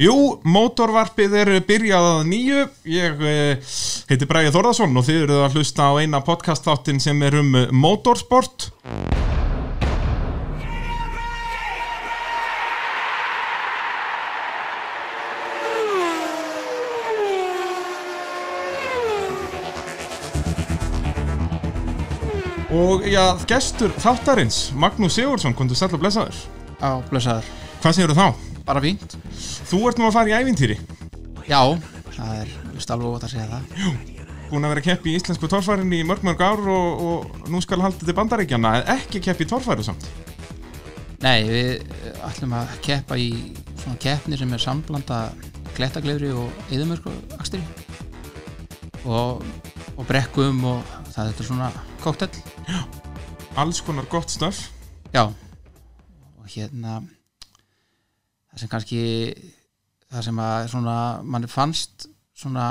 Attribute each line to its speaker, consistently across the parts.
Speaker 1: Jú, mótorvarpið er byrjað að nýju Ég eh, heiti Bræði Þórðarsson og þið eruð að hlusta á eina podcast þáttin sem er um eh, mótorsport Og já, gestur þáttarins, Magnús Sigurðsson, kom þú sæll og blessaður
Speaker 2: Já, blessaður.
Speaker 1: Hvað segirðu þá?
Speaker 2: Bara fínt.
Speaker 1: Þú ert nú að fara í ævintýri
Speaker 2: Já, það er just alveg ótt að segja það.
Speaker 1: Búin að vera að keppi í íslensku torfærinni í mörg mörg ár og, og nú skal haldið til bandaríkjana en ekki keppi í torfæru samt
Speaker 2: Nei, við eh, ætlum að keppa í svona keppni sem er samblanda klettaglefri og eðumörku akstri og, og brekkum og það þetta er svona koktell.
Speaker 1: Alls konar gott stöf
Speaker 2: Já, og hérna það sem kannski það sem að svona mann fannst svona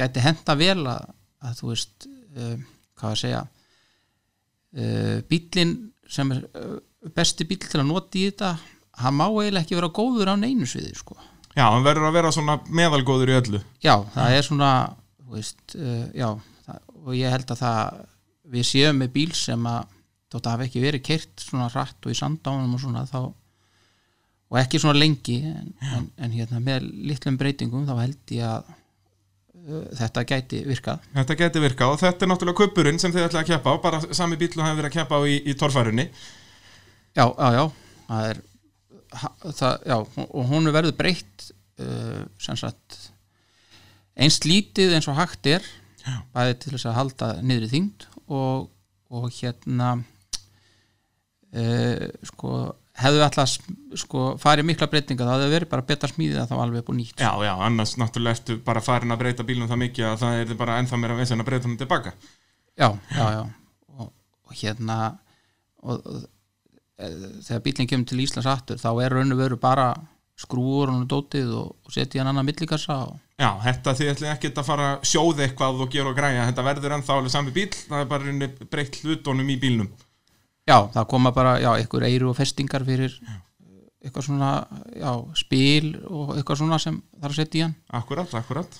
Speaker 2: gæti henda vel að, að þú veist uh, hvað að segja uh, bíllinn sem er uh, besti bíll til að nota í þetta hann má eiginlega ekki vera góður á neinu sviði sko.
Speaker 1: Já, hann verður að vera svona meðalgóður í öllu
Speaker 2: já, það er svona þú veist, uh, já það, og ég held að það við séum með bíl sem að þótt að hafa ekki verið kert svona rætt og í sandánum og svona þá og ekki svona lengi en, en, en hérna með litlum breytingum þá held ég að uh, þetta gæti virkað
Speaker 1: Þetta geti virkað og þetta er náttúrulega kuppurinn sem þið ætlaði að keppa á bara sami bíl og hann verið að keppa á í, í torfærunni
Speaker 2: já, já, já, það er ha- það, já, og hún verður breytt uh, sem sagt eins lítið eins og hægt er
Speaker 1: Já.
Speaker 2: bæði til þess að halda niðri þyngd og, og hérna uh, sko hefðu alltaf sko farið mikla breytinga það hefðu verið bara betra smíðið að það var alveg upp og nýtt
Speaker 1: Já, já, annars náttúrulega ertu bara farin að breyta bílum það mikið að það er bara ennþá meira vesen að breyta hann tilbaka
Speaker 2: já, já, já. Og, og hérna og, og, e, þegar bílinn kemur til Íslands aftur þá er raun og veru bara skrúur og dótið og, og setja í hann annan millikassa og
Speaker 1: Já, þetta þið ætlaði ekkert að fara að sjóða eitthvað og gera og græja Þetta verður ennþá alveg sami bíl það er bara í rauninni breytt hlutunum í bílnum
Speaker 2: já, það koma bara, já, ykkur eiru og festingar fyrir eitthvað svona, já, spil og eitthvað svona sem þarf að setja í hann
Speaker 1: Akkurat, akkurat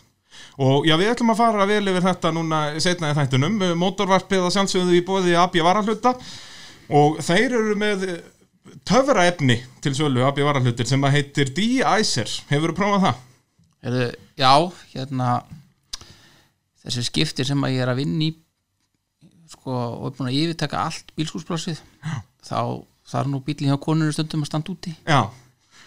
Speaker 1: Og já, við ætlum að fara vel yfir þetta núna setna í þættunum, mótorvarpið að sjálfsögðu í bóði AB varahluta og þeir eru með töfraefni til sölu AB varahlutir sem að heitir D-Icer Hefurðu prófað það?
Speaker 2: Heyrðu, já, hérna þessi skipti sem að ég er að vinna í sko, og er búin að yfirtaka allt bílskúsplásið þá þarf nú bílinn hjá konunni stundum að standa úti
Speaker 1: Já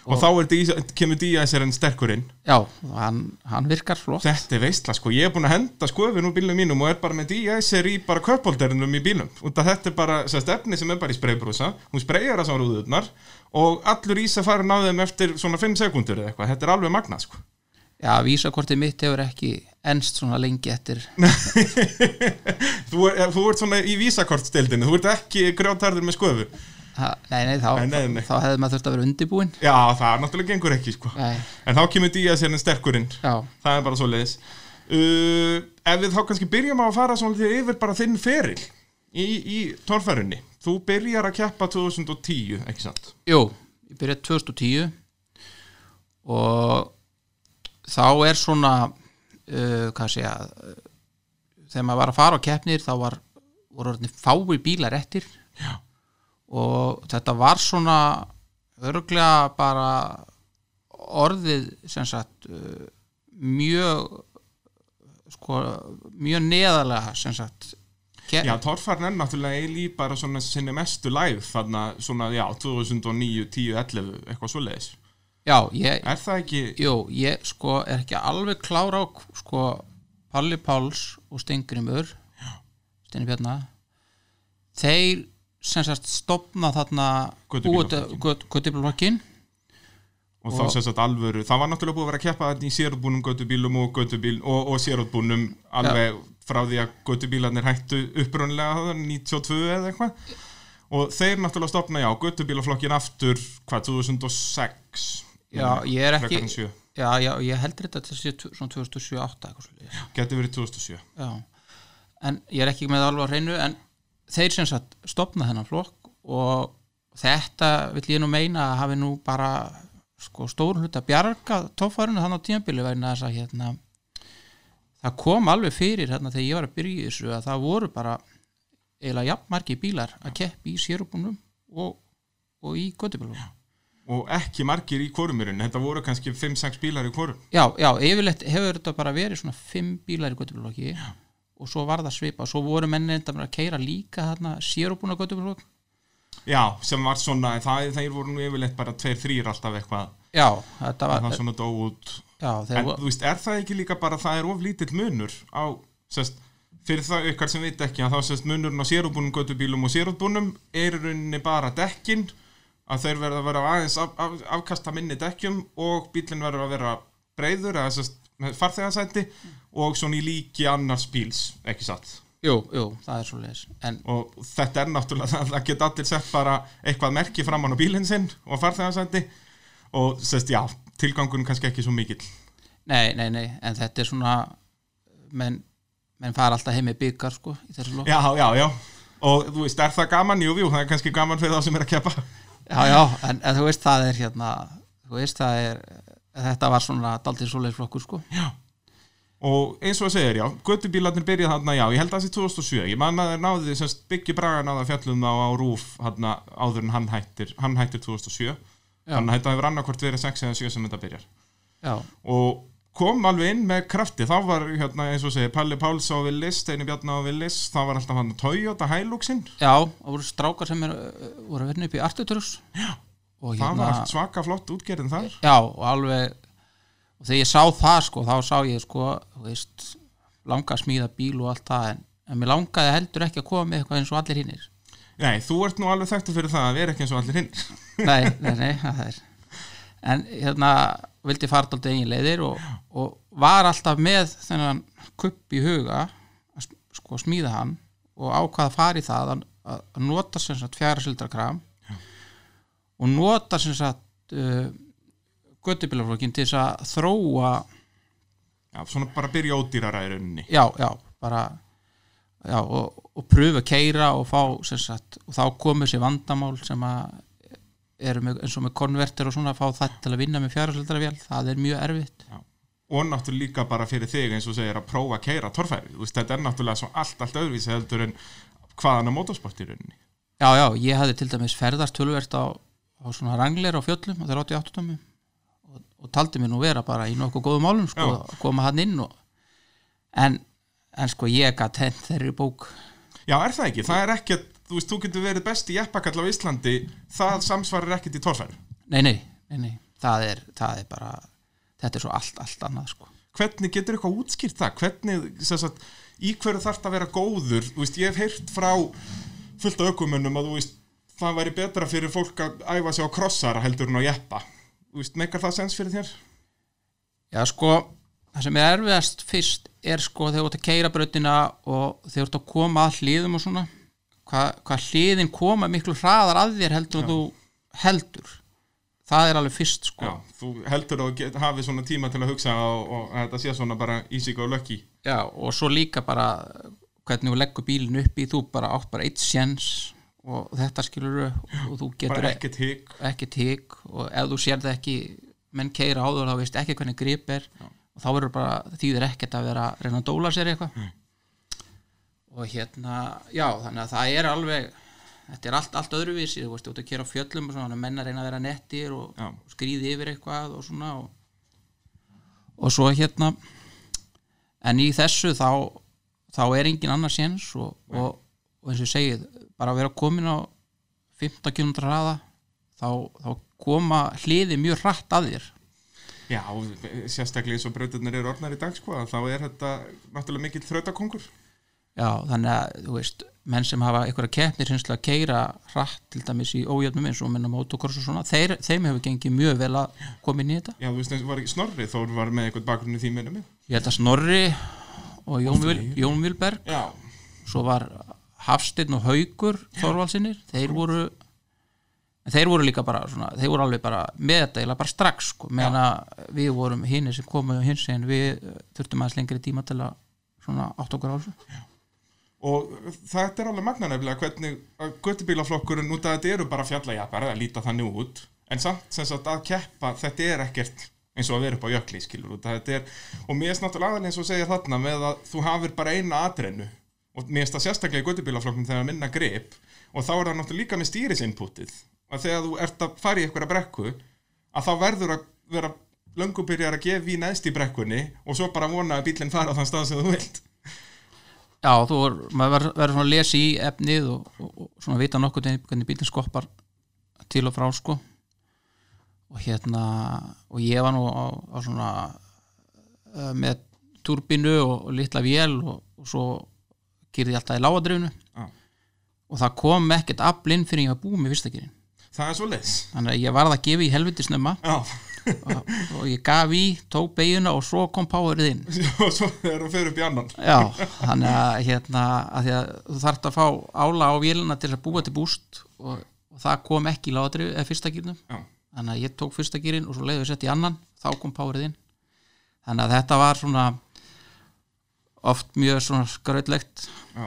Speaker 1: Og, þá er D- kemur D-Icer en sterkurinn
Speaker 2: Já, og hann, hann virkar flott
Speaker 1: Þetta er veistla, sko, ég er búin að henda sköfin úr bílum mínum og er bara með D-Icer í bara köpbólderinnum í bílum og þetta er bara sérst, efni sem er bara í spreybrúsa hún spreyjar þess á rúðurnar og allur ísa farin á þeim eftir svona 5 sekundur eða eitthvað, þetta er alveg magnað, sko
Speaker 2: Já, vísakortið mitt hefur ekki enst svona lengi eftir
Speaker 1: þú, er, þú ert svona í vísakortstildinu Þú ert ekki grjótarður með sköfu
Speaker 2: ha, Nei, nei, þá,
Speaker 1: Nei, nei, nei.
Speaker 2: þá hefði maður þurft að vera undirbúin
Speaker 1: Já, það náttúrulega gengur ekki sko.
Speaker 2: Nei,
Speaker 1: En þá kemur Díaz hérna sterkurinn
Speaker 2: já,
Speaker 1: Það er bara svo leiðis uh, Ef við þá kannski byrjum á að fara svona yfir bara þinn feril í, í torfærunni Þú byrjar að keppa 2010, ekki sant?
Speaker 2: jú, ég byrjaði 2010 og þá er svona uh, hvað sé ég uh, þegar maður var að fara á keppnir þá var, voru orðinni fái bílar eftir
Speaker 1: Já.
Speaker 2: og þetta var svona örglega bara orðið sem sagt uh, mjög sko, mjög neðalega sem sagt ke-
Speaker 1: Já, torfærin er náttúrulega eilí bara svona sinni mestu læð þarna svona, já, 2009, 10, 11 eitthvað svo leiðis
Speaker 2: já ég,
Speaker 1: Er það ekki
Speaker 2: jú, ég sko er ekki alveg klára á sko Palli Páls og Steingrimur Steini Bjarna þeir sem sagt stopna þarna
Speaker 1: Götubílaflokkinn.
Speaker 2: Götubílflokkin
Speaker 1: og, þá sem sagt alvöru, það var náttúrulega búið að vera að keppa þetta í sérutbúnum götubílum og, götubíl, og, og sérutbúnum alveg frá því að götubílarnir hættu upprunlega 92 eða eitthvað og þeir náttúrulega stopna, já, götubílaflokkin aftur, hvað, 2006
Speaker 2: já ég er
Speaker 1: frekar en
Speaker 2: ekki
Speaker 1: sjö.
Speaker 2: já, já ég heldur þetta til sér svona 2007-2008 eitthvað svolítið
Speaker 1: geti verið 2007
Speaker 2: Já, en ég er ekki með alveg á hreinu en þeir sem sagt stopna þennan flokk og þetta vill ég nú meina að hafi nú bara sko stór hluta bjarga tóffarinu þannig á tímabili vegna þess að hérna það kom alveg fyrir hérna þegar ég var að byrja í þessu að það voru bara eiginlega jafnmargi bílar að keppi í sérubunum og, og í göttubílum já.
Speaker 1: og ekki margir í kvorumurinn þetta voru kannski 5-6 bílar í kvorum
Speaker 2: já, yfirleitt hefur þetta bara verið svona 5 bílar í göttubílokki og svo var það svipa og svo voru menni þetta bara að keira líka hérna sérubuna göttubílokk
Speaker 1: já, sem var svona, það, þeir voru nú yfirleitt bara 2-3 alltaf eitthvað
Speaker 2: já, þetta var
Speaker 1: það var svona dó út
Speaker 2: já, þeir
Speaker 1: en
Speaker 2: voru-
Speaker 1: þú veist, er það ekki líka bara það er of lítill munur á, sérst fyrir það ykkar sem veit ekki að þá sérst munurinn á sérúbúnum göttubílum og sérúbúnum er í rauninni bara dekkin að þeir verða að vera aðeins af, af, afkasta minni dekkjum og bílinn verður að vera breyður eða sérst með farþegasæti og svona í líki annars bíls, ekki satt
Speaker 2: jú, jú, það er svo leiðis en
Speaker 1: og þetta er náttúrulega það, það geta allir sett bara eitthvað merki framann á bílinn sinn og farþegasæti og sérst, já, tilgangun kannski ekki svo mikill
Speaker 2: Nei, nei, nei, en þetta er svona menn, menn fara alltaf heim með byggar sko, í þessu lók já.
Speaker 1: Já, já, já Og þú veist, er það gaman? Jú, jú, það er kannski gaman fyrir þá sem er að keppa
Speaker 2: já, en, en þú veist það er hérna þú veist það er þetta var svona daldið svoleiðsflokkur sko Já,
Speaker 1: Og eins og það segir, já, göttubílarnir byrjað þarna, já, ég held að það sé 2007 Ég man að þeir náðu því sem byggja braga náða fjallum þá á rúf þarna áður en hann hættir Hann hættir 2007 Þannig að þetta hefur annarkvort verið 6 eða 7 sem þetta byrjar
Speaker 2: já,
Speaker 1: Og kom alveg inn með krafti Þá var, hérna, eins og segir, Palli Páls á Willis Steini Bjarni á Willis Það var alltaf hann Toyota Hiluxinn
Speaker 2: það voru strákar sem er, uh, voru að vinna upp í Artutrus Já,
Speaker 1: Það
Speaker 2: og
Speaker 1: var
Speaker 2: hérna
Speaker 1: allt svaka flott útgerðin þar
Speaker 2: Já, og alveg og þegar ég sá það sko, þá sá ég sko, þú veist, langa að smíða bíl og allt það, en, en mér langaði heldur ekki að koma með eitthvað eins og allir hinnir
Speaker 1: Nei, þú ert nú alveg þekktu fyrir það að vera ekki eins og allir hinn
Speaker 2: nei, nei, nei, það er en hérna vildi fara alltaf eigin leiðir og, og var alltaf með þennan kupp í huga að sm- sko smíða hann og ákvað að fara í það að, að að nota sem sagt fjara sildrakram og nota sem sagt uh, göttubílaflokkin til þess að þróa
Speaker 1: Já, svona bara byrja ódýrara í rauninni.
Speaker 2: já, já, bara já, og, og pröfu að keira og fá sem sagt, og þá komu sér vandamál sem að eru með, eins og með konverter og svona að fá það til að vinna með fjárhaldarvél, það er mjög erfitt
Speaker 1: Og náttúrulega líka bara fyrir þig eins og segir að prófa að keira torfæri. Þú veist, þetta er náttúrulega svo allt, allt öðruvísi heldur en hvaðan að motorsport í rauninni.
Speaker 2: já, já, ég hafði til dæmis ferðast tölvert á, á svona rangleir á fjöllum og það er 88 tómi og, og taldi mér nú vera bara í nokkuð góðum málum sko,
Speaker 1: Já.
Speaker 2: að koma hann inn og, en, en sko ég gat hent þeirri bók
Speaker 1: Já, er það ekki? Það er ekkert, þú veist, þú getur verið besti jeppakall á Íslandi, það samsvarir ekkert í torfæri.
Speaker 2: nei, nei, nei, nei, það er, það er bara þetta er svo allt, allt annað sko
Speaker 1: Hvernig getur eitthvað útskýrt það? Hvernig, sem sagt, í hverju þarf það að vera góður? Þú veist, ég hef heyrt frá fullt af ökumönnum að, þú veist, það væri betra fyrir fólk að æfa sig á krossara heldur en á jeppa. Þú veist, meikar það sens fyrir þér?
Speaker 2: Já sko, það sem er erfiðast fyrst er sko þegar þú ert að keira brautina og þegar þú ert að koma að hliðum og svona hvað hva hliðin koma miklu hraðar að þér heldur en þú heldur það er alveg fyrst sko
Speaker 1: Já, þú heldur að þú get- hafi svona tíma til að hugsa og, og að þetta sé svona bara easy go lucky
Speaker 2: Já, og svo líka bara hvernig þú leggur bílinn upp í þú bara átt bara eitt sjens og þetta skilur og þú getur e-
Speaker 1: bara
Speaker 2: ekki,
Speaker 1: ekkert hygg
Speaker 2: ekki tík og ef þú sér það ekki menn keira áður þá veist ekki hvernig grip er og þá verður bara þýðir ekkert að vera að reyna að dóla sér eitthvað og hérna, já, þannig að það er alveg þetta er allt, allt öðruvísi þú veist, þú ert að kera á fjöllum og svona menn að reyna að vera nettir og
Speaker 1: Já.
Speaker 2: skrýði yfir eitthvað og svona og, og svo hérna en í þessu þá þá er engin annar séns og, og, og eins og ég segið, bara að vera komin á 15 km hraða þá, þá koma hliði mjög hratt að þér
Speaker 1: Já, sérstaklega eins og brautirnir eru orðnar í dag sko, að þá er þetta náttúrulega mikill þrautakongur
Speaker 2: Já, þannig að, þú veist, menn sem hafa einhverja keppnir hinslega að keira hratt til dæmis í ójöfnum eins og minna motokors og svona, þeir, þeim hefur gengið mjög vel að koma inn í þetta.
Speaker 1: Já, þú veist, eins og var ekki snorri þó var með eitthvað bakgrunni því minni mig
Speaker 2: Ég held að Snorri og Jón, Vil, Jón Vilberg,
Speaker 1: Já,
Speaker 2: svo var Hafsteinn og Haugur Þorvalsinir, þeir voru en þeir voru líka bara svona, þeir voru alveg bara með þetta eiginlega bara strax sko, meðan að við vorum hinni sem komum hins en við eh, þurftum aðeins lengri tíma til að svona átt okkur á þessu.
Speaker 1: og þetta er alveg magna nefnilega hvernig að göttubílaflokkurinn út að þetta eru bara fjallajapar að líta þannig út en samt sem sagt að keppa þetta er ekkert eins og að vera upp á jökli skilur og þetta er og mér erst náttúrulega aðeins eins og segja þarna með að þú hafir bara eina atrennu og mér erst það sérstaklega í göttubílaflokknum þegar að minna grip og þá er það náttúrulega líka með stýrisinputið að þegar þú ert að fara í eitthvað brekku að þá verður að vera löngubyrjar að gefa í neðst í brekkunni og svo bara vona að bílinn fara á þann stað sem þú vilt
Speaker 2: Já, þú er, maður verður- verður svona að lesa í efnið og, og, og svona vita nokkuð hvernig bílinn skoppar til og frá sko og hérna og ég var nú á, á svona uh, með turbinu og, og litla vél og, og svo kýrði ég alltaf í lágadrifinu
Speaker 1: Já.
Speaker 2: og það kom ekkert aflinn fyrir ég var búið með fyrstakirinn
Speaker 1: það er svo leis
Speaker 2: þannig að ég varð að gefa í helviti snemma
Speaker 1: Já,
Speaker 2: og, og ég gaf í, tók beiguna og svo kom powerið inn
Speaker 1: og svo þegar þú fyrir upp í annan
Speaker 2: Já, þannig að, hérna, að, að þú þarft að fá ála á vélina til að búa til búst og, og það kom ekki í lágadrif eða fyrsta gírnum
Speaker 1: Já,
Speaker 2: þannig að ég tók fyrsta gírin og svo leiði við sett í annan þá kom párið inn þannig að þetta var svona oft mjög svona skrautlegt
Speaker 1: já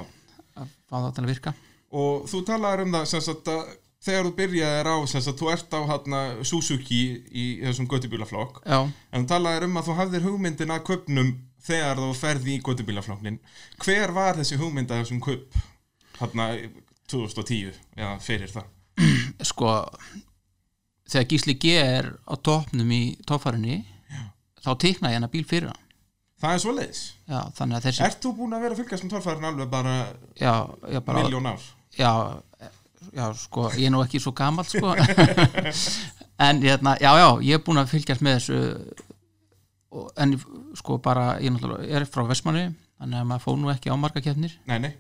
Speaker 2: að fá það til að virka
Speaker 1: og þú talaðir um það sem sagt að þegar þú byrjaðir á sem sagt þú ert á hana, Suzuki í þessum göttubílaflokk
Speaker 2: Já,
Speaker 1: en þú talaðir um að þú hafðir hugmyndin að köpnum þegar þú ferði í göttubílaflokknin hver var þessi hugmynd að þessum köp hana 2010 eða fyrir það
Speaker 2: sko þegar Gísli G er á toppnum í toppfarinni þá teikna ég hennar bíl fyrir hann
Speaker 1: það er svo leiðis
Speaker 2: Já, þannig að þessi
Speaker 1: Ert þú búin að vera að fylgjast með torfærin alveg bara,
Speaker 2: já, já, bara,
Speaker 1: miljón ár?
Speaker 2: já, eh, já, sko, ég er nú ekki svo gamall, sko en hérna, já, já, ég er búin að fylgjast með þessu og- en sko bara, ég náttúrulega er frá Vestmanni, þannig að maður fór nú ekki á marga keppnir
Speaker 1: Nei, nei,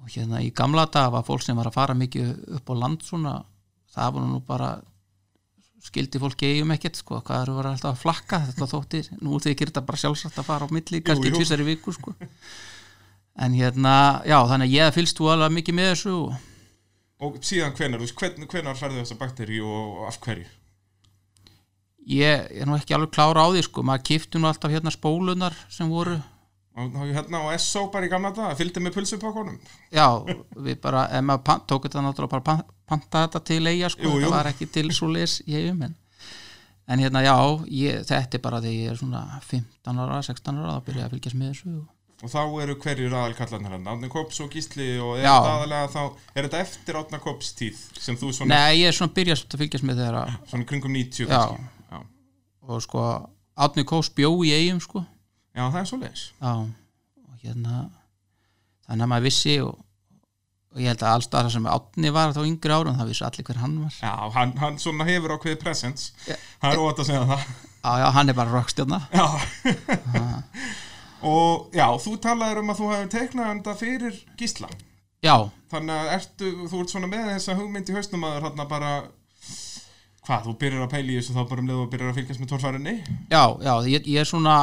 Speaker 2: og hérna í gamla dag var fólk sem var að fara mikið upp á land svona, það var nú bara skildi fólk eigum ekkert sko, hvað eru verið alltaf að flakka þetta þóttir, nú þykir þetta bara sjálfsagt að fara á milli, kannski
Speaker 1: jú.
Speaker 2: tvisari viku sko en hérna, já, þannig að ég fylgst þú alveg mikið með þessu og
Speaker 1: og síðan hvenar, þú veist, hvern, hvenar færðu þessa bakteríu og, og af hverju?
Speaker 2: ég er nú ekki alveg klára á því sko, maður kifti nú alltaf hérna spólunar sem voru,
Speaker 1: Og þá ég hérna á SO bara í gamla dag, fylgdi með pulsupokkunum.
Speaker 2: já, við bara ef maður pan, tók þetta náttúrulega bara pan, panta þetta til eiga sko,
Speaker 1: Jú, jú.
Speaker 2: það var ekki til svo les ég um en, en hérna já ég, þetta er bara þegar ég er svona 15 ára, 16 ára, þá byrja ég að fylgjast með þessu og,
Speaker 1: Og þá eru hverjir aðalkallarnir hann, Átni Kops og Gísli og er
Speaker 2: Já.
Speaker 1: þetta aðalega þá, er þetta eftir Átna Kops tíð sem þú svona,
Speaker 2: nei, ég er svona byrjast að fylgjast með þeirra
Speaker 1: svona kringum 90
Speaker 2: Já.
Speaker 1: kannski? Já.
Speaker 2: og sko, Átni Kós bjó í eigum sko,
Speaker 1: Já, það er svo leiðis.
Speaker 2: já og hérna, þannig að maður vissi og, og ég held að allstað sem Átni var þá yngri árum, það vissi allir hver hann var
Speaker 1: Já, hann, hann svona hefur ákveðið presence,
Speaker 2: Já.
Speaker 1: það er ótt að segja það.
Speaker 2: Já, já, hann er bara rockstjarna
Speaker 1: Já. og já, þú talaðir um að þú hefur teiknað þetta fyrir Gísla.
Speaker 2: Já,
Speaker 1: Þannig að ertu, þú ert svona með þessa hugmynd í hausnum að þarna bara hvað, þú byrjar að pæla í þessu þá bara um leið og byrjar að fylgjast með torfærinni
Speaker 2: já, já, ég, ég er svona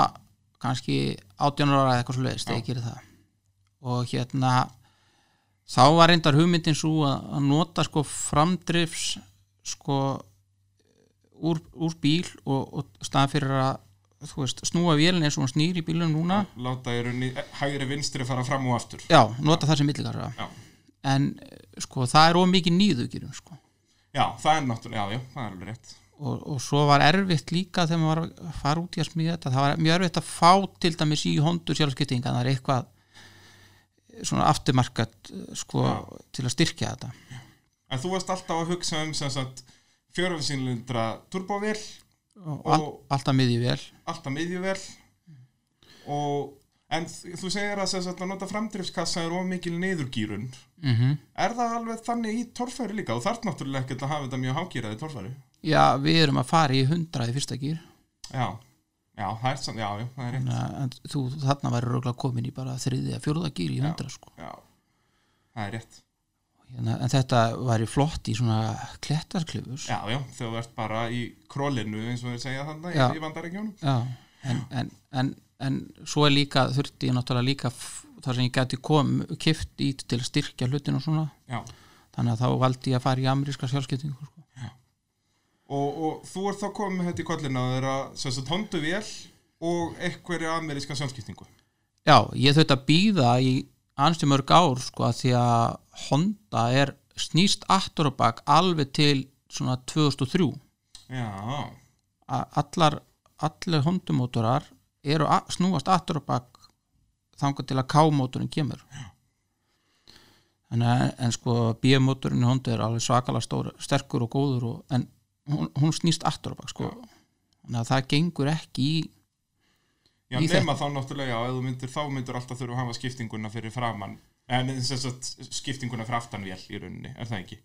Speaker 2: kannski 18 ára eða eitthvað svo leiðist þegar ég gerir það og hérna þá var reyndar hugmyndin svo að, að nota sko framdrifs sko úr, úr bíl og, og staðan fyrir að þú veist, snúa vélinn eins og hann snýr í bílunum núna
Speaker 1: láta í raunni hægri vinstri fara fram og aftur
Speaker 2: Já, nota það sem milligar
Speaker 1: Já.
Speaker 2: en eh, sko það er of mikið nýðugirum sko
Speaker 1: Já, það er náttúrulega, já, já, það er alveg rétt
Speaker 2: og, og svo var erfitt líka þegar maður var að fara út í að smíða þetta það var mjög erfitt að fá til dæmis í hondu sjálfskiptinga það er eitthvað svona afturmarkat sko, til að styrkja þetta
Speaker 1: En þú varst alltaf að hugsa um sem sagt fjörfinsýnlindra turbovél
Speaker 2: og,
Speaker 1: Og-
Speaker 2: og all, alltaf miðið vel
Speaker 1: alltaf miðjuvél og en þ- þú segir að sem sagt að nota framdrifskassa er of mikil niðurgýrun
Speaker 2: mm
Speaker 1: Er það alveg þannig í torfæri líka og þarf náttúrulega ekkert að hafa þetta mjög hágýraði torfæri
Speaker 2: já, við erum að fara í hundraði fyrsta gýr
Speaker 1: Já, já, það er samt, já, já, það er rétt
Speaker 2: en, en þú þarna væri röglega komin í bara þriðið að fjórða gýr í hundra sko.
Speaker 1: Já, það er rétt
Speaker 2: hérna, en þetta væri flott í svona klettarklifus
Speaker 1: Já, já, þegar þú ert bara í królinu eins og þeir segja þannig
Speaker 2: Já.
Speaker 1: í vandaregjónum
Speaker 2: Já, en, en, en, en svo er líka þurfti ég náttúrulega líka f- þar sem ég gæti kom kift í til að styrkja hlutin og svona
Speaker 1: Já,
Speaker 2: þannig að þá valdi ég að fara í ameríska sjálfskiptingu sko.
Speaker 1: og, og þú ert þá komið með þetta í kollinu að þeirra sem sagt honduvél og einhverja ameríska samskiptingu
Speaker 2: Já, ég þurfti að býða í anstu mörg ár sko að því að Honda er snýst aftur og bak alveg til svona 2003
Speaker 1: já,
Speaker 2: að allar, allir hondumótorar eru að snúast aftur og bak þangað til að K-mótorin kemur en, en sko B-mótorin í hondu er alveg svakalega stór, sterkur og góður og, en hún, hún snýst aftur og bak sko. þannig að það gengur ekki í
Speaker 1: já
Speaker 2: Í
Speaker 1: nema þá náttúrulega já, ef þú myndir, þá myndir alltaf þurfa að hafa skiptinguna fyrir framann en þess að skiptinguna fyrir aftanvél í rauninni, er það ekki?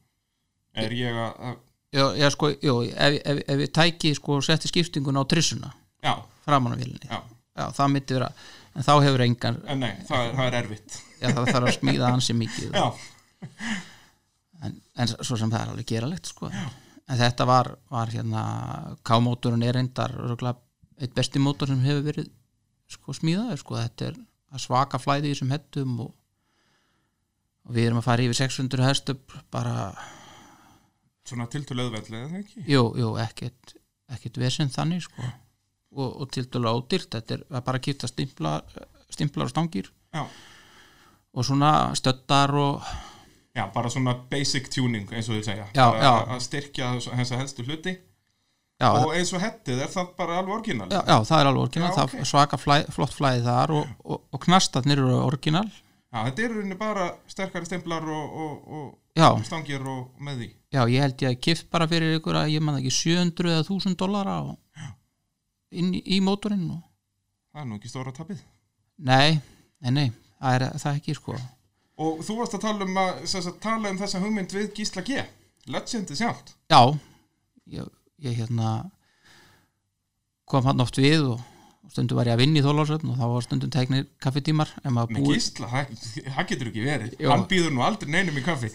Speaker 1: Er ég að, að
Speaker 2: já, já, sko, já, ef, ef, ef við tæki sko, og setti skiptinguna á trissuna
Speaker 1: já,
Speaker 2: framan á vélinni
Speaker 1: já,
Speaker 2: já, það myndi vera, en þá hefur engan
Speaker 1: en nei, það, er- það er erfitt
Speaker 2: já, það þarf að smíða hansi mikið
Speaker 1: já,
Speaker 2: en, en s- svo sem það er alveg geralegt sko. en þetta var, var hérna K-mótorun er reyndar örugglega einn besti mótor sem hefur verið sko, smíðaður, sko. þetta er að svaka flæði í þessum hettum og, og við erum að fara yfir 600 hestöp bara,
Speaker 1: svona tiltölu öðveldlega, er það ekki?
Speaker 2: jú, jú, ekkert ekkert vesinn þannig sko. og, og til dæla ódýrt, þetta er að bara að kýrta stimplar, stimplar og stangir
Speaker 1: Já,
Speaker 2: og svona stöttar og
Speaker 1: já, bara svona basic tuning eins og þau segja
Speaker 2: Já,
Speaker 1: Bara
Speaker 2: já.
Speaker 1: að styrkja þess að helstu hluti
Speaker 2: já, það-
Speaker 1: og eins og hettið, er það bara alveg orginal?
Speaker 2: já, já, það er alveg orginal,
Speaker 1: Já,
Speaker 2: það
Speaker 1: ok.
Speaker 2: er svaka flæ, flott flæði þar og, og, og knastarnir eru orginal
Speaker 1: Já, þetta eru henni bara sterkari stemplar og, og,
Speaker 2: já,
Speaker 1: og stangir og með því.
Speaker 2: já, ég held ég að kift bara fyrir ykkur að ég man það ekki 700 eða 1000 dollara og inn í, í mótorinn og,
Speaker 1: Það er nú ekki stóra tapið.
Speaker 2: nei, nei, nei það er það er ekki sko já,
Speaker 1: Og þú varst að tala um, að, sem sagt, tala um þessa hugmynd við Gísla G. Legendið sjálft.
Speaker 2: ég, ég hérna kom hann oft við og og stundum var ég að vinna í þólarsöfn og þá var stundum teknir kaffetímar en maður
Speaker 1: Með
Speaker 2: búið
Speaker 1: Gísla, það, það getur ekki verið.
Speaker 2: Jó.
Speaker 1: Hann býður nú aldrei neinum í kaffi.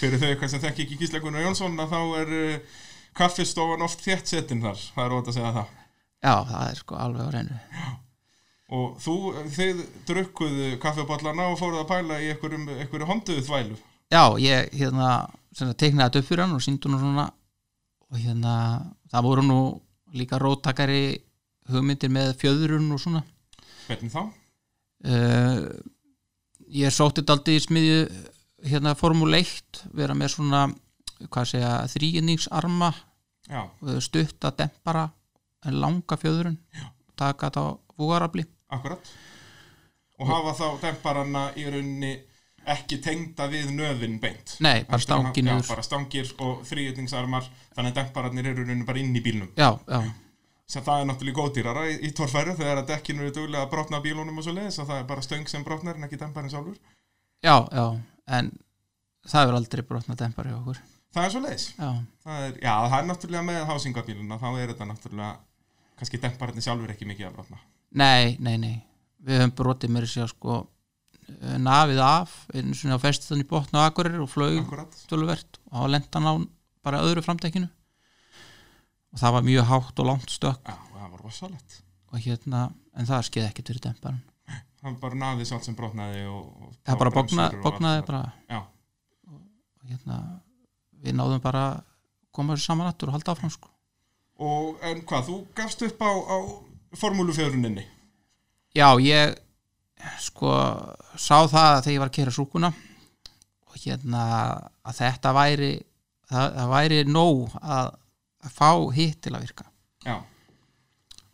Speaker 1: Fyrir þau eitthvað sem þekki ekki Gísla Gunnar Jónsson að þá er uh, kaffistofan oft þétt setin þar. Það er ótt að segja það.
Speaker 2: já, það er sko alveg á reynu
Speaker 1: Og þú, þið drukkuðu kaffiballana og fóruð að pæla í einhverjum, einhverju honduðu þvælu.
Speaker 2: já, ég hérna sem sagt, teiknaði þetta upp fyrir hann og síndi hún svona og hérna það voru nú líka róttakari hugmyndir með fjöðrun og svona
Speaker 1: Hvernig þá?
Speaker 2: uh, ég sótti þetta aldrei í smiðju hérna formuleikt vera með svona hvað segja, þrýinningsarma
Speaker 1: Já,
Speaker 2: stutta dempara en langa fjöðrun já. taka þetta á vúarafli
Speaker 1: Akkurat Og hafa þá demparana í rauninni ekki tengda við nöfin beint
Speaker 2: nei,
Speaker 1: Heldur
Speaker 2: bara
Speaker 1: hann-
Speaker 2: stanginu
Speaker 1: Já, bara stangir og þrýjötningsarmar Þannig að demparanir eru í rauninni bara inn í bílnum
Speaker 2: já, já,
Speaker 1: sem það er náttúrulega góðdýrara í, í torfæru þegar að dekkinu eru duglega að brotna af bílunum og svo leiðis og það er bara stöng sem brotnar en ekki demparinn sjálfur
Speaker 2: já, já en það hefur aldrei brotnað dempari hjá okkur
Speaker 1: Það er svo leiðis
Speaker 2: já
Speaker 1: það er, Já, það er náttúrulega með hásingabíluna þá er þetta náttúrulega kannski demparinn sjálfur ekki mikið að brotna
Speaker 2: Nei, nei, nei Við höfum brotið mér sér sko eh, nafið af, einu sinni á festiðan í botn og akkurir og flög
Speaker 1: Akkurat
Speaker 2: töluvert og þá lenti hann á bara öðru framtekinu og það var mjög hátt og langt stökk
Speaker 1: Já, það var rosalegt
Speaker 2: og hérna, en það skeði ekkert fyrir demparan
Speaker 1: Það var bara naðið sjálf sem brotnaði og, og
Speaker 2: það bara bogna,
Speaker 1: bremsur og allt
Speaker 2: bognaði
Speaker 1: það.
Speaker 2: bara
Speaker 1: Já,
Speaker 2: og hérna, við náðum bara að koma þessu saman aftur og halda áfram sko
Speaker 1: Og en hvað, þú gafst upp á, á formúlufjöruninni?
Speaker 2: Já, ég sko sá það þegar ég var að kera súkuna og hérna að þetta væri það, það væri nóg að, að fá hitt til að virka
Speaker 1: Já,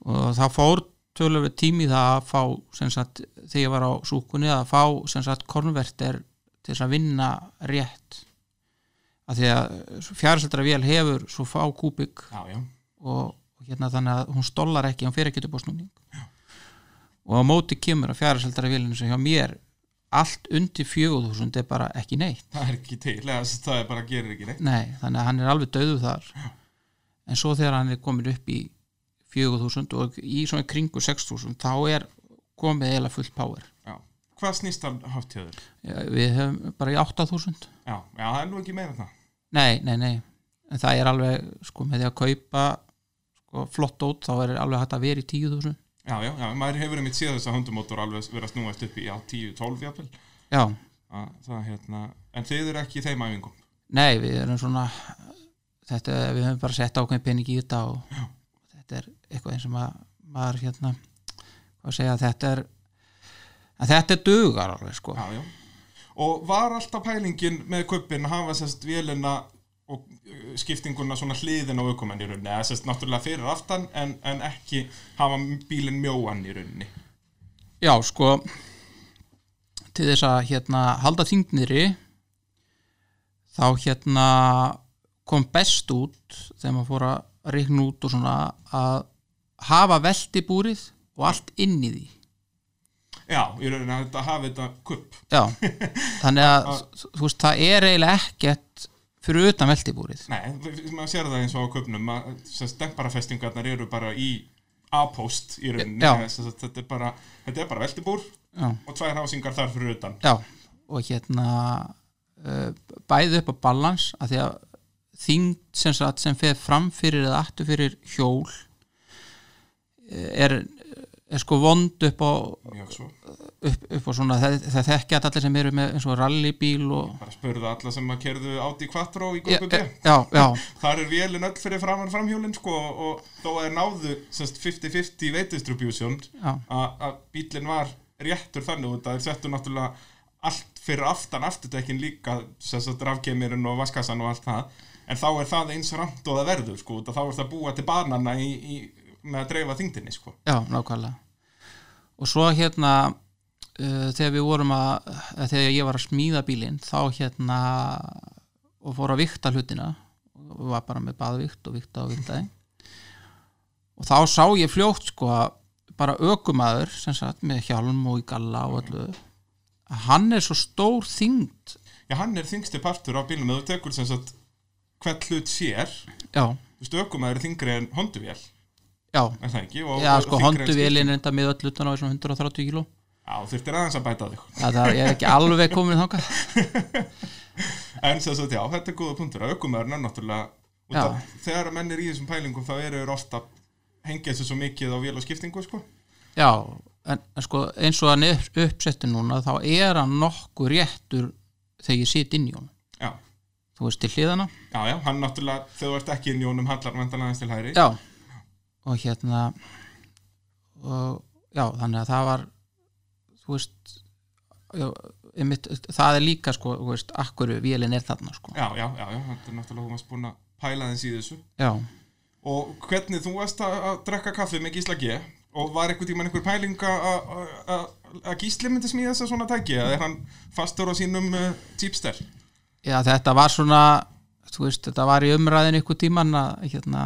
Speaker 1: og
Speaker 2: og það fór tölöfur tími í það að fá sem sagt, þegar ég var á súkunni að fá sem sagt kornverter til þess að vinna rétt að því að fjárseldra vél hefur svo fá kúbik
Speaker 1: já, já,
Speaker 2: og, og hérna þannig að hún stólar ekki hún fyrir ekki upp á snúning og á móti kemur að fjaraseldara vélinu sem hjá mér allt undir 4000 er bara ekki neitt
Speaker 1: það er ekki til, eða þess að það er bara gerir ekki neitt.
Speaker 2: Nei, þannig að hann er alveg döðu þar en svo þegar hann er komin upp í 4000 og í svona kringu 6000 þá er komið eða fullt power
Speaker 1: Já. Hvað snýst hann hátt hjá þér?
Speaker 2: Eh, við höfum bara í 8000
Speaker 1: Já, já, það er nú ekki meira en það.
Speaker 2: Nei, nei, nei en það er alveg sko með því að kaupa sko, flott út þá er alveg hægt að vera í 10.000
Speaker 1: Já, já, já, maður hefur einmitt séð þess að höndumótor alveg vera snúast upp í já, 10-12 jafnvel.
Speaker 2: Já,
Speaker 1: Já, Það er hérna, en þið eru ekki í þeim æfingum.
Speaker 2: Nei, við erum svona þetta, við höfum bara sett ákveðin pening í þetta og þetta er eitthvað eins og maður, maður hérna hvað að segja, þetta er en þetta dugar alveg sko
Speaker 1: Já, já. og var alltaf pælingin með kuppin að hafa sérst vélina og uh, skiptinguna svona hliðin á aukumenn í rauninni, eða sérst náttúrulega fyrir aftan en, en ekki hafa bílinn mjóan í rauninni
Speaker 2: Já, sko til þess að hérna halda þingniri þá hérna kom best út þegar maður fór að reikna út og svona að hafa veltibúrið og allt inn í því
Speaker 1: Já, í rauninni að þetta hafa þetta kupp
Speaker 2: Já, þannig að þú veist, það er eiginlega ekkert fyrir utan veltibúrið
Speaker 1: Nei, maður sér það eins og á köpnum stemparafestingarnar eru bara í A-post í rauninni
Speaker 2: Já.
Speaker 1: Þess að þetta er bara, þetta er bara veltibúr
Speaker 2: Já,
Speaker 1: og tvær hásingar þar fyrir utan
Speaker 2: já og hérna uh, bæði upp á balans að því að þyngd sem, sagt, sem fer fram fyrir eða aftur fyrir hjól eh, er, er sko vond upp á,
Speaker 1: Mjög svo,
Speaker 2: upp, upp á svona það, það þekkja að allir sem eru með eins og rallybíl og
Speaker 1: bara spurðu alla sem að kerðu átt í kvatró í
Speaker 2: já,
Speaker 1: Guðbjörn
Speaker 2: já, já,
Speaker 1: Þar er vélinn öll fyrir framan framhjólinn sko og þó að þeir náðu semst, 50-50 veitistribjúsjón
Speaker 2: já,
Speaker 1: að bílinn var réttur þannig út að þeir settu náttúrulega allt fyrir aftan afturdekkin líka þess að drafkemirinn og vaskassan og allt það en þá er það eins ramt og það verður sko út að þá er það búa til banana í, í, með að dreifa þyngdinni sko
Speaker 2: já, nákvæmlega og svo hérna uh, þegar við vorum að eða þegar ég var að smíða bílinn þá hérna og fór að vikta hlutina og var bara með baðvikt og vikta og viktaði og þá sá ég fljótt sko að bara ökumaður sem sagt með hjálm og í galla og öllu að hann er svo stór þyngd
Speaker 1: Já, hann er þyngsti partur af bílum eða þú tekur sem sagt hvert hlut sér þú
Speaker 2: já,
Speaker 1: veist, ökumæður er þyngri en honduvél er
Speaker 2: já,
Speaker 1: það ekki? Og,
Speaker 2: Já,
Speaker 1: og
Speaker 2: sko,
Speaker 1: þyngri en
Speaker 2: honduvélin reynda með öll utan á þessum 130 kíló
Speaker 1: skip. Já, þurftir aðeins að bæta þig
Speaker 2: Það það er ekki alveg komin þangað
Speaker 1: En sem sagt, já, þetta er góða punktur að aukumæðurinn er náttúrulega út
Speaker 2: Já.
Speaker 1: af, þegar að menn er í þessum pælingum þá eru þeir ofta hengja þessu svo mikið á vél og skiptingu sko.
Speaker 2: Já, en, en sko eins og hann er uppsettur núna þá er hann nokkuð réttur þegar ég sit inn í honum
Speaker 1: já.
Speaker 2: Þú veist til hliðana
Speaker 1: já, já, hann náttúrulega þegar þú ert ekki inn í honum hallar vendan aðeins til hæri
Speaker 2: Já, og hérna og já, þannig að það var þú veist já, einmitt, það er líka sko, þú veist, akkur vélin er þarna sko
Speaker 1: já, já, já, já, þetta er náttúrulega þú varst búin að pæla þess í þessu
Speaker 2: Já,
Speaker 1: og hvernig þú varst að, að drekka kaffi með Gísla G og var einhvern tímann einhver pæling að- að að- að Gísli myndi smíða þess að svona tæki eða er hann fastur á sínum uh, típster
Speaker 2: já þetta var svona þú veist, þetta var í umræðin ykkur tíman að hérna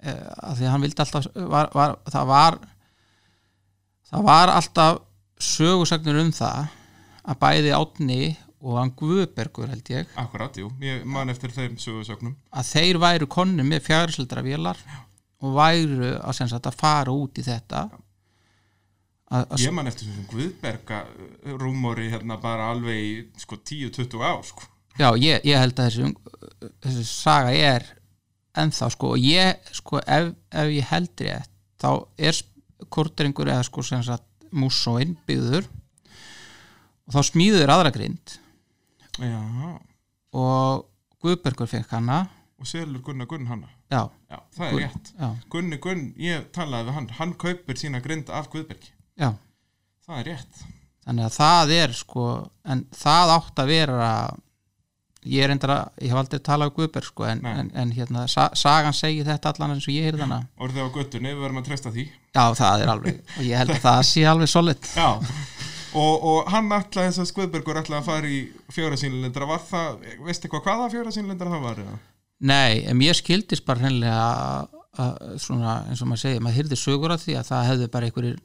Speaker 2: eh, að því að hann vildi alltaf var, var, það var það var alltaf sögusagnur um það að bæði Átni og hann Guðbergur held ég
Speaker 1: akkurat, jú, ég man eftir þeim sögursögnum
Speaker 2: að þeir væru konni með fjárhildra vélar og væru að, sem sagt, að fara út í þetta að, að,
Speaker 1: ég man eftir þessum Guðberga uh, rúmori hérna bara alveg í sko 10-20 ár sko
Speaker 2: já, ég, ég held að þessi, um- þessi saga er ennþá sko og ég sko ef, ef ég held rétt þá er kortringur eða sko sem sagt mússóin byggður og þá smíður aðra grind
Speaker 1: já,
Speaker 2: og Guðbergur fekk hana
Speaker 1: og selur Gunnar Gunn hana
Speaker 2: já,
Speaker 1: já, það er
Speaker 2: Gunn,
Speaker 1: rétt
Speaker 2: já,
Speaker 1: Gunni Gunn, ég talaði við hann hann kaupir sína grind af Guðbergi
Speaker 2: já
Speaker 1: það er rétt
Speaker 2: þannig að það er sko en það átt að vera ég er endur að, ég hef aldrei talað um Guðberg sko, en,
Speaker 1: Nei.
Speaker 2: en, en hérna, sa, sagan segir þetta allan eins og ég heyrði hana
Speaker 1: orðið á göttunni, við verðum að treysta því
Speaker 2: já, það er alveg, og ég held að það sé alveg solid
Speaker 1: Já, og, og hann ætlaði þess að Skvöðbergur ætlaði að fara í fjóra sínlindra var það, veistu eitthvað hvaða fjóra sínlindra það var? eða?
Speaker 2: nei, en mér skildist bara hreinlega að- að svona, eins og maður segir, maður heyrði sögur af því að það hefði bara einhverjir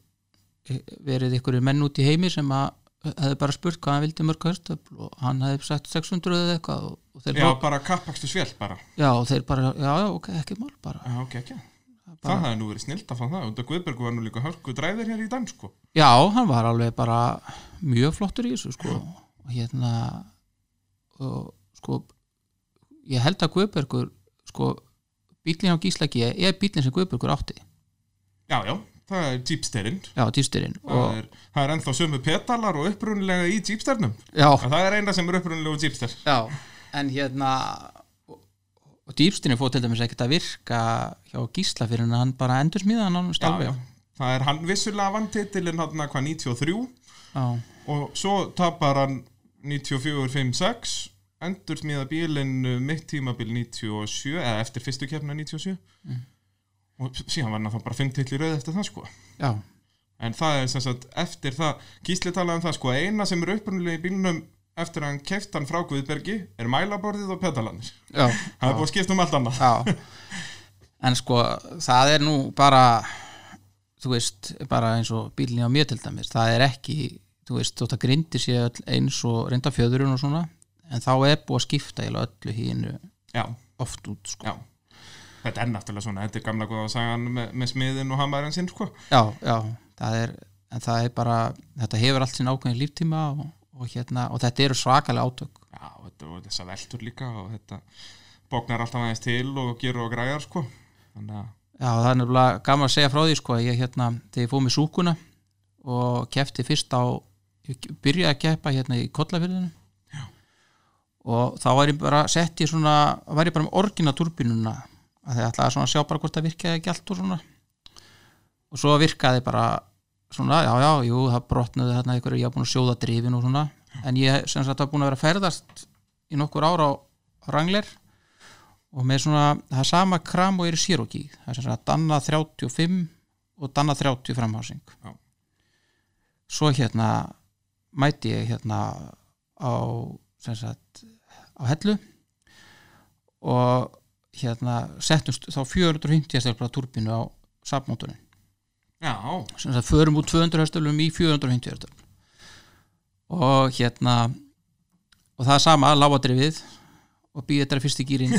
Speaker 2: e, verið einhverjir menn út í heimi sem að hefði bara spurt hvað hann vildi mörg hörstöfl og hann hefði sett 600 eða eitthvað og, og þeir,
Speaker 1: Já,
Speaker 2: já.
Speaker 1: bara kappakstu svél bara
Speaker 2: já, og þeir bara, já, já, ok, ekki mál bara
Speaker 1: Já, Ah, ok, ekki Það hefði nú verið snilt að fá það og Guðbergur var nú líka hörku dræðir hér í dag sko.
Speaker 2: Já, hann var alveg bara mjög flottur í þessu sko og hérna og sko ég held að Guðbergur sko bílinn á Gíslagi er bílinn sem Guðbergur átti
Speaker 1: Já, já, það er Jeepsterinn
Speaker 2: já, týsturinn
Speaker 1: það
Speaker 2: og,
Speaker 1: er, það er ennþá sömu petalar og upprunnilega í Jeepsternum
Speaker 2: já,
Speaker 1: En Það er eina sem er upprunnilega úr Jeepster
Speaker 2: já, en hérna og, og dýpstinni fór til dæmis ekkert að virka hjá Gísla fyrir en hann bara endur smíða hann ánum
Speaker 1: Já,
Speaker 2: stálfi
Speaker 1: já, það er hann vissulega vann titilinn hann hvað 93
Speaker 2: já,
Speaker 1: og svo tapar hann 94, 5, 6 endur smíða bílinn uh, mitt tímabil 97 eða eftir fyrstu keppna 97 og síðan var hann þá bara 5 til í rauð eftir það sko
Speaker 2: já,
Speaker 1: en það er sem sagt eftir það Gísli talaði um það sko að eina sem er upprunulega í bílnum eftir að hann keft hann frá Guðbergi er mælaborðið og pedalanir
Speaker 2: já,
Speaker 1: það er búið að skipta um allt annað
Speaker 2: já. en sko það er nú bara þú veist, bara eins og bílinni á mjög til dæmis, það er ekki þú veist, þótt að grindi sér öll eins og reynda fjöðurinn og svona en þá er búið að skipta eiginlega öllu hínu
Speaker 1: já,
Speaker 2: oft út sko.
Speaker 1: já þetta er náttúrulega svona, þetta er gamla góða sagan með, með smiðin og hamarinn sinn sko
Speaker 2: já, já, það er en það er bara, þetta hefur allt sín ákveðin líftíma og, og hérna, og þetta eru svakalega átök
Speaker 1: já, þetta voru þessa veltur líka og þetta bóknar alltaf aðeins til og gerur og græjar sko þannig að,
Speaker 2: já, það er nefnilega gaman að segja frá því sko, að ég hérna, þegar ég fóð með súkuna og kefti fyrst á ég byrjaði að keppa hérna í kollafyrðinu og þá var ég bara sett í svona var ég bara með orginna turbinuna að þegar ætlaði svona að sjá bara hvort það virkaði ekki allt og svona og svo virkaði bara svona, já, já, jú, það brotnaði þarna ykkur, ég var búin að sjóða drifin og svona en ég sem sagt var búin að vera að ferðast í nokkur ára á rangler og með svona, það er sama kram og er í Siroki, það er sem sagt danna 35 og danna 30 framhásing
Speaker 1: Já.
Speaker 2: svo hérna mæti ég hérna á sem sagt á hellu og hérna settumst þá 450 stelpra turbinu á safmóturinn
Speaker 1: já,
Speaker 2: sem það förum úr 200 hestöflum í 450 hestöflum og hérna og það er sama, lágadrifið og býði þetta fyrsti gýrin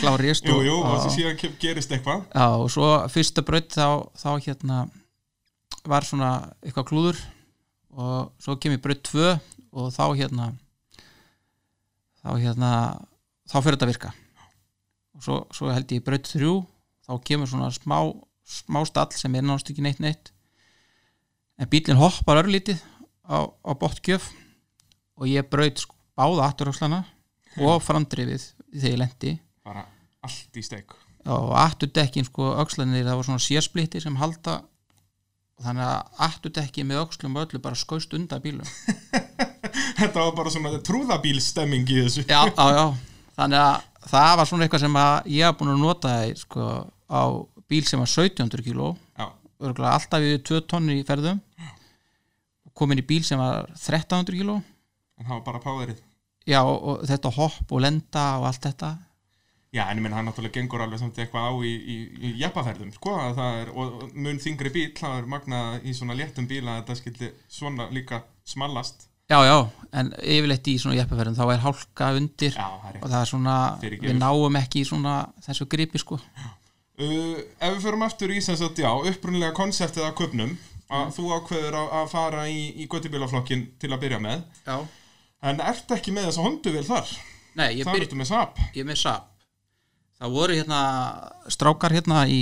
Speaker 2: klárist
Speaker 1: jú, jú, og
Speaker 2: og,
Speaker 1: þessi síðan kem- gerist eitthvað
Speaker 2: já, og svo fyrsta braut þá, þá hérna var svona eitthvað klúður og svo kem ég braut 2 og þá hérna þá hérna þá fyrir þetta að virka og svo, svo held ég í braut 3 þá kemur svona smá, smá stall sem er náttúrulega ekki neitt neitt en bílinn hoppar örlítið á, á bóttgjöf og ég braut sko báða afturöxlana og framdrifið þegar ég lendi
Speaker 1: bara allt í steik
Speaker 2: Já, og afturdekkin sko öxlanir það var svona sérsplitti sem halda þannig að afturdekkin með öxlum og öllu bara skaust undan bílum
Speaker 1: þetta var bara svona trúðabílstemming í þessu
Speaker 2: já, já, já, þannig að það var svona eitthvað sem að ég haf búin að nota í, sko, á bíl sem var 1700 kíló
Speaker 1: já,
Speaker 2: örgulega alltaf við 2 tonni í ferðum komin í bíl sem var 1300 kíló
Speaker 1: en það var bara páðrið
Speaker 2: já, og, og þetta hopp og lenda og allt þetta
Speaker 1: já, en ég menn hann náttúrulega gengur alveg samt eitthvað á í, í, í jeppaferðum sko, að það er, og og mun þingri bíl það er magnað í svona léttum bíla að þetta skildi svona líka smallast
Speaker 2: já, já, en yfirleitt í svona jeppaferðum þá er hálka undir
Speaker 1: já, það er
Speaker 2: og það er svona,
Speaker 1: Fyrirgefur.
Speaker 2: við náum ekki í svona þessu gripi sko
Speaker 1: Uh, ef við förum aftur í sem sagt, já, upprunlega konseptið að köpnum
Speaker 2: Mm.
Speaker 1: að þú ákveður að, að fara í, í göttubílaflokkin til að byrja með
Speaker 2: Já.
Speaker 1: en ert ekki með þessa honduvel þar
Speaker 2: Nei, ég
Speaker 1: þar
Speaker 2: byrja
Speaker 1: ertu með sap
Speaker 2: ég er með sap Það voru hérna strákar hérna í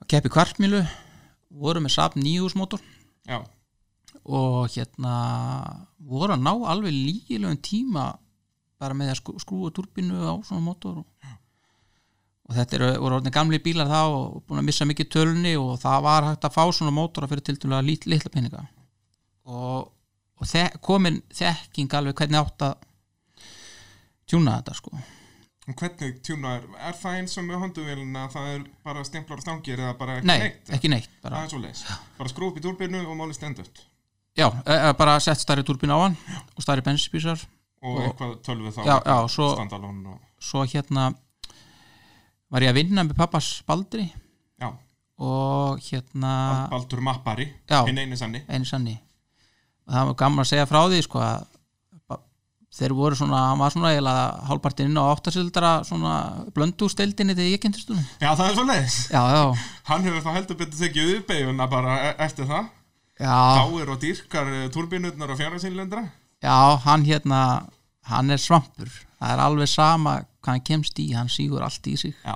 Speaker 2: að keppi kvartmílu voru með sap nýjúsmótor
Speaker 1: já,
Speaker 2: og hérna voru að ná alveg líkilegum tíma bara með að skrú- skrúa turbinu á svona mótor og, og þetta eru, voru orðin gamli bílar þá og búin að missa mikið tölunni og það var hægt að fá svona mótora fyrir tildulega lit, litla peninga og, og þe komin þekking alveg hvernig átt að tjúna þetta sko
Speaker 1: en hvernig tjúna er, er það eins og með honduvelin að það er bara stemplar og stangir eða bara ekki
Speaker 2: Nei,
Speaker 1: neitt
Speaker 2: ekki neitt bara,
Speaker 1: það er svo leis, bara skrúf upp í túrbinu og máli stendut
Speaker 2: já, e e bara sett stærri turbinu á hann og stærri bensinspísar
Speaker 1: og,
Speaker 2: Og-
Speaker 1: eitthvað tölvu þá
Speaker 2: já, já, svo,
Speaker 1: standalón og,
Speaker 2: svo hérna var ég að vinna með pappas baldri
Speaker 1: já,
Speaker 2: og hérna
Speaker 1: baldur mappari
Speaker 2: Já.
Speaker 1: hinn einu sanni
Speaker 2: einu sanni og það var gaman að segja frá því sko að ba- þeir voru svona, hann var svona eiginlega hálfpartinn inn á áttasildara svona blöndústeldinni þegar ég kynntist hún
Speaker 1: já, það er svo leis,
Speaker 2: já, já,
Speaker 1: hann hefur það heldur betur tekið uppeyfuna bara e- eftir það
Speaker 2: já,
Speaker 1: Háir og dýrkar turbinutnar og fjárhagsynlendra
Speaker 2: já hann hérna, hann er svampur það er alveg sama hvað hann kemst í hann sígur allt í sig
Speaker 1: Já,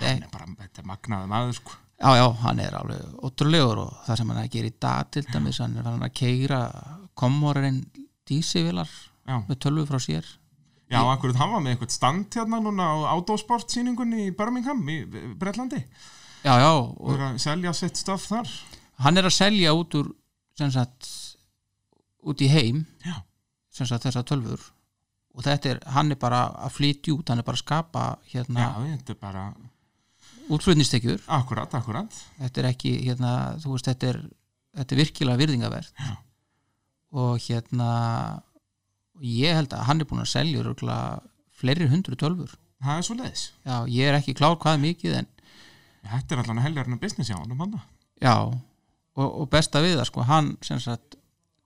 Speaker 1: hann er bara þetta er magnaði maður sko
Speaker 2: já, já, hann er alveg ótrúlegur og það sem hann er að gera í dag til dæmis, hann er hann að keira komorinn dísivilar
Speaker 1: Já,
Speaker 2: með tölvu frá sér
Speaker 1: já akkurat hann var með eitthvað stand hérna núna á autosport síningunni í Birmingham í Bretlandi
Speaker 2: já, já, og
Speaker 1: og er að selja sitt stöf þar
Speaker 2: hann er að selja út úr sem sagt út í heim
Speaker 1: Já.
Speaker 2: sem sagt þessar tölfur og þetta er, hann er bara að flytja út hann er bara að skapa hérna
Speaker 1: Já, þetta er bara,
Speaker 2: útflutnistekjur,
Speaker 1: akkurat, akkurat
Speaker 2: þetta er ekki hérna, þú veist, þetta er, þetta er virkilega virðingavert
Speaker 1: Já.
Speaker 2: og hérna ég held að hann er búin að selja rögla, fleiri hundru tölfur
Speaker 1: Það er svo leiðis
Speaker 2: já, ég er ekki klár hvað er mikið en
Speaker 1: Þetta er allan að helja hérna business hjá honum hann
Speaker 2: já, og, og besta við það sko, hann sem sagt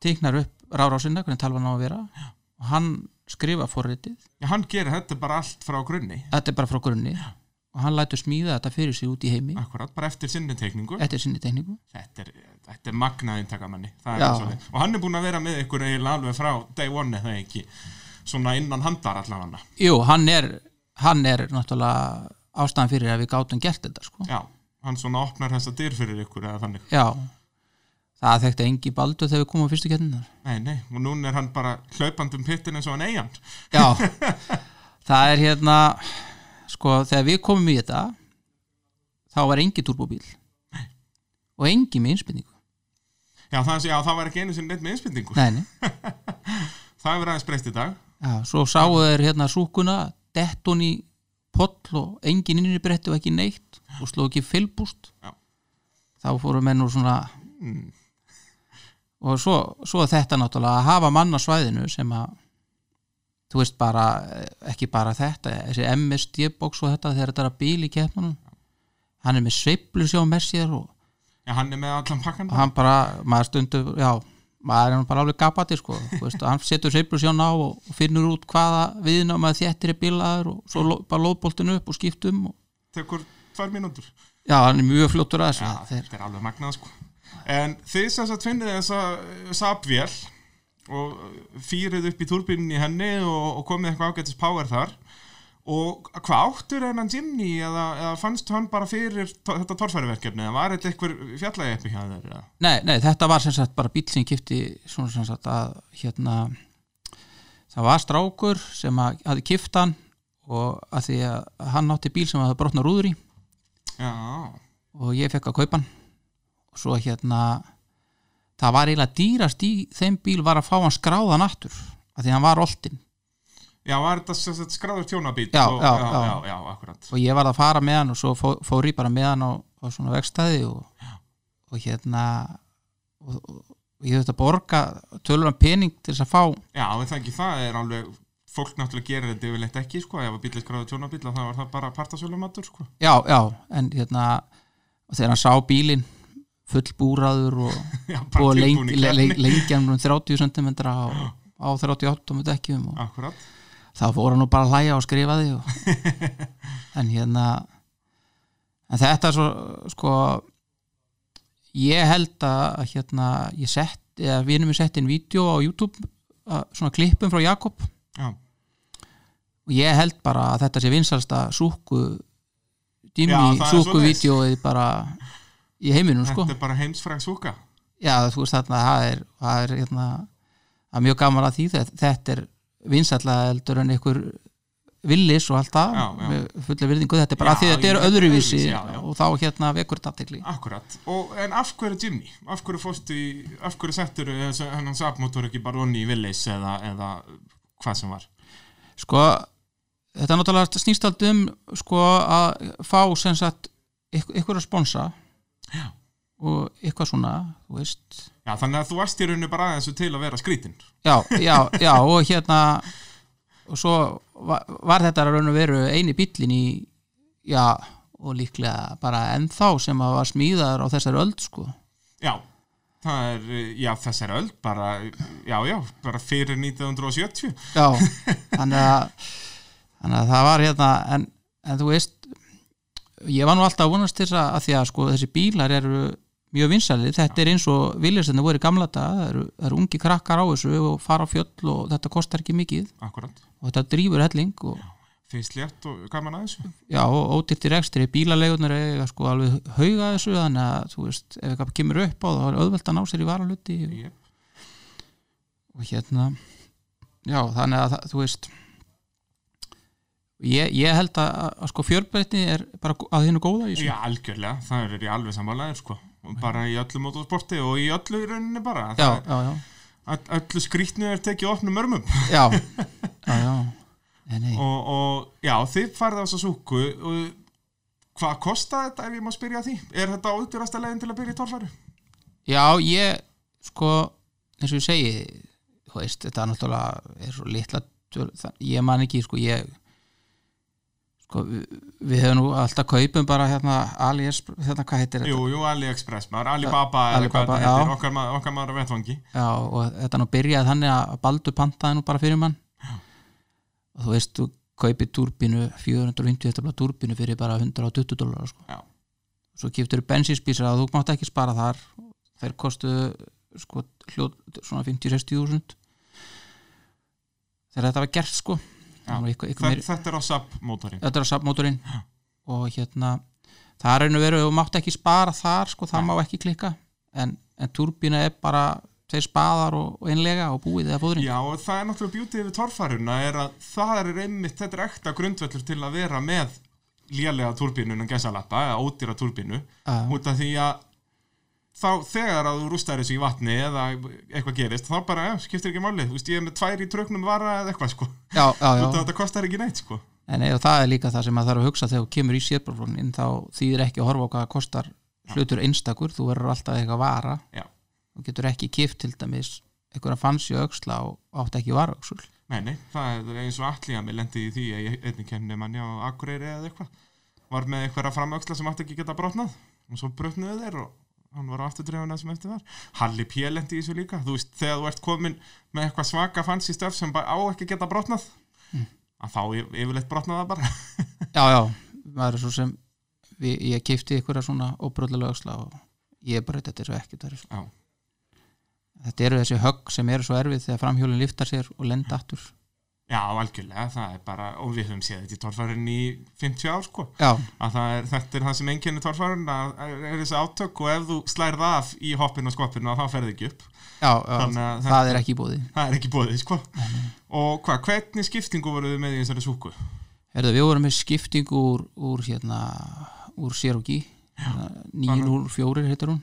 Speaker 2: teiknar upp rárásina, hvernig talvan á að vera já. og hann skrifa forritið
Speaker 1: Já, hann gerir þetta bara allt frá grunni
Speaker 2: þetta er bara frá grunni og hann lætur smíða þetta fyrir sig út í heimi
Speaker 1: Akkurat, bara eftir sinni teikningu
Speaker 2: eftir sinni tekniku
Speaker 1: Þetta er, þetta er magnað inntakamanni Það er
Speaker 2: Já.
Speaker 1: bara svoleiðis. Og hann er búin að vera með ykkur eiginlega alveg frá day one eða ekki Svona innan handar allavega
Speaker 2: Jú, hann er, hann er náttúrulega ástæðan fyrir að við gátum gert þetta sko.
Speaker 1: Já, hann svona opnar þessa dyr fyrir ykkur eða þannig
Speaker 2: Já, það þekkti engi baldur þegar við komum á fyrstu kettinar
Speaker 1: Nei, nei, og núna er hann bara hlaupandi um pittin eins og hann eigand
Speaker 2: Já, það er hérna sko, þegar við komum í þetta þá var engi turbóbíl og engi með innspynningu
Speaker 1: Já, það, já, það var ekki einu sinni neitt með innspendingu
Speaker 2: Nei, nei,
Speaker 1: Það hefur aðeins breyst í dag
Speaker 2: já, svo sáu þeir hérna súkuna, dett hún í poll og engin innri bretti og ekki neitt og sló ekki fylbúst
Speaker 1: Já.
Speaker 2: þá fóru menn úr svona og svo, svo þetta náttúrulega að hafa mann á svæðinu sem að þú veist bara, eh, ekki bara þetta þessi MSD-box og þetta þegar þetta er að bíl í keppnunum hann er með sveiflu sjá með sér og,
Speaker 1: Já, hann er með allan pakkan
Speaker 2: og hann bara, maður stundu já, maður er nú bara alveg gapati sko, þú veist, og hann setur sveiflu sjá á og, og finnur út hvaða viðnum að þéttir er bílaður og svo lo, bara lóðboltinu upp og skiptum og,
Speaker 1: Tekur tvær mínútur
Speaker 2: já, hann er mjög fljóttur að þessu
Speaker 1: Já,
Speaker 2: þetta er,
Speaker 1: þetta er alveg magnað sko En þið sem sagt finnið þessa sapvél og eh, fýrið upp í turbinni í henni og, og komið eitthvað ágætis power þar og hvað áttur hennan Jimny eða, eða fannst hann bara fyrir to- þetta torfæruverkefni eða var þetta einhver fjallægi eppi hjá þér eða?
Speaker 2: nei, nei, þetta var sem sagt bara bíl sem kipti svona sem sagt að hérna það var strákur sem að, hafði kipt hann og að því að hann átti bíl sem að það brotna rúður í
Speaker 1: Já,
Speaker 2: og ég fekk að kaupa hann og svo hérna það var eiginlega dýrast í þeim bíl var að fá hann skráðan aftur að því hann var oltinn
Speaker 1: já, var þetta sem sagt skráður tjónabít
Speaker 2: Já,
Speaker 1: og,
Speaker 2: já,
Speaker 1: já,
Speaker 2: já.
Speaker 1: já, já, akkurat
Speaker 2: og ég var að fara með hann og svo fó, fór ég bara með hann á, á svona vegstæði og, og hérna og, og, og ég þurfti að borga tölur hann pening til þess að fá
Speaker 1: Já, en það ekki, það er alveg fólk náttúrulega gerir þetta yfirleitt ekki sko, ef að bílið skráður tjónabít þá var það bara partasölumatur sko
Speaker 2: já, já, en hérna og þegar hann sá bílinn fullbúraður og
Speaker 1: Já,
Speaker 2: og
Speaker 1: bara
Speaker 2: lengi,
Speaker 1: tilbúin í
Speaker 2: lengi,
Speaker 1: keppni.
Speaker 2: lengi hann um 30 cm á, á 38 með dekkjum og
Speaker 1: Akkurat
Speaker 2: þá fór hann nú bara að hlæja og skrifa því og, en hérna en þetta er svo sko ég held að hérna ég sett, eða við erum við sett inn vídeo á YouTube, að, svona klippum frá Jakob
Speaker 1: Já,
Speaker 2: og ég held bara að þetta sé vinsalsta súku
Speaker 1: Já,
Speaker 2: dými
Speaker 1: það er
Speaker 2: súku
Speaker 1: svoleiðis.
Speaker 2: vídeoið bara í heiminum sko
Speaker 1: þetta er bara heimsfræg súka
Speaker 2: já þú veist þarna það er, það er hérna, það er mjög gaman að því þetta, þetta er vinsætlega eldur en einhver villis og allt það
Speaker 1: Já, já.
Speaker 2: með fulla virðingu, þetta er bara
Speaker 1: Já,
Speaker 2: að því þetta er
Speaker 1: ég-
Speaker 2: öðruvísi
Speaker 1: öðruvísi, já, já.
Speaker 2: og þá hérna vekur þetta aðtekli
Speaker 1: Akkurat, og, en af hverju Jimny? Af hverju fórstu í, af hverju settur hennan sapmótor ekki bara onni í Willis eða, eða hvað sem var
Speaker 2: sko, þetta er náttúrulega snýst aldrei um sko að fá sem sagt ykk- ykkur að sponsa
Speaker 1: Já.
Speaker 2: og eitthvað svona, þú veist
Speaker 1: Já, þannig að þú varst í rauninu bara aðeins til að vera skrýtin
Speaker 2: já, já, já og hérna og svo var, var þetta raun og veru eini bíllinn í já, og líklega bara ennþá sem að var smíðar á þessari öld sko.
Speaker 1: Já, það er, eh, já, þessar öld bara, já, já, bara fyrir 1970
Speaker 2: já, þannig að þannig að það var hérna en, en þú veist ég var nú alltaf að vonast til þess að, að því að sko, þessi bílar eru mjög vinsæli þetta er eins og viljastinu voru í gamla dag það eru, það eru ungi krakkar á þessu og fara á fjöll og þetta kostar ekki mikið
Speaker 1: Akkurat,
Speaker 2: og þetta drýfur helling og
Speaker 1: finnst létt og gaman að þessu
Speaker 2: já, og ódýrt í rekstri bílaleigunar eiga sko alveg hauga þessu þannig að þú veist, ef eitthvað kemur upp á það, þá er auðvelt að ná sér í varaluti og,
Speaker 1: yep.
Speaker 2: og hérna já, þannig að það- þú veist ég, ég held að, að, að sko fjörbreytni er bara gó- að hinu góða í þessu
Speaker 1: Já, algjörlega, það er í alveg sammálaðir sko Og bara í öllu motorsporti og í öllu í rauninni bara
Speaker 2: já,
Speaker 1: Það-
Speaker 2: já, já,
Speaker 1: Öll- öllu skrýtnu er tekið opnum örmum
Speaker 2: já, já, já. Nei, nei.
Speaker 1: og, og já, þið farið á þessa súku og hvað kostar þetta ef ég má spyrja því? Er þetta ódýrasta leiðin til að byrja í torfæru?
Speaker 2: já, ég sko, eins og ég segi þú veist, þetta er náttúrulega er svo litla, töl- það- ég man ekki sko, ég sko, við, við hefum nú alltaf kaupum bara hérna, alias, hérna, hvað heitir þetta
Speaker 1: Jú, jú, AliExpress maður, Alibaba eða hvað
Speaker 2: Ja, Alibaba,
Speaker 1: þetta heitir,
Speaker 2: já.
Speaker 1: okkar, ma- okkar maður að vetfangi
Speaker 2: Já, og þetta nú byrjaði þannig að Baldur pantaði nú bara fyrir mann og þú veist, þú kaupir túrbínu 450 heftabla túrbínu fyrir bara 120 dólar sko.
Speaker 1: Já.
Speaker 2: svo kiptur bensinspísir að þú mátt ekki spara þar þeir kostu sko, hljóð, svona 50-60 þúsund þegar þetta var gert sko
Speaker 1: Já.
Speaker 2: Það var eitthvað- eitthvað
Speaker 1: Þetta,
Speaker 2: meiri-
Speaker 1: þetta er á SAP mótorinn
Speaker 2: þetta er að safnmóturinn og hérna það er einu verið, þú mátt ekki spara þar sko, það má ekki klikka en, en turbína er bara tveir spaðar og, og einlega og búið eða fóðurinn
Speaker 1: Já, og það er náttúrulega bjútið við torfæruna er að það er einmitt, þetta er ekta grundvöllur til að vera með lélega turbínu en gæsalappa, eða ódýra turbínu
Speaker 2: Já.
Speaker 1: út af því að þá þegar að þú rústar þessu í vatni eða eitthvað gerist, þá bara ja, skiptir ekki máli, þú veist, ég er með tvær í tröknum vara eða eitthvað, sko, út
Speaker 2: já, já,
Speaker 1: af
Speaker 2: já.
Speaker 1: að þetta kostar ekki neitt, sko
Speaker 2: En, nei, og það er líka það sem maður þarf að hugsa þegar þú kemur í sérbrúflónin þá þýðir ekki að horfa á hvað það kostar hlutur einstakur, þú verður alltaf eitthvað að vara
Speaker 1: Já,
Speaker 2: þú getur ekki kift til dæmis einhverja fanns í auksla og átt ekki vara auksul
Speaker 1: nei, nei, það er eins og allir að mér lendi í því að ég einnig kemni manni á Akureyri eða eitthvað, var með einhverja framöxla sem átti ekki að geta brotnað og svo brotnuðu þeir og hann var afturtrefuna sem eftir var, Halli P. lendi í þessu líka þú veist, þegar þú ert komin með eitthvað svaka fancy stöf sem bara á ekki að geta brotnað að þá yf- yfirleitt brotnaða bara
Speaker 2: já, já, maður er svo sem við, ég kifti einhverja svona óbröldalega öxla og ég bara þetta er svo ekkert verið sko.
Speaker 1: Já.
Speaker 2: þetta eru þessi högg sem eru svo erfið þegar framhjólinn liftar sér og lenda aftur
Speaker 1: Já, algjörlega, það er bara, og við höfum séð þetta í torfærin í 50 ár, sko,
Speaker 2: já,
Speaker 1: að það er, þetta er það sem einkennir torfærin, að að er þessi átök og ef þú slærð af í hoppinu og skoppinu, að þá ferði ekki upp,
Speaker 2: já,
Speaker 1: Þannig
Speaker 2: já
Speaker 1: að
Speaker 2: það er ekki í búði
Speaker 1: það er ekki bóðið, sko.
Speaker 2: Mhm.
Speaker 1: Og hvað, hvernig skiptingu voruð þið með í þessari súku?
Speaker 2: Herðu, við vorum með skiptingu úr, úr hérna, úr Hérna, Serogi 904 heitir hún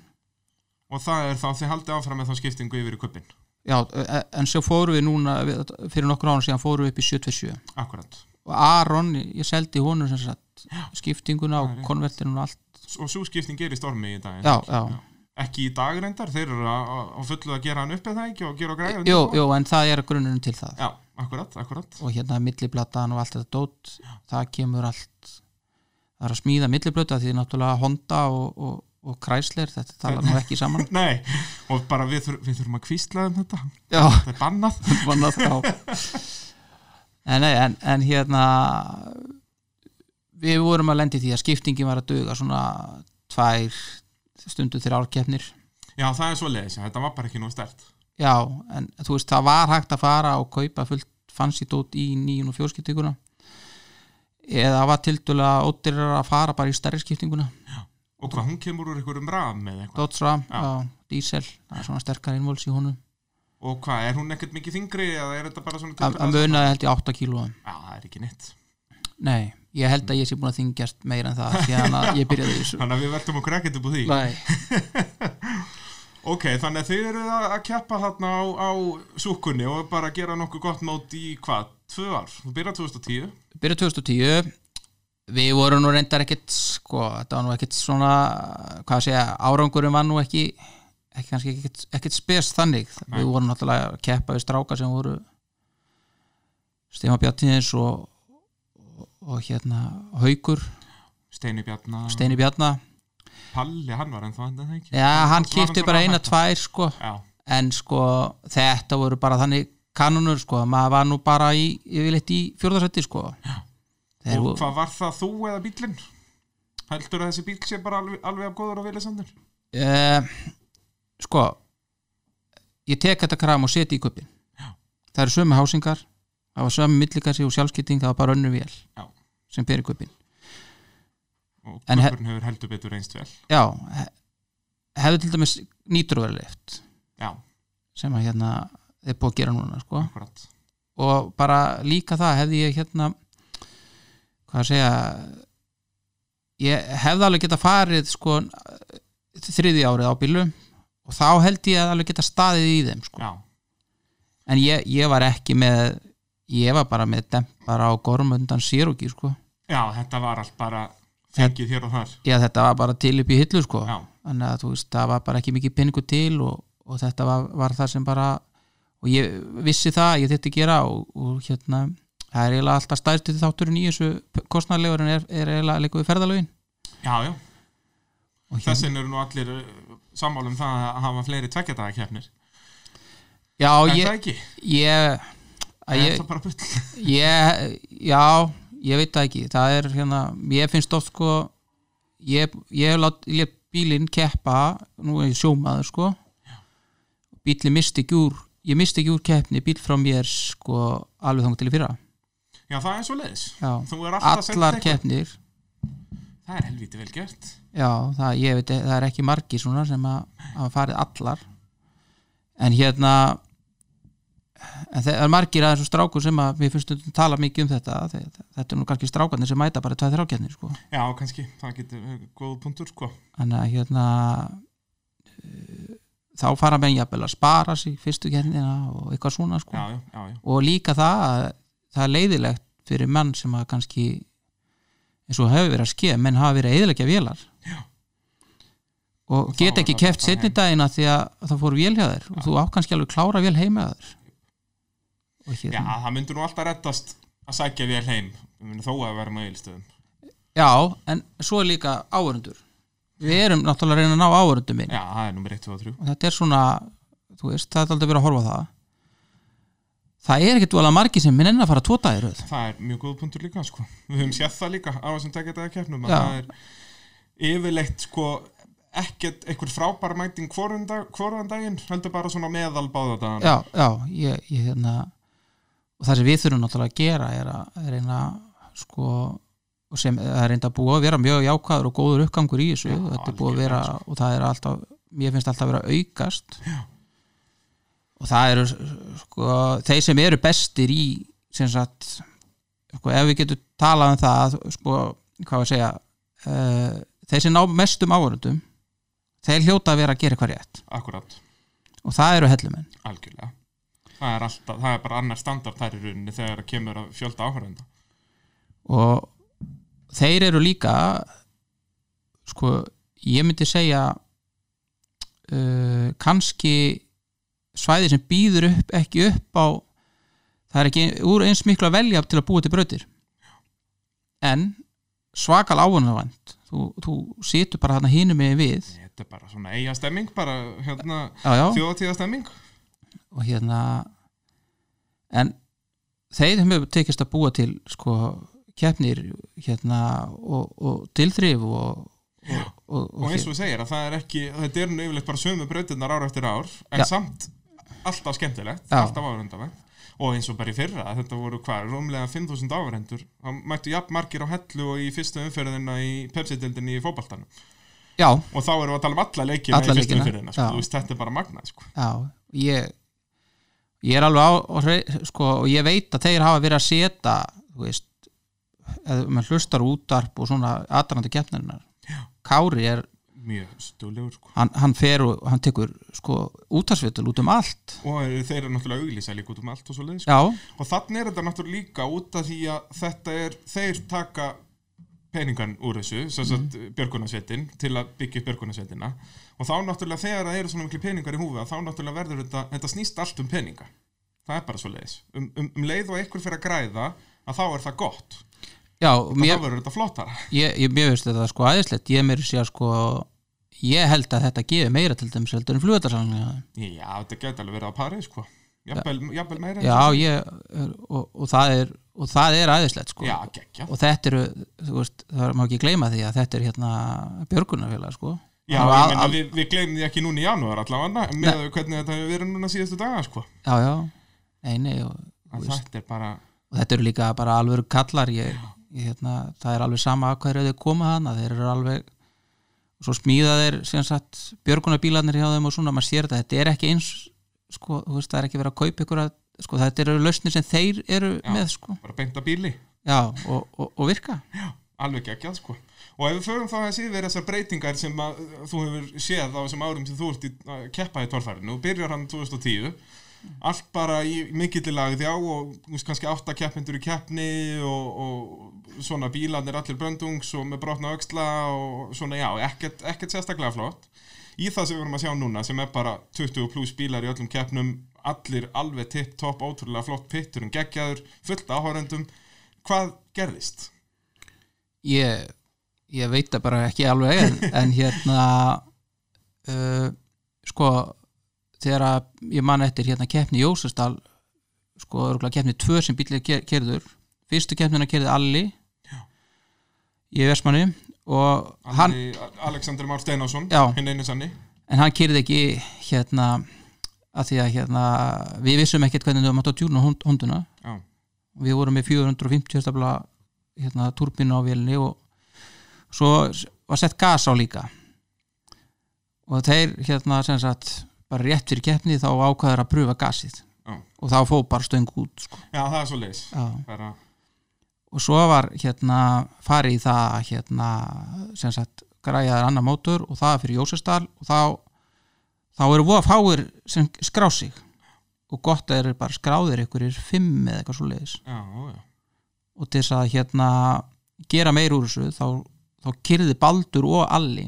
Speaker 1: Og það er þá þið haldið áfram með þá skiptingu yfir í kuppin,
Speaker 2: já, e- en svo fórum við núna við- fyrir nokkur án síðan fórum við upp í 77
Speaker 1: akkurat.
Speaker 2: og Aron, ég seldi honum sem sagt skiptinguna og konvertinu og allt
Speaker 1: Og svo skipting er í stormi í dag,
Speaker 2: já,
Speaker 1: ekki?
Speaker 2: já,
Speaker 1: Ekki í dag reyndar, þeir eru að, að- að fullu að gera hann upp eða ekki og gera og græða.
Speaker 2: Jú, jú, en það er grunnurinn til það
Speaker 1: Já, akkurat, akkurat.
Speaker 2: og hérna milliblatan og allt þetta dót það kemur allt það er að smíða milliblöta því náttúrulega Honda og, og, og Chrysler þetta talar nú ekki saman
Speaker 1: Nei, og bara við, þur, við þurfum að kvísla um þetta,
Speaker 2: Já,
Speaker 1: þetta er bannað.
Speaker 2: mannað þá en, nei, en, en hérna við vorum að lendi því að skiptingin var að duga svona tvær stundu þegar árkeppnir
Speaker 1: Já, það er svo leiðis, þetta var bara ekki nóg stert
Speaker 2: já, en þú veist, það var hægt að fara og kaupa fullt fancy dót í nýjun og fjórskiptinguna eða það var tildulega ódýrar að fara bara í stærri skiptinguna
Speaker 1: Og hvað, hún kemur úr einhverjum ram eða eitthvað
Speaker 2: Dodge Ram,
Speaker 1: Já.
Speaker 2: já. diesel það er svona sterkar innvóls í honum
Speaker 1: Og hvað, er hún ekkert mikið þingri eða er þetta bara svona
Speaker 2: að munaði held ég 8 kílóðum
Speaker 1: Já, það er ekki neitt
Speaker 2: nei, ég held að ég sé búin að þingjast meira en það síðan að ég byrjaði í þessu
Speaker 1: Þannig að við veltum okkur ekkert upp úr því
Speaker 2: nei,
Speaker 1: Ok, þannig að þið eruð að að keppa þarna á, á súkunni og bara gera nokkuð gott mót í hvað, tvö ár Þú byrjar 2010
Speaker 2: byrja 2010 við vorum nú reyndar ekkit sko, þetta var nú ekkit svona hvað að segja, árangurum var nú ekki ekki kannski ekkit, ekkit spes þannig við vorum náttúrulega að keppa við stráka sem voru Stema Bjartins og, og, og hérna Haukur,
Speaker 1: Steini Bjarnar,
Speaker 2: Steini Bjarna
Speaker 1: Palli, hann var ennþá hann eða ekki
Speaker 2: já, hann
Speaker 1: var
Speaker 2: kipti
Speaker 1: náttúrulega
Speaker 2: bara eina
Speaker 1: að
Speaker 2: tvær sko,
Speaker 1: Já,
Speaker 2: en sko þetta voru bara þannig kanunur sko, maður var nú bara í, yfirleitt í fjórðarsætti sko
Speaker 1: og
Speaker 2: Þeir voru-
Speaker 1: hvað var það þú eða bíllinn? Heldur að þessi bíl sé bara alveg, alveg að góður og viljasandur?
Speaker 2: Eh, sko ég tek þetta kram og seti í kuppin það eru sömu hásingar það var sömu millikassi og sjálfskipting það var bara önnur vél
Speaker 1: Já.
Speaker 2: sem ber í kuppin
Speaker 1: Og
Speaker 2: En he-
Speaker 1: kvöpurinn hefur heldur betur einst vel
Speaker 2: já, he- hefðu til dæmis nýtrúverleift
Speaker 1: Já,
Speaker 2: sem að hérna er búið að gera núna sko.
Speaker 1: akkurat
Speaker 2: og bara líka það hefði ég hérna hvað að segja ég hefði alveg geta farið sko þriði árið á bílum og þá held ég að alveg geta staðið í þeim sko
Speaker 1: Já,
Speaker 2: en ég, ég var ekki með ég var bara með dempara á gorm undan sérugi sko
Speaker 1: Já, þetta var allt bara fengið hér og þar
Speaker 2: já þetta var bara til upp í hillu sko
Speaker 1: Já.
Speaker 2: þannig að þú veist það var bara ekki mikið peningu til og, og þetta var, var það sem bara og ég vissi það ég þetta gera og, og hérna það er eiginlega alltaf stærstu þátturinn í þessu kostnarlegur en er, er eiginlega líka við ferðalögin
Speaker 1: Já, já,
Speaker 2: og hérna,
Speaker 1: þessin eru nú allir sammála um það að hafa fleiri tveggjadagakeppnir
Speaker 2: já
Speaker 1: Er
Speaker 2: ég,
Speaker 1: það ekki?
Speaker 2: ég, að
Speaker 1: Er
Speaker 2: ég
Speaker 1: það bara bull?
Speaker 2: ég, já, ég veit það ekki það er hérna, ég finnst oft sko ég, ég hef lát ég lét bílinn keppa, nú er ég sjómaður sko bílinn misti ekki úr, ég misti ekki úr keppni bíl frá mér sko alveg þangt til í fyrra
Speaker 1: Já, það er svo leiðis
Speaker 2: já.
Speaker 1: Þú er alltaf sent
Speaker 2: allar
Speaker 1: eitthvað.
Speaker 2: keppnir
Speaker 1: Það er helvítið vel gert
Speaker 2: Já, það, ég veit, það er ekki margir svona sem að hafa farið allar en hérna en það er margir aðeins og strákur sem að við finnst að tala mikið um þetta þe- þetta er nú kannski strákarnir sem mæta bara 2-3 kjarnir sko,
Speaker 1: Já, kannski, það getur eh, góð punktur sko
Speaker 2: þannig að hérna eh, þá fara menn jafnvel að spara sig fyrstu kjarnina og eitthvað svona sko
Speaker 1: Já, já, já, já,
Speaker 2: og líka það að það er leiðilegt fyrir menn sem að kannski eins og hefur verið að ske menn hafa verið að eðilegja vélar
Speaker 1: Já.
Speaker 2: og
Speaker 1: þá
Speaker 2: get
Speaker 1: er
Speaker 2: ekki
Speaker 1: það
Speaker 2: keft
Speaker 1: bara
Speaker 2: setni
Speaker 1: heim.
Speaker 2: dagina því að það fór vél hjá þér og þú átt kannski alveg klára vél heima hjá þér og
Speaker 1: já
Speaker 2: hérna já,
Speaker 1: það myndur nú alltaf reddast að sækja vel heim Ég meina, þó að vera með eilstöðum
Speaker 2: en svo er líka áhörundur við erum náttúrulega að reyna að ná áhörundum minn
Speaker 1: Já, það er nummer 1, 2 og 3
Speaker 2: og þetta er svona þú veist, það er aldrei verið að horfa á það það er ekkert dvolega margi sem minn enn að fara tvo dagir
Speaker 1: Það er mjög góð punktur líka sko. Við höfum séð það líka á þessum tekjadaga keppnum
Speaker 2: Já.
Speaker 1: Það er yfirleitt sko, ekkert einhver frábær mæting hvorum dag, hvorum daginn heldur bara svona meðal báða dagann
Speaker 2: já, já, ég, ég hérna og það sem við þurfum náttúrulega að gera er að er reyna sko og sem það er reynda að búa að vera mjög jákvæður og góður uppgangur í þessu
Speaker 1: Já,
Speaker 2: þetta er búið að vera
Speaker 1: algjörlega, sko.
Speaker 2: og það er alltaf mér finnst alltaf að vera að aukast já. og það eru sko þeir sem eru bestir í sem sagt sko, ef við getum talað um það sko, hvað við segja uh, þeir sem ná mestum áhörundum þeir hljóta að vera að gera eitthvað rétt
Speaker 1: Akkurat,
Speaker 2: og það eru hellumenn
Speaker 1: algjörlega Það er, alltaf, það er bara annar standard þær í rauninni þegar það kemur að fjölda áhverjanda
Speaker 2: og þeir eru líka sko ég myndi segja uh, kannski svæði sem býður upp ekki upp á það er ekki úr eins miklu að velja til að búa til brautir en svakal ávunavænt þú, þú situr bara þarna hínum með við
Speaker 1: Þetta er bara svona eiga stemming bara hérna,
Speaker 2: já, já.
Speaker 1: þjóðatíða stemming
Speaker 2: og hérna en þeir hefur tekist að búa til sko keppnir hérna og, og tilþrif og, og, og,
Speaker 1: og eins og þú segir að það er ekki þetta er nú yfirleitt bara sömu brautirnar ár eftir ár en
Speaker 2: Já.
Speaker 1: samt alltaf skemmtilegt
Speaker 2: Já.
Speaker 1: alltaf áhverjandavægt og eins og bara í fyrra þetta voru hvað, rúmlega 5.000 áhverjandur það mættu jafn margir á hellu og í fyrstu umferðina í Pepsi-dildinni í fótballtanum
Speaker 2: já,
Speaker 1: og þá erum við að tala um alla leikina
Speaker 2: Alla
Speaker 1: í fyrstu
Speaker 2: leikina,
Speaker 1: umferðina sko.
Speaker 2: já.
Speaker 1: Þú veist, þetta er bara magnað sko.
Speaker 2: já, ég ég er alveg á og, hrei- sko, og ég veit að þeir hafa verið að setja þú veist eða maður hlustar á útvarp og svona aðrandi keppnarinnar Kári er,
Speaker 1: mjög stúlegur sko.
Speaker 2: hann, hann fer og hann tekur sko útarsvitul út um allt
Speaker 1: og eru- þeir eru náttúrulega auglýsa líka út um allt og svo sko.
Speaker 2: já,
Speaker 1: og þannig er þetta náttúrulega líka út af því að þetta er, þeir taka peningan úr þessu, sem sagt
Speaker 2: Mhm.
Speaker 1: mm. björgunarsveitin, til að byggja upp björgunarsveitina og þá náttúrulega þegar það eru svona miklu peningar í húfi að þá náttúrulega verður þetta, þetta snýst allt um peninga, það er bara svo leiðis um, um, um leið og einhver fyrir að græða að þá er það gott,
Speaker 2: já
Speaker 1: þá
Speaker 2: mér,
Speaker 1: verður þetta flottara
Speaker 2: ég, ég mér veist þetta sko aðeinslegt ég mér sé að sko ég held að þetta gefi meira til dæmis heldur en flugatarsalninga
Speaker 1: Já, þetta gæti alveg verið á parið sko jafnvel, jafnvel meira en
Speaker 2: já
Speaker 1: svo.
Speaker 2: ég og, og það er og það er aðeinslegt sko
Speaker 1: já geggja
Speaker 2: og þetta eru, þú veist, það má ekki gleyma því að þetta er hérna björgunarfélag sko
Speaker 1: Já,
Speaker 2: Það
Speaker 1: ég
Speaker 2: var al-
Speaker 1: meina,
Speaker 2: al-
Speaker 1: við, við gleymum því ekki núna í janúar allavega, með hvernig þetta hefur verið núna síðustu daga sko,
Speaker 2: já, já, nei, nei og, þú
Speaker 1: en
Speaker 2: veist,
Speaker 1: þetta er bara
Speaker 2: og þetta eru líka bara alvöru kallar ég, ég, hérna, það er alveg sama að hverju þeir koma hana, þeir eru alveg svo smíða þeir sem sagt björgunarbílarnir hjá þeim og svona maður sér þetta, þetta er ekki eins sko, þú veist, það er ekki verið að kaupa ykkur að, sko, þetta eru lausnir sem þeir eru
Speaker 1: Já.
Speaker 2: með sko,
Speaker 1: bara beinta bíli
Speaker 2: já, og, og, og virka
Speaker 1: alveg geggjað sko og ef við förum þá að síður þessar breytingar sem eh, að, uh, þú hefur séð á þessum árum sem þú ert í, að keppa í torfærinu og byrjar hann 2010 allt bara í mikillilagði á og þú veist, kannski átta keppindur í keppni og, og svona bílarnir allir bröndungs og með brotna öxla og svona já, ekkert, ekkert sérstaklega flott í það sem við vorum að sjá núna sem er bara 20 pluss bílar í öllum keppnum allir alveg tipp-topp, ótrúlega flott pittur um geggjaður, fullt áhórendum hvað gerðist?
Speaker 2: ég, ég veit það bara ekki alveg en, en hérna uh, sko þegar að ég man eftir hérna keppni í Jósastal sko örgulega keppni tvö sem bílir kerður fyrstu keppnina kerði Alli í Vestmanni og hann,
Speaker 1: Hann... Alexander Már Steinásson
Speaker 2: Já.
Speaker 1: hinn einu sanni
Speaker 2: en hann kerði ekki hérna að því að hérna við vissum ekkert hvernig þau máttu að tjúna hund- hunduna
Speaker 1: já,
Speaker 2: við vorum með 450 stafla hérna, turbinu á vélinni og svo var sett gas á líka og þeir hérna sem sagt bara rétt fyrir keppni þá ákvaður að pröfa gasið
Speaker 1: já.
Speaker 2: og þá fóð bara stöng út sko.
Speaker 1: já það er svo leis bara,
Speaker 2: og svo var hérna farið í það að, hérna sem sagt græjaður annar mótur og það fyrir Jósestal og þá þá eru voða fáir sem skrá sig og gott að þeir eru bara skráðir ykkur fimm eða eitthvað svo leiðis
Speaker 1: já, já,
Speaker 2: og til þess að hérna gera meir úr þessu þá, þá kyrði Baldur og Alli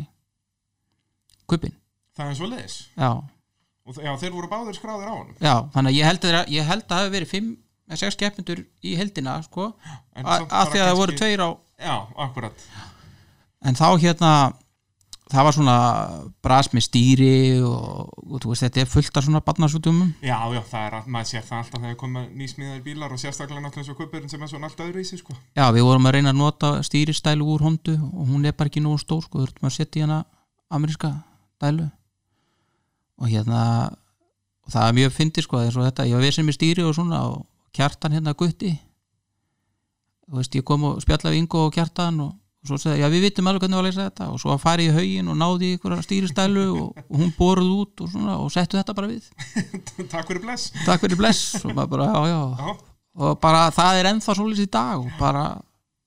Speaker 2: kupin
Speaker 1: það er svo leis
Speaker 2: já,
Speaker 1: og þe- já, þeir voru báðir skráðir á honum
Speaker 2: já, þannig að ég held að, þeir- ég held að það hafi verið fimm eða sex keppindur í heldina sko,
Speaker 1: En
Speaker 2: að
Speaker 1: samt
Speaker 2: að
Speaker 1: bara
Speaker 2: því að það voru
Speaker 1: kannski-
Speaker 2: tveir á
Speaker 1: já, akkurat
Speaker 2: en þá hérna það var svona bras með stýri og, og þú veist þetta er fullt af svona barnasútumum
Speaker 1: já, já, það er að maður sér það alltaf þegar koma nýsmíðar bílar og sérstaklega náttúrulega eins og kuppurinn sem er svona allt öðru í sig sko.
Speaker 2: já við vorum að reyna að nota stýristælu úr hondu og hún er bara ekki nógu stór sko þurftum að setja í hana ameríska dælu og hérna og það er mjög fyndið sko eins og þetta ég var vesinn með stýri og svona og kjartan hérna gutti þú veist ég kom og spjalla við Ingo og kjartan og, og svo segði já við vitum alveg hvernig var að leysa þetta og svo að fara í haugin og náði ykkur stýristælu og, og hún boruð út og svona og settu þetta bara við
Speaker 1: takk fyrir bless
Speaker 2: takk fyrir bless og maður bara já já
Speaker 1: já,
Speaker 2: og bara það er ennþá svolítið í dag og bara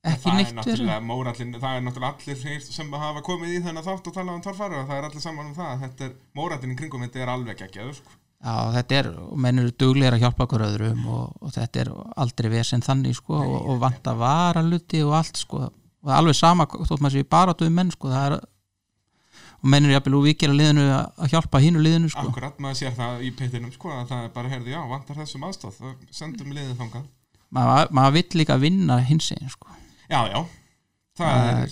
Speaker 2: ekki
Speaker 1: það er
Speaker 2: neitt verið
Speaker 1: náttúrulega mórallin það er náttúrulega allir þeir sem hafa komið í þennan þátt og talað um torfæra það er allir saman um það þetta er mórallin í kringum þetta er alveg ekki að sko.
Speaker 2: já þetta er, og menn eru duglegir að hjálpa okkur öðrum og, og þetta er aldrei vesend þannig sko og, og vant að vara luti og allt sko og það er alveg sama þótt maður sé bara áttu um menn sko það er og menn eru jafnvel úvíkir að liðinu að að hjálpa hínu liðinu sko
Speaker 1: akkurat maður sér það í pittinum sko, að það er bara herði já, vantar þessum aðstóð sendum liðið þangað
Speaker 2: maður, maður vill líka vinna hins einn sko
Speaker 1: Já, já Það er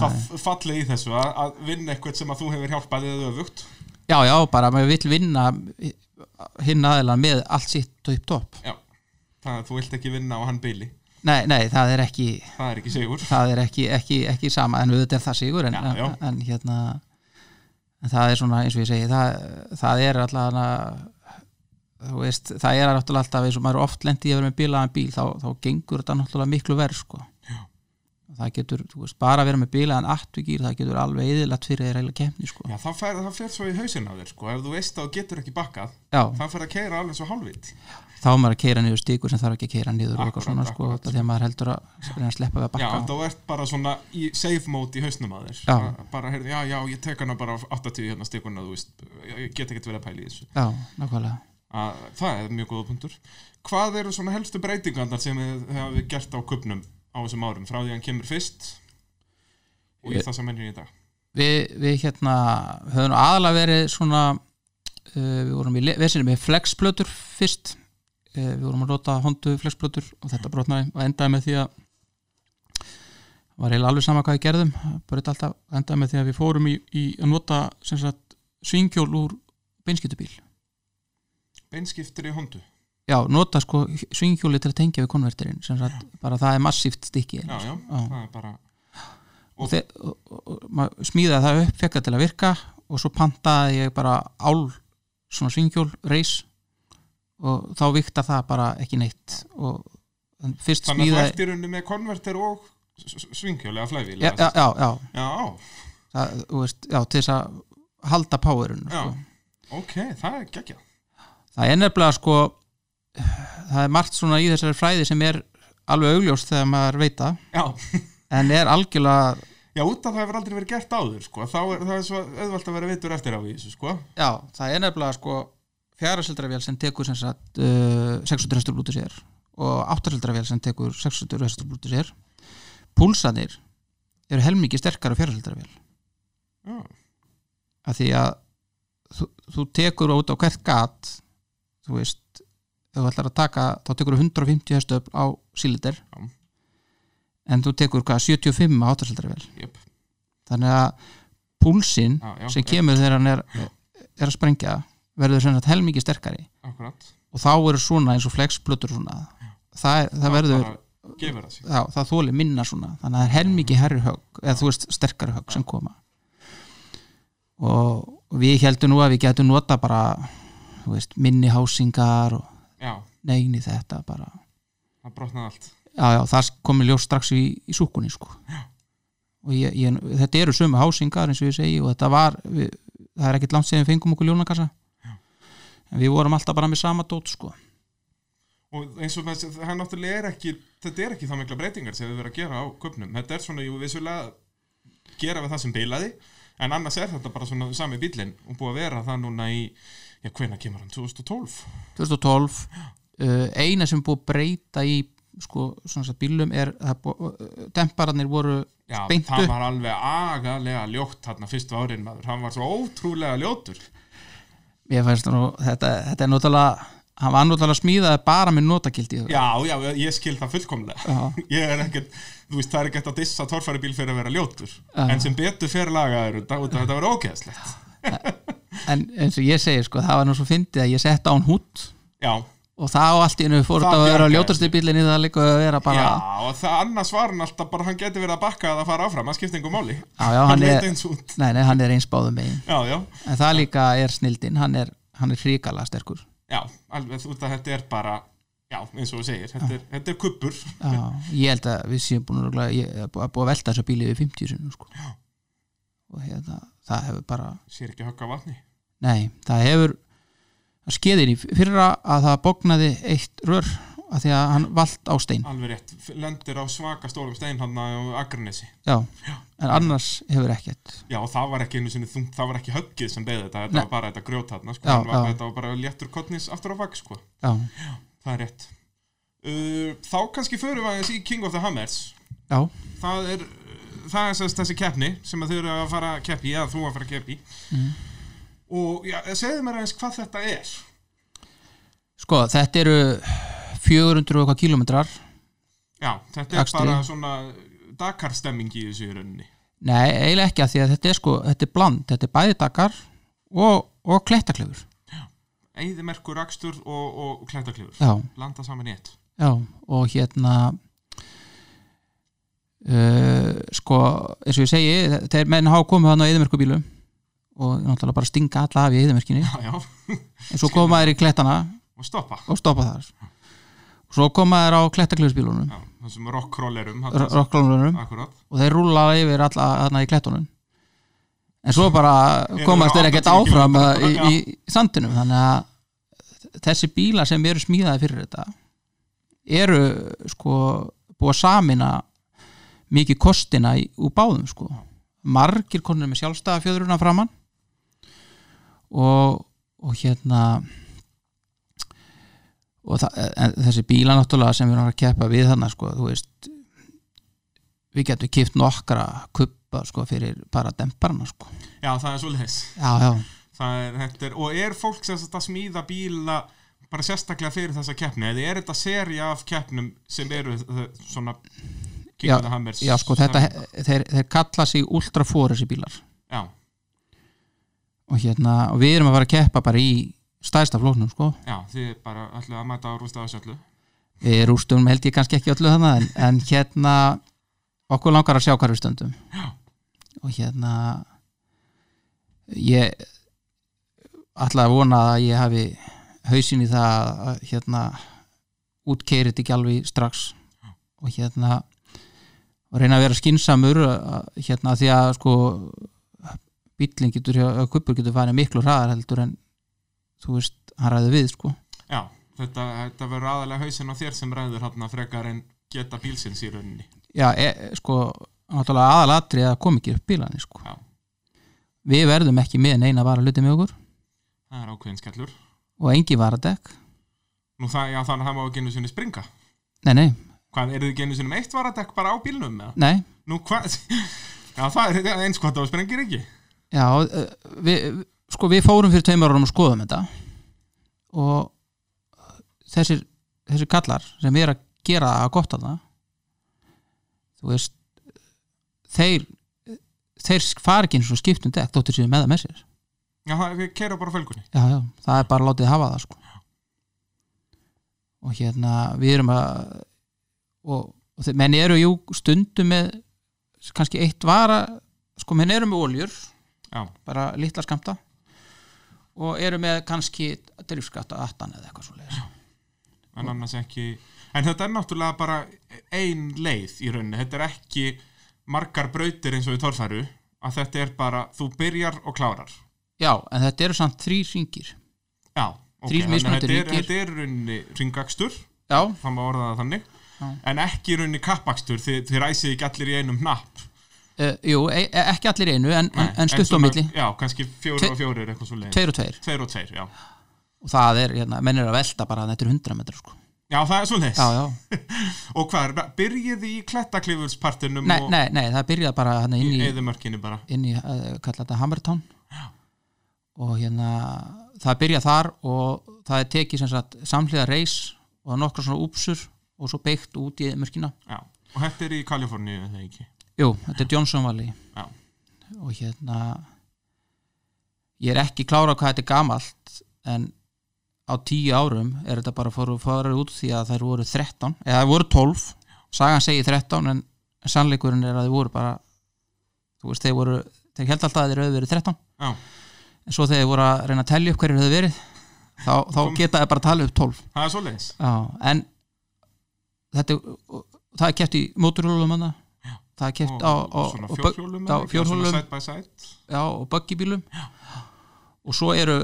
Speaker 1: það fallið í þessu að, að vinna eitthvað sem að þú hefur hjálpað eða öfugt
Speaker 2: já já bara maður vill vinna hinn aðeila með allt sitt upp topp
Speaker 1: Já, það þú vilt ekki vinna á hann beili
Speaker 2: nei, nei það er ekki
Speaker 1: Það er ekki sigur
Speaker 2: það er ekki, ekki, ekki sama en auðvitað er það sigur en,
Speaker 1: Já, já.
Speaker 2: En, en hérna en það er svona eins og ég segi það, það er allavega þú veist, það er náttúrulega alltaf eins og maður er oft lendi í að vera með bílaðan bíl þá, þá gengur þetta náttúrulega miklu verð sko. það getur, þú veist, bara að vera með bílaðan aftugýr, það getur alveg eðilagt fyrir þeir eiginlega kemni, sko
Speaker 1: Já, það fer, það fer svo í hausinn á þér sko Ef þú veist að þú getur ekki bakkað
Speaker 2: já,
Speaker 1: Það fer að keira alveg svo hálfitt
Speaker 2: þá er maður að keira niður stíkur sem þarf ekki að keira niður og
Speaker 1: Akkúrat,
Speaker 2: eitthvað svona, sko,
Speaker 1: akkúrat.
Speaker 2: þetta þegar maður heldur að reyna að sleppa við að
Speaker 1: Já,
Speaker 2: bakka
Speaker 1: þá ert bara svona í safe mode í hausnum á þér
Speaker 2: Já.
Speaker 1: Að- Bara heyrðu, já, já, ég tek hana bara á 80 hérna stikuna, þú veist Ég get ekki verið að pæla í þessu
Speaker 2: já, nákvæmlega
Speaker 1: að, Það er mjög góða punktur Hvað eru svona helstu breytingarnar sem þið hafi gert á kupnum á þessum árum frá því hann kemur fyrst og í
Speaker 2: Ég-
Speaker 1: það sem hennir í dag
Speaker 2: við, við hérna höfum nú aðalega verið svona uh, við vorum í vesinu með flexplötur fyrst uh, við vorum að nota hondu flexplötur og þetta brotnaði og endaði með því að var eiginlega alveg sama hvað við gerðum bara þetta alltaf endaði með því að við fórum í, í að nota sem sagt svingjól úr beinskiptubíl
Speaker 1: Beinskiptir í hondu
Speaker 2: já, nota sko svingjóli til að tengja við konverterinn sem sagt, bara það er massíft stykki
Speaker 1: Já, já,
Speaker 2: Já.
Speaker 1: það er bara
Speaker 2: og, þe- og, og, og maður smíðaði það upp fekk það til að virka og svo pantaði ég bara ál svona svingjól, reis og þá vikta það bara ekki neitt og en fyrst
Speaker 1: Þannig að þú
Speaker 2: smíðaði
Speaker 1: ert í rauninni með konverter og svingjölega flæfíl
Speaker 2: já, já, já, já,
Speaker 1: já,
Speaker 2: það, þú veist, já, til þess að halda powerun
Speaker 1: já,
Speaker 2: sko.
Speaker 1: ok, það er geggja
Speaker 2: það er nefnilega sko það er margt svona í þessari fræði sem er alveg augljóst þegar maður veita
Speaker 1: Já,
Speaker 2: en er algjörlega
Speaker 1: já, út af það hefur aldrei verið gert áður sko. þá er það er svo auðvelt að vera vitur eftir á í þessu sko.
Speaker 2: Já, það er nefnilega sko fjárasildra vél sem tekur sem sagt uh, 600 hestur blúti sér og áttasildra vél sem tekur 600 hestur blúti sér púlsanir eru helmingi sterkar á fjárasildra vél
Speaker 1: Já.
Speaker 2: af því að þú, þú tekur út á hvert gat þú veist ef þú ætlar að taka, þá tekur 150 hestöfl á sílinder
Speaker 1: Já.
Speaker 2: en þú tekur hvað, 75 á áttasildra vél
Speaker 1: Jöp.
Speaker 2: þannig að púlsinn
Speaker 1: Já, já,
Speaker 2: sem
Speaker 1: já.
Speaker 2: kemur þegar hann er, er að sprengja verður sem sagt helmingi sterkari
Speaker 1: Akkurat.
Speaker 2: og þá eru svona eins og flexplötur svona það, er, það verður,
Speaker 1: bara gefur það sig
Speaker 2: já, það þóli minna svona þannig að það er helmingi herri högg eða þú veist sterkari högg sem koma og, og við heldum nú að við getum nota bara þú veist, minni hásingar og
Speaker 1: já,
Speaker 2: negni þetta bara
Speaker 1: það brotnaði allt
Speaker 2: já, já, það komi ljós strax í, í súkunni sko. og ég, ég, þetta eru sömu hásingar eins og ég segi og þetta var við, það er ekkit langt séðan fengum okkur ljónakassa en við vorum alltaf bara með sama dót sko.
Speaker 1: og eins og með, þessi- það er náttúrulega er ekki þetta er ekki það mikla breytingar sem við verðum að gera á köpnum þetta er svona, jú, vissulega gera við það sem bilaði en annars er þetta bara svona sami bílinn og búið að vera það núna í já, hvena kemur hann, 2012
Speaker 2: 2012 uh, eina sem er búið að breyta í sko, svona sem bílum er það er búið, uh, dempararnir voru
Speaker 1: já,
Speaker 2: Beint
Speaker 1: það
Speaker 2: upp.
Speaker 1: var alveg agalega ljótt hann fyrstu árin maður, hann var svo ótrúlega ljótur
Speaker 2: ég fæst nú, þetta, þetta er náttúrulega hann var náttúrulega smíðað bara með notakildi
Speaker 1: já, já, ég skil það fullkomlega
Speaker 2: Já.
Speaker 1: ég er ekkert, þú veist, það er ekkert að dissa torfæribíl fyrir að vera ljótur
Speaker 2: Já.
Speaker 1: en sem betur fyrir lagaður þetta út af þetta var ógeðslegt
Speaker 2: en eins og ég segi sko, það var nú svo fyndið að ég sett á hann hút
Speaker 1: já,
Speaker 2: og þá allt í einu
Speaker 1: Það
Speaker 2: fór þetta að vera
Speaker 1: bjargaði
Speaker 2: ljótasti bílinni það líka að vera bara já,
Speaker 1: Já, og það annars var hann alltaf bara hann geti verið að bakka að það fara áfram, hann skipti engum máli
Speaker 2: já, hann,
Speaker 1: leit
Speaker 2: er,
Speaker 1: eins út
Speaker 2: nei, nei, hann er eins báðum megin
Speaker 1: Já, já,
Speaker 2: en það líka er snildin, hann er, hann er hrikalega sterkur
Speaker 1: já, alveg út að þetta er bara Já, eins og þú segir, þetta er, þetta er kuppur
Speaker 2: já, ég held að við séum búin að, ég, að búið að velta þessu bíli við 50 sinum sko. og hérna, það hefur bara
Speaker 1: Sér ekki högg á vatni
Speaker 2: nei, það hefur það skeiðir í fyrra að það bóknaði eitt rör að því að hann valt á stein
Speaker 1: Alveg rétt, lendir á svaka stórum stein hann á Akranesi
Speaker 2: já, en annars hefur ekkert
Speaker 1: Já, og það var ekki einu sinni þungt, það var ekki höggið sem beðið þetta Þetta
Speaker 2: Nei.
Speaker 1: var bara þetta grjót hann, sko
Speaker 2: Já,
Speaker 1: hann var,
Speaker 2: já.
Speaker 1: Þetta var bara léttur kottnis aftur á vagg, sko
Speaker 2: já,
Speaker 1: Það er rétt uh, Þá kannski förum við aðeins í King of the Hammers
Speaker 2: já,
Speaker 1: það er það er sérst þessi keppni sem að þau eru að fara að keppi eða þú að fara að keppi
Speaker 2: Mhm.
Speaker 1: og já, segðu mér aðeins hvað þetta er
Speaker 2: sko, þetta eru 400 og eitthvað kilometrar
Speaker 1: já, þetta er
Speaker 2: Akstri.
Speaker 1: bara svona Dakar stemming í þessu í rauninni
Speaker 2: Nei, eiginlega ekki að því að þetta er sko þetta er bland, þetta er bæði Dakar og, og klettaklefur
Speaker 1: Eðimerkur, Akstur og, og Klættaklifur
Speaker 2: já,
Speaker 1: landa saman í ett
Speaker 2: já, og hérna uh, sko eins og ég segi, þeir menn hafa komið hann á eðimerkubílum og náttúrulega bara stinga alla af í eðimerkinni
Speaker 1: já, já,
Speaker 2: en svo koma þeir í klettana
Speaker 1: og stoppa
Speaker 2: og stoppa þar og svo koma þeir á klettaklefusbílunum
Speaker 1: já, þessum rockrollerum þarna sem-
Speaker 2: rocklónunum
Speaker 1: akkurat
Speaker 2: og þeir rúla yfir alla þarna í klettunum en svo bara
Speaker 1: Eru
Speaker 2: komast
Speaker 1: á
Speaker 2: þeir ekkert
Speaker 1: 80
Speaker 2: áfram uh,
Speaker 1: kílómetra,
Speaker 2: í,
Speaker 1: já.
Speaker 2: í sandinum þannig að þessi bílar sem eru smíðaði fyrir þetta eru sko búið að samina mikið kostina í, úr báðum sko margir konur með sjálfstæða fjöðruna framann og, og hérna og það, en þessi bíla náttúrulega sem við erum að keppa við þarna sko, þú veist við getum kipt nokkra kuppa sko, fyrir bara demparna sko.
Speaker 1: já, það er svoleiðis
Speaker 2: já, já,
Speaker 1: það er, þetta er, og er fólk sem sagt að smíða bíla bara sérstaklega fyrir þessa keppni eða er þetta seri af keppnum sem eru eh, svona King
Speaker 2: Já,
Speaker 1: of the Hammers
Speaker 2: já sko, þetta, þeir, þeir kalla sig ultrafóra þessi bílar
Speaker 1: já,
Speaker 2: og, hérna, og við erum að fara að keppa bara í stæðsta flóknum sko.
Speaker 1: já, þið bara ætlaðu að mæta á rústaða sjöldu
Speaker 2: við rústum held ég kannski ekki öllu þannig en, en hérna okkur langar að sjá hvar við stöndum
Speaker 1: Já.
Speaker 2: og hérna ég ætla að vona að ég hafi hausin í það að hérna útkeirið þetta ekki alveg strax og hérna og reyna að vera skinsamur að- hérna því að sko bíllinn getur, kuppur getur farið miklu hraðar heldur en þú veist, hann ræði við sko
Speaker 1: já, þetta, þetta verður aðalega hausinn á þér sem ræður hann frekar en geta bílsins í rauninni
Speaker 2: já, e, sko náttúrulega aðalatri að koma ekki upp bílani sko.
Speaker 1: Já.
Speaker 2: við verðum ekki með neina bara hluti með okkur
Speaker 1: það er ákveðin skellur
Speaker 2: og engi varadekk
Speaker 1: Nú það, já, þannig að það má ekki einu sinni springa.
Speaker 2: nei, nei,
Speaker 1: Hvað, eru þið ekki einu sinni með eitt varadekk bara á bílnum eða?
Speaker 2: nei
Speaker 1: Nú hvað, já það er eins hvað það sprengir ekki.
Speaker 2: já, eh, við, sko við fórum fyrir tveimur árum og skoðum þetta og þessir, þessir kallar sem er að gera að gott að það þú veist þeir þeir fara ekki eins og skiptum dekk þóttir síðan með það með sér
Speaker 1: Já, það, við kerum bara á fölgunni.
Speaker 2: já, já, það er bara látið hafa það sko. og hérna við erum að og, og þeir, menn eru jú stundum með kannski eitt vara sko menn eru með oljur
Speaker 1: Já,
Speaker 2: bara litla skamta og eru með kannski drifskatta 18 eða eitthvað svo leiðis
Speaker 1: en annars ekki, en þetta er náttúrulega bara ein leið í rauninni. Þetta er ekki margar brautir eins og við torfæru, að þetta er bara, þú byrjar og klárar.
Speaker 2: já, en þetta eru samt þrýr ringir
Speaker 1: Já, ok, þannig
Speaker 2: Þrír
Speaker 1: að
Speaker 2: mismunandi
Speaker 1: þetta er,
Speaker 2: ríkir.
Speaker 1: þetta er í rauninni ringakstur,
Speaker 2: já,
Speaker 1: það má orða það þannig,
Speaker 2: Já.
Speaker 1: en ekki í rauninni kappakstur, þið, þið ræsið ekki allir í einum napp.
Speaker 2: uh, jú, e e ekki allir í einu en, en, en stutt á
Speaker 1: svona-
Speaker 2: milli,
Speaker 1: Já, kannski fjóri
Speaker 2: Tve-
Speaker 1: og fjóri eitthvað svo leið
Speaker 2: tveir og tveir
Speaker 1: Tveir og tveir, já
Speaker 2: og það er, hérna, menn er að velta bara þetta er 100 metrar sko
Speaker 1: Já, það er svo leiðis
Speaker 2: já, já,
Speaker 1: Og hvað er, byrjiði í klettaklifulspartinum
Speaker 2: nei,
Speaker 1: og
Speaker 2: nei, nei, það byrjaði bara hann inn
Speaker 1: í
Speaker 2: í,
Speaker 1: eðumörkinni bara
Speaker 2: inn í uh, kalla þetta Hammertown og hérna það byrja þar og það er tekið sem sagt samhliða reis og nokkra svona úpsur og svo beikt út í mörkina
Speaker 1: Já, og þetta er í Kaliforníu, er það ekki
Speaker 2: Jú, þetta er Johnson Valley
Speaker 1: Já.
Speaker 2: og hérna ég er ekki klára hvað þetta er gamalt en á tíu árum er þetta bara fóru farið út því að þær voru 13 eða þær voru 12, sagan segir 13 en sannleikurinn er að þær voru bara þú veist, þeir voru þeir held alltaf að þeir höfðu verið 13
Speaker 1: Já,
Speaker 2: en svo þegar þeir voru að reyna að telja upp hverjir höfðu verið þá, þá
Speaker 1: Kom-
Speaker 2: geta þeir bara talið upp 12
Speaker 1: það er svo leiðis
Speaker 2: Já, en þetta er- og- það er keft í móturhjólum hana það er keft á, á,
Speaker 1: svona
Speaker 2: á bögg-
Speaker 1: fjórhjólum
Speaker 2: já,
Speaker 1: eða ekki?
Speaker 2: fjórhjólum.
Speaker 1: Svona side by side
Speaker 2: já, og böggibílum og svo eru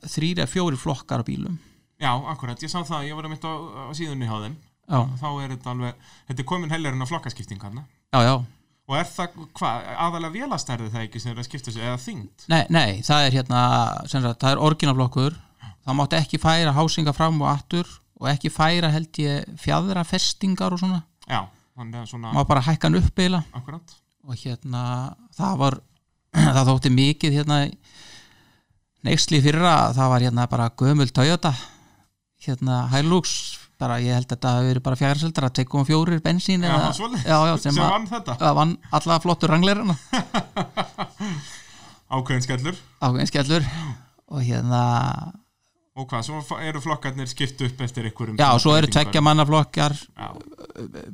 Speaker 2: þrýri að fjóri flokkar á bílum
Speaker 1: Já, akkurat, ég sá það, ég var að mitt á, á síðunni hjá þeim
Speaker 2: já,
Speaker 1: Þá er þetta alveg, þetta er komin helgarinn á flokkaskipting hann
Speaker 2: já, já
Speaker 1: Og er það, hvað, aðalega vélastærði það ekki sem er að skipta sig, eða þyngd
Speaker 2: nei, nei, það er hérna sem sagt, það er orginaflokkur það mátti ekki færa hásinga fram og aftur og ekki færa held ég fjadrafestingar og svona,
Speaker 1: Já, þannig að svona,
Speaker 2: má bara hækka hann upp eila
Speaker 1: akkurat
Speaker 2: og hérna það var, það þótti mikið hérna neyksli fyrra, það var hérna bara gömul Toyota hérna Hilux, bara ég held að þetta hafi verið bara fjárseldar að 2,4 bensín
Speaker 1: Já,
Speaker 2: eða-
Speaker 1: svoleiðis.
Speaker 2: já, já,
Speaker 1: Sem
Speaker 2: sem að
Speaker 1: vann þetta,
Speaker 2: að vann alla flottur ranglerina
Speaker 1: ákveðin skellur
Speaker 2: ákveðin skellur og hérna,
Speaker 1: Og hvað, svo fa- eru flokkarnir skipt upp eftir ykkurum
Speaker 2: já, svo eru tvekja mannaflokkar
Speaker 1: Já.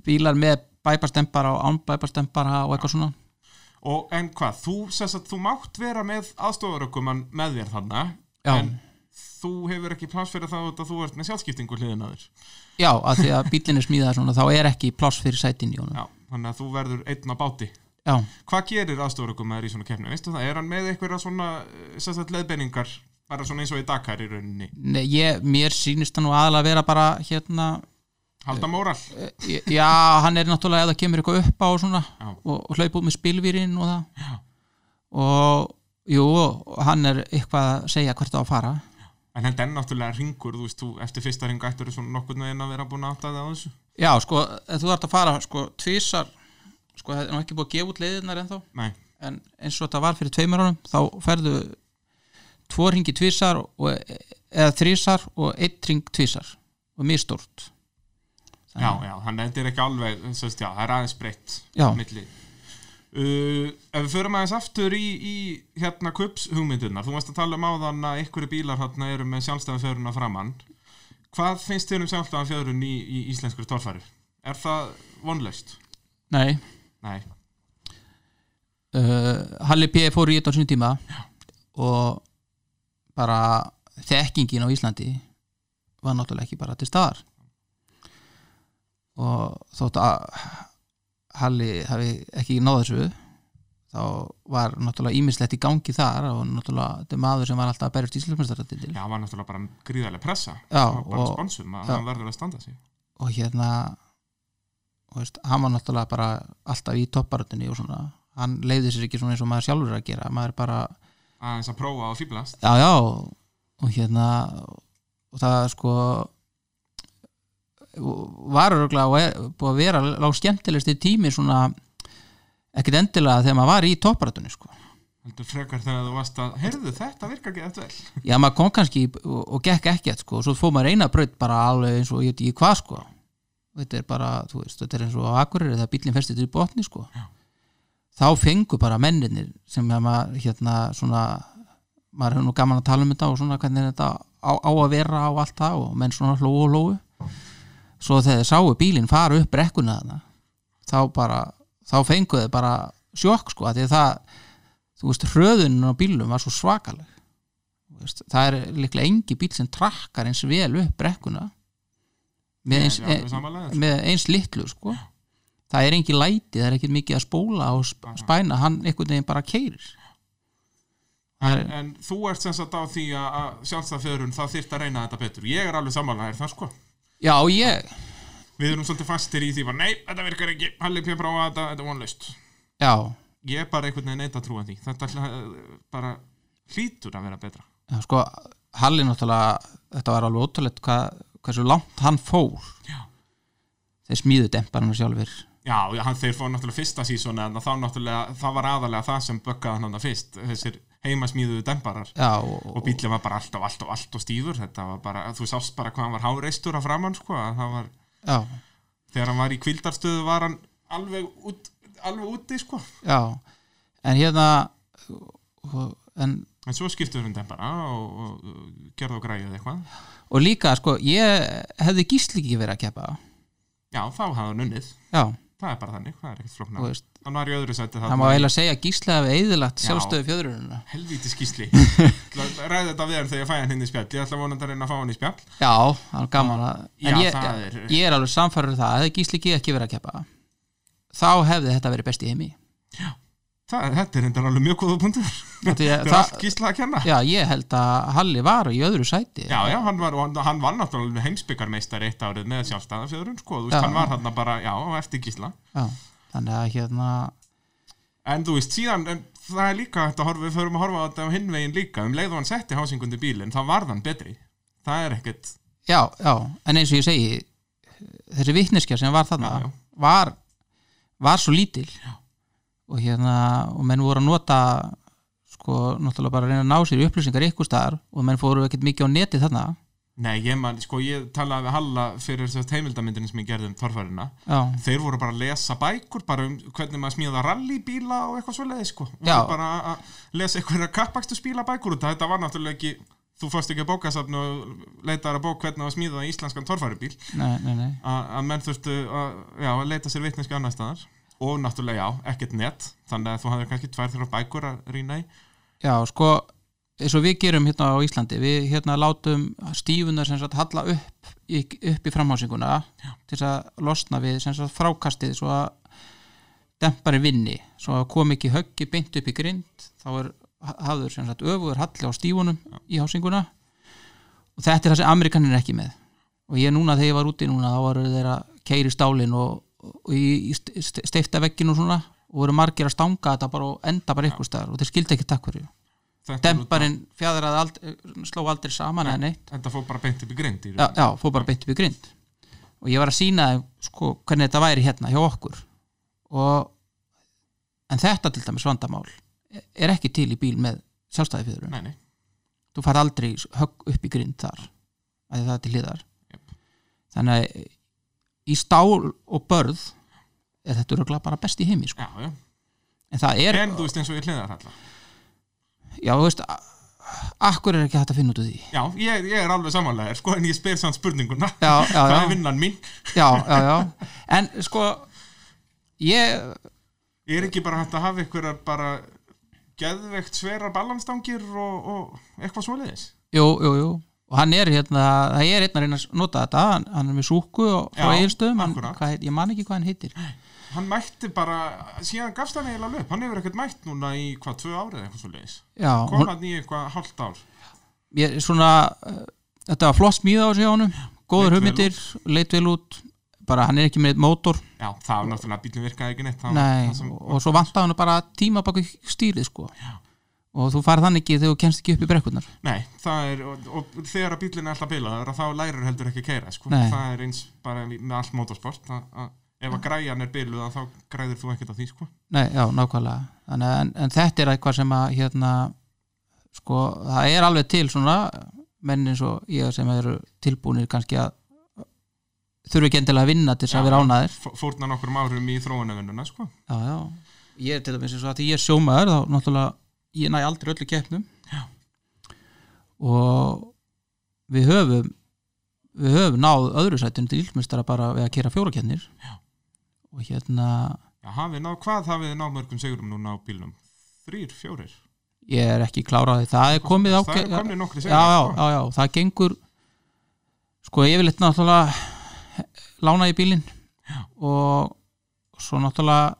Speaker 2: bílar með bæparstempara og ánbæparstempara og eitthvað svona
Speaker 1: Og en hvað, þú, sess að þú mátt vera með aðstofarökumann með þér þarna
Speaker 2: já,
Speaker 1: En þú hefur ekki pláss fyrir það út að þú ert með sjálfskiptingu hliðin að þér
Speaker 2: já, að því að bílinn er smíðað svona, þá er ekki pláss fyrir sætin í honum
Speaker 1: Já, þannig að þú verður einn á báti
Speaker 2: já,
Speaker 1: Hvað gerir aðstofarökumann í svona kefni, veistu það? Er hann með einhverja svona, eh, sess að leðbenningar bara svona eins og í Dakar í rauninni
Speaker 2: Nei, ég, mér sýnist hann nú aðalega að vera bara hérna,
Speaker 1: Halda móral
Speaker 2: eh, já, hann er náttúrulega ef það kemur eitthvað upp á og svona
Speaker 1: Já.
Speaker 2: og, og hlaup út með spilvýrin og það já. og jú, hann er eitthvað að segja hvert á að fara
Speaker 1: En þetta er náttúrulega ringur, þú veist, þú eftir fyrsta ringa ættur svona nokkurn veginn að vera búin að átta það á þessu
Speaker 2: Já, sko, en þú þarft að fara sko, tvisar, sko, það er nú ekki búið að gefa út leiðinar ennþá,
Speaker 1: Nei,
Speaker 2: en eins og þetta var fyrir tveimur árum, þá ferðu tvo ringi tvisar og, e, eða þrísar og eitt ring tvisar og mjög stórt
Speaker 1: já, já, þannig að þetta er ekki alveg, sérst, já, það er aðeins breytt
Speaker 2: Já.
Speaker 1: milli uh, Ef við förum aðeins aftur í, í hérna kups hugmyndunar, þú varst að tala um áðan að einhverju bílar hérna eru með sjálfstæðan fjöruna framann Hvað finnst þér um sjálfstæðan fjörun í, í íslenskur torfæru? Er það vonlaust?
Speaker 2: Nei,
Speaker 1: Nei,
Speaker 2: uh, Halli P. fór í þetta á sinni tíma og bara þekkingin á Íslandi var náttúrulega ekki bara til staðar og þótt að Halli hafi ekki náð þessu þá var náttúrulega ímislegt í gangi þar og náttúrulega þetta er maður sem var alltaf að berjast íslensmestaratil
Speaker 1: já, það var náttúrulega bara gríðarlega pressa
Speaker 2: Já,
Speaker 1: Það var bara
Speaker 2: og-
Speaker 1: sponsum að
Speaker 2: já.
Speaker 1: hann verður að standa sig
Speaker 2: og hérna og veist, hann var náttúrulega bara alltaf í topparutinni og svona hann leiði sér ekki svona eins og maður sjálfur er að gera maður er bara
Speaker 1: aðeins að prófa og fýblast
Speaker 2: já, já, og hérna og það sko var öruglega og er búið að vera lág skemmtilegsti tími svona ekkit endilega þegar maður var í topparatunni sko.
Speaker 1: heldur frekar þegar þú varst að heyrðu þetta virkar ekki eftir vel
Speaker 2: já maður kom kannski í- og, og gekk ekkert sko, og svo fór maður eina braut bara alveg eins og ég veit ekki hvað sko Og þetta er bara, þú veist, þetta er eins og á Akureyri þegar bíllinn festið til botni sko
Speaker 1: Já.
Speaker 2: þá fengu bara menninir sem að maður hérna svona maður hefur nú gaman að tala um þetta og svona hvernig þetta á, á að vera á allt það og menn svona hlóu og hlóu svo þegar þeir sáu bílinn fara upp brekkuna þarna þá bara, þá fengu þeir bara sjokk sko, af því að það þú veist, hröðunin á bílum var svo svakaleg Þú veist, það er líklega engi bíl sem trakkar eins vel upp brekkuna með eins, eh,
Speaker 1: Já, alveg samanlega, sko.
Speaker 2: með eins litlu sko. það er engin læti, það er ekkert mikið að spóla og sp-
Speaker 1: Aha.
Speaker 2: spæna, hann einhvern veginn bara keirir það er,
Speaker 1: en þú ert sem sagt á því að- að sjálfstæðfjörun það þyrft að reyna þetta betur ég er alveg samanlega, er það sko
Speaker 2: já ég
Speaker 1: við erum svolítið fastir í því bara nei, þetta virkar ekki, Halli P. prófa þetta, þetta er vonlaust
Speaker 2: já,
Speaker 1: ég er bara einhvern veginn neitt að trúa því þetta hla- bara hlýtur að vera betra
Speaker 2: já, sko Halli náttúrulega, þetta var alveg ótrúlegt hvað, hversu langt hann fór
Speaker 1: já,
Speaker 2: þeir smíðu demparinn sjálfur
Speaker 1: já, já, hann þeir fór náttúrulega fyrsta sísona en þá náttúrulega, það var aðalega það sem böggaði hann hann fyrst, þessir heimasmíðuðu demparar
Speaker 2: já, og,
Speaker 1: og bíllinn var bara alltaf, alltaf, alltaf stífur þetta var bara, þú sást bara hvað hann var háreistur að framann, sko, að það var
Speaker 2: já,
Speaker 1: þegar hann var í kvildarstöðu var hann alveg, út, alveg úti, sko
Speaker 2: já en hérna og- en
Speaker 1: en svo skiptuður hann dempara og, og, og gerðu og græjuð eitthvað
Speaker 2: og líka sko ég hefði gísli ekki verið að keppa
Speaker 1: já, þá hafði hann unnið,
Speaker 2: já,
Speaker 1: það er bara þannig, það er ekkert
Speaker 2: þú
Speaker 1: flóknar
Speaker 2: veist
Speaker 1: hann var í öðru sæti
Speaker 2: það
Speaker 1: þarna
Speaker 2: má
Speaker 1: í-
Speaker 2: eiginlega segja að gísli hafi eðilagt
Speaker 1: Já.
Speaker 2: sjálfstöðu fjöðrununa
Speaker 1: helvíti skýsli ræði þetta við hann þegar ég fæ hann hinn í spjall ég ætla vonandi að reyna að fá hann í spjall
Speaker 2: já, það er gaman að en
Speaker 1: Já,
Speaker 2: ég,
Speaker 1: það er-
Speaker 2: ég er alveg samfærður um það hefði gísli ekki ekki verið að keppa þá hefði þetta verið besti heimi
Speaker 1: það, þetta er hendur alveg mjög góða punktur
Speaker 2: Þetta er-
Speaker 1: þetta er
Speaker 2: það-
Speaker 1: allt skýsla að kenna já,
Speaker 2: já, ég held að Halli var í öðru sæti
Speaker 1: já, hann var, og hann, hann var náttúrulega heimsbyggarmeistar eitt árið með sjálfstæðafjöðrun sko, þú
Speaker 2: Já.
Speaker 1: veist, hann var hann bara, já, á eftir gísla
Speaker 2: Já, þannig að hérna
Speaker 1: en þú veist, síðan, en það er líka þetta horfa, við förum að horfa á þetta á hinn veginn líka um leið og hann setti hásingundi bílinn, þá varð hann betri það er ekkert,
Speaker 2: já, já, en eins og ég segi þessi vitneskja sem var þarna
Speaker 1: Já, já.
Speaker 2: Var, var svo lítil já. og hérna og menn voru að nota sko, náttúrulega bara að reyna að ná sér í upplýsingar ykkur staðar og menn fóru ekkert mikið á neti þarna
Speaker 1: nei, ég man sko, ég talaði við Halla fyrir þess heimildamindin sem ég gerði um torfærina
Speaker 2: já,
Speaker 1: þeir voru bara að lesa bækur bara um hvernig maður smíða rallybíla og eitthvað svoleiði sko, Voru
Speaker 2: Já.
Speaker 1: bara að lesa einhverja kappakstusbíla bækur út af. þetta var náttúrulega ekki, þú fórst ekki að bókasafn og leitaðar að bók hvernig að smíða íslenskan torfæribíl,
Speaker 2: nei, nei, nei
Speaker 1: A- að menn þurftu að, já, að leita sér vitneski annar staðar og náttúrulega já, ekkert net þannig að þú hafðir kannski tvær þrjá bækur að rýna í
Speaker 2: já, sko, eins og við gerum hérna á Íslandi, við hérna látum stífunar sem sagt halla upp í, upp í framhásinguna já. til þess að losna við sem sagt frákastið svo að dempari vinni svo að kom ekki höggi beint upp í grind þá er hafður sem sagt öfugur halli á stífunum í hásinguna og þetta er það sem Amerikanin er ekki með og ég núna þegar ég var úti núna þá voru þeir að keiri stálin og, og í, í steifta veggin og svona og voru margir að stanga þetta bara og enda bara ykkur staðar og þeir skildi ekki takk fyrir
Speaker 1: Þetta er út af-
Speaker 2: demparinn fjadraði aldrei, sló aldrei saman eða neitt
Speaker 1: þetta fór bara beint upp í grind í
Speaker 2: já,
Speaker 1: rauninni.
Speaker 2: já, fór bara beint upp í grind og ég var að sína sko, hvernig þetta væri hérna hjá okkur og en þetta til dæmis vandamál er ekki til í bíl með sjálfstæði
Speaker 1: nei, nei,
Speaker 2: þú far aldrei högg upp í grind þar að það er til hliðar
Speaker 1: Jöp.
Speaker 2: þannig að í stál og börð er þetta örugglega bara best í heimi sko.
Speaker 1: já, já
Speaker 2: en það er,
Speaker 1: en þú veist eins og ég hliðar allar
Speaker 2: já þú veist a- akkur er ekki hægt að finna út úr því
Speaker 1: já, ég, ég er alveg samanlega, sko, en ég spyr samt spurninguna
Speaker 2: já, já,
Speaker 1: það
Speaker 2: já,
Speaker 1: er vinnan mín
Speaker 2: já, já, já. en sko ég
Speaker 1: er ekki bara hægt að hafa einhverjar bara geðveikt sverar ballanstangir og, og eitthvað svoleiðis
Speaker 2: Jú, jú, jú og hann er hérna, það er einn að reyna að nota þetta hann, hann er með súku og frá
Speaker 1: Já,
Speaker 2: eigilstöðum hann,
Speaker 1: akkúrat.
Speaker 2: hvað, heit- ég man ekki hvað hann heitir
Speaker 1: hann mætti bara, síðan gafst hann eiginlega löp hann hefur ekkert mætt núna í hvað, tvö árið eitthvað svoleiðis,
Speaker 2: já,
Speaker 1: kom
Speaker 2: hún,
Speaker 1: hann í eitthvað hálft ár
Speaker 2: ég, svona uh, þetta var flott smíða á sig á honum
Speaker 1: Leit
Speaker 2: góður
Speaker 1: vel
Speaker 2: hugmyndir, leit vel út bara hann er ekki með mótor
Speaker 1: já, það var náttúrulega, bílum virkaði ekki neitt það var
Speaker 2: nei,
Speaker 1: það sem,
Speaker 2: og, og svo vantaði hann bara tíma baku stýrið sko
Speaker 1: Já.
Speaker 2: og þú farð þannig ekki þegar þú kemst ekki upp í brekkunar
Speaker 1: Nei, það er, og, og þegar að bílinn er alltaf bilaður að þá lærir heldur ekki að keira sko.
Speaker 2: Nei.
Speaker 1: það er eins bara með allt motorsport að, að, ef að græjan er biluð að þá græðir þú ekkert að því sko.
Speaker 2: Nei, já, nákvæmlega Þannig, að- en, en þetta er eitthvað sem að hérna, sko, það er alveg til svona menn eins og ég sem eru tilbúinir kannski að þurfi ekki endilega að vinna til þess
Speaker 1: Já.
Speaker 2: að vera ánaðir
Speaker 1: F- fórna nokkrum árum í þróunavennuna sko.
Speaker 2: já, já. ég er til dæmis eins og að því ég er sjómaður þá náttúrulega ég næ aldrei öllu keppnum og við höfum við höfum náð öðru sættum til ílmestara bara við að kera fjóra keppnir og hérna
Speaker 1: Já, hafið ná, hvað hafið þið ná mörgum sigurum núna á bílnum? Þrýr, fjórir?
Speaker 2: ég er ekki kláraði það er komið
Speaker 1: það er
Speaker 2: ágæ-
Speaker 1: komnið nokkri
Speaker 2: já, já,
Speaker 1: sigurum
Speaker 2: já, já, það gengur sko yfirleitt náttúrulega lána í bílinn og svo náttúrulega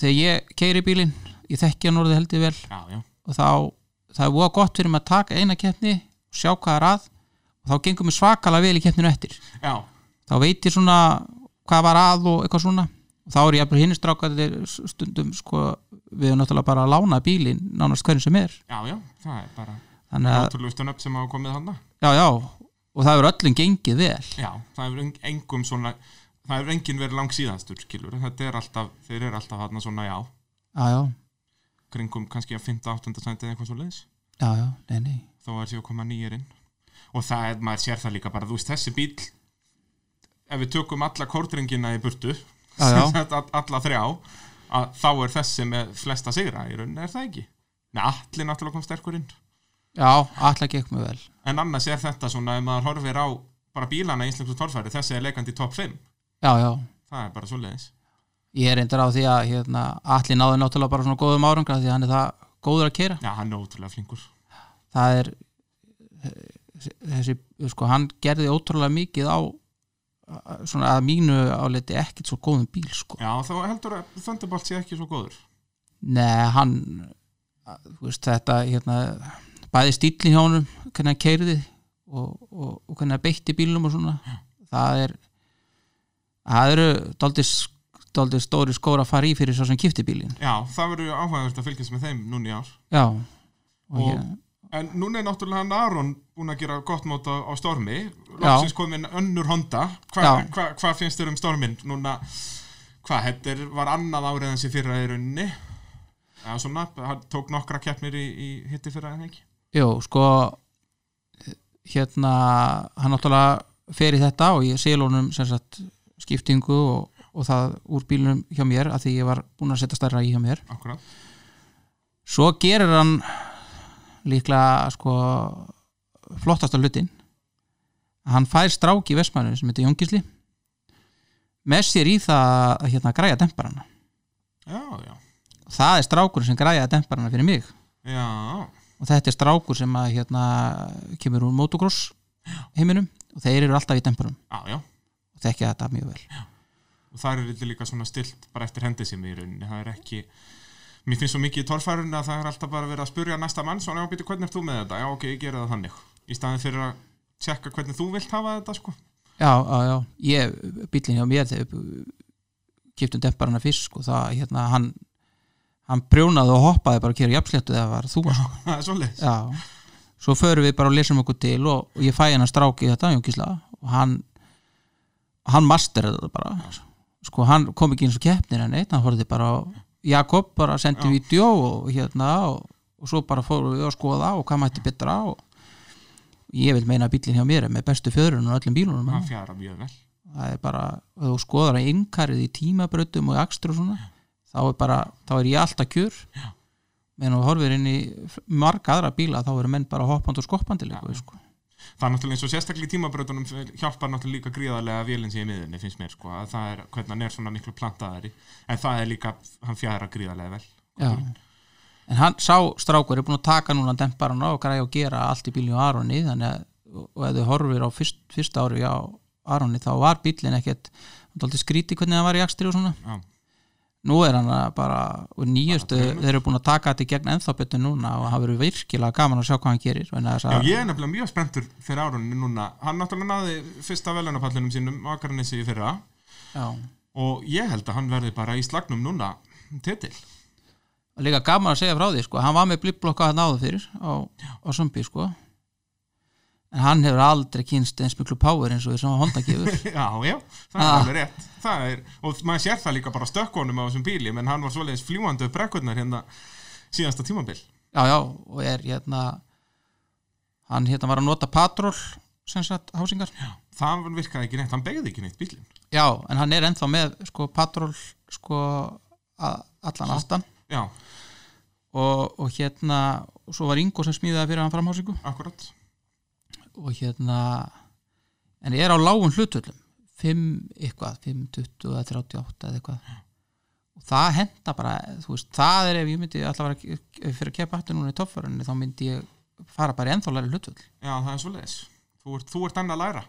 Speaker 2: þegar ég keiri bílinn ég þekki hann orðið heldur vel
Speaker 1: já, já,
Speaker 2: og þá það er voða gott fyrir maður að taka eina keppni og sjá hvað er að og þá gengum við svakalega vel í keppninu eftir
Speaker 1: já,
Speaker 2: þá veit ég svona hvað var að og eitthvað svona og þá er ég að hinn strákaði stundum sko, við erum náttúrulega bara að lána bílinn nánast hverjum sem er
Speaker 1: já, já, það er bara
Speaker 2: þannig að,
Speaker 1: náttúrulega stund upp sem hafa komið hann
Speaker 2: já, já og það er öllum gengið vel
Speaker 1: Já, það er eng- engum svona það er enginn verið langsíðastur, skilur þetta er alltaf, þeir eru alltaf hann svona, já
Speaker 2: já, já,
Speaker 1: kringum kannski að 5-8. sæti eða eitthvað svo leiðis
Speaker 2: já, já, nei, nei
Speaker 1: þó er séu að koma nýjir inn og það er, maður sér það líka bara, þú veist, þessi bíl ef við tökum alla kórdringina í burtu
Speaker 2: Já, já.
Speaker 1: sem sagt all- alla þrjá að þá er þessi með flesta sigra í rauninni er það ekki Nei, allir náttúrulega kom sterkur inn
Speaker 2: já, allar gekk mjög vel
Speaker 1: en annars er þetta svona, ef maður horfir á bara bílana í íslensku torfæri, þessi er leikandi í topp 5
Speaker 2: já, já,
Speaker 1: það er bara svo leiðis
Speaker 2: ég er reyndar á því að hérna, allir náðu náttúrulega bara svona góðum árangra því að hann er það góður að kera
Speaker 1: Já, hann er ótrúlega flinkur
Speaker 2: það er þessi, sko, hann gerði ótrúlega mikið á svona að mínu áleti ekkert svo góðum bíl sko.
Speaker 1: Já, þá heldur að Thunderbolt sé ekki svo góður
Speaker 2: Nei, hann þú veist, þetta hérna, bæði stílin hjá honum hvernig hann keiriði og, og, og hvernig hann beitti bílum og svona það er það eru dálítið dálítið stóri skóra að fara í fyrir svo sem kipti bílin
Speaker 1: Já, það verður áhugavert að fylgjast með þeim núna í ár
Speaker 2: já og,
Speaker 1: Og-
Speaker 2: hér,
Speaker 1: En núna er náttúrulega hann Aron búin að gera gott mót á, á Stormi Lóksins komin önnur Honda Hva-
Speaker 2: Já.
Speaker 1: Hvað hva, hva finnst þér um Stormin? Núna, hvað, þetta er, var annað árið hans í fyrra í rauninni Já, svona, hann tók nokkra keppnir í, í hitti fyrra en ekki
Speaker 2: Jó, sko hérna hann náttúrulega fer í þetta og ég sel honum sem sagt skiptingu og, og það úr bílunum hjá mér að því ég var búin að setja stærra í hjá mér
Speaker 1: Akkurat,
Speaker 2: svo gerir hann líklega sko flottasta hlutin hann fær strák í vestmæðinu sem heitir Jóngisli með sér í það að hérna græja demparana
Speaker 1: já, já
Speaker 2: það er strákur sem græja demparana fyrir mig
Speaker 1: Já,
Speaker 2: og þetta er strákur sem að hérna kemur úr motocross heiminum og þeir eru alltaf í dempurum
Speaker 1: já, já
Speaker 2: og þekkja þetta mjög vel
Speaker 1: og þar er þetta líka svona stilt bara eftir hendi sem í rauninni, það er ekki mér finnst svo mikið í torfærunni að það er alltaf bara verið að spurja næsta mann, svona já, býtu, hvernig er þú með þetta? Já, ok, ég gera það þannig í staðin fyrir að tjekka hvernig þú vilt hafa þetta, sko
Speaker 2: já, já, já, ég, bíllinn hjá mér þegar kiptum demparana fyrst sko, það, hérna, hann hann prjónaði og hoppaði bara að kera jafnsléttu þegar var þú sko.
Speaker 1: það er svoleiðis,
Speaker 2: já, svo förum við bara og lesum okkur til og, og ég fæ hennar strák í þetta Jónkísla, og hann hann masteraði þetta bara sko, hann kom ekki eins og keppnir en eitt hann horfði bara á Jakob bara sendi vídeo og hérna og, og svo bara fórum við að skoða og hvað mætti betra og ég vil meina að bíllinn hjá mér er með bestu fjöðrun og öllum bílunum
Speaker 1: það fjara mjög vel
Speaker 2: það er bara, ef þú skoðar að yngarið í tímabrautum og í akstur og svona þá er bara, þá er ég alltaf kjur
Speaker 1: Já.
Speaker 2: menn og horfir inn í marga aðra bíla, þá eru menn bara hoppandi og skoppandi líka, sko.
Speaker 1: það er náttúrulega eins og sérstaklega í tímabröðunum hjálpar náttúrulega líka gríðarlega að vélinn sem í miðunni finnst mér, sko, að það er, hvernig hann er svona miklu plantaðari, en það er líka hann fjara gríðarlega vel
Speaker 2: já en hann sá strákur er búin að taka núna demparan á og græja og gera allt í bílinu Aroni, þannig að og ef þau horfir á fyrst, fyrsta ári á Aroni, þá var bílinn ekkert hann dálítið skríti hvernig hann var í akstri og svona
Speaker 1: já,
Speaker 2: nú er hann að bara og nýjustu,
Speaker 1: Bara
Speaker 2: þeir eru búin að taka þetta í gegn ennþá betur núna og hann verður virkilega gaman að sjá hvað hann gerir vegna þess
Speaker 1: Já,
Speaker 2: að-
Speaker 1: ég er nefnilega mjög spenntur fyrir árunni núna. Hann náttúrulega náði fyrsta velunapallinum sínum á Akarnesi í fyrra
Speaker 2: já.
Speaker 1: og ég held að hann verði bara í slagnum núna titil.
Speaker 2: og líka gaman að segja frá því sko, hann var með blipblokka að náðu fyrir á, á Sumbi sko en hann hefur aldrei kynst eins miklu power eins og því sem Honda gefur
Speaker 1: Já, já, það er
Speaker 2: Ah.
Speaker 1: alveg rétt það er, og maður sér það líka bara stökkunum á þessum bíli, menn hann var svoleiðis fljúandi upp brekkurnar hérna síðasta tímabil
Speaker 2: já, já, og er hérna hann hérna var að nota patról sem sagt hásingar já.
Speaker 1: það virkaði ekki neitt, hann begði ekki neitt bílin
Speaker 2: en hann er ennþá með sko patról sko að, allan aftan
Speaker 1: Já,
Speaker 2: og, og hérna og svo var Ingo sem smíðaði fyrir hann framhásingu
Speaker 1: akkurat
Speaker 2: og hérna en ég er á lágum hlutullum 5 eitthvað, 5, 20 eða 38 eða eitthvað og það henda bara, þú veist, það er ef ég myndi alltaf vera ef ég fyrir að kepa hattu núna í toppförunni þá myndi ég fara bara í ennþálega hlutull
Speaker 1: Já, það er svoleiðis Þú ert, þú ert enn að læra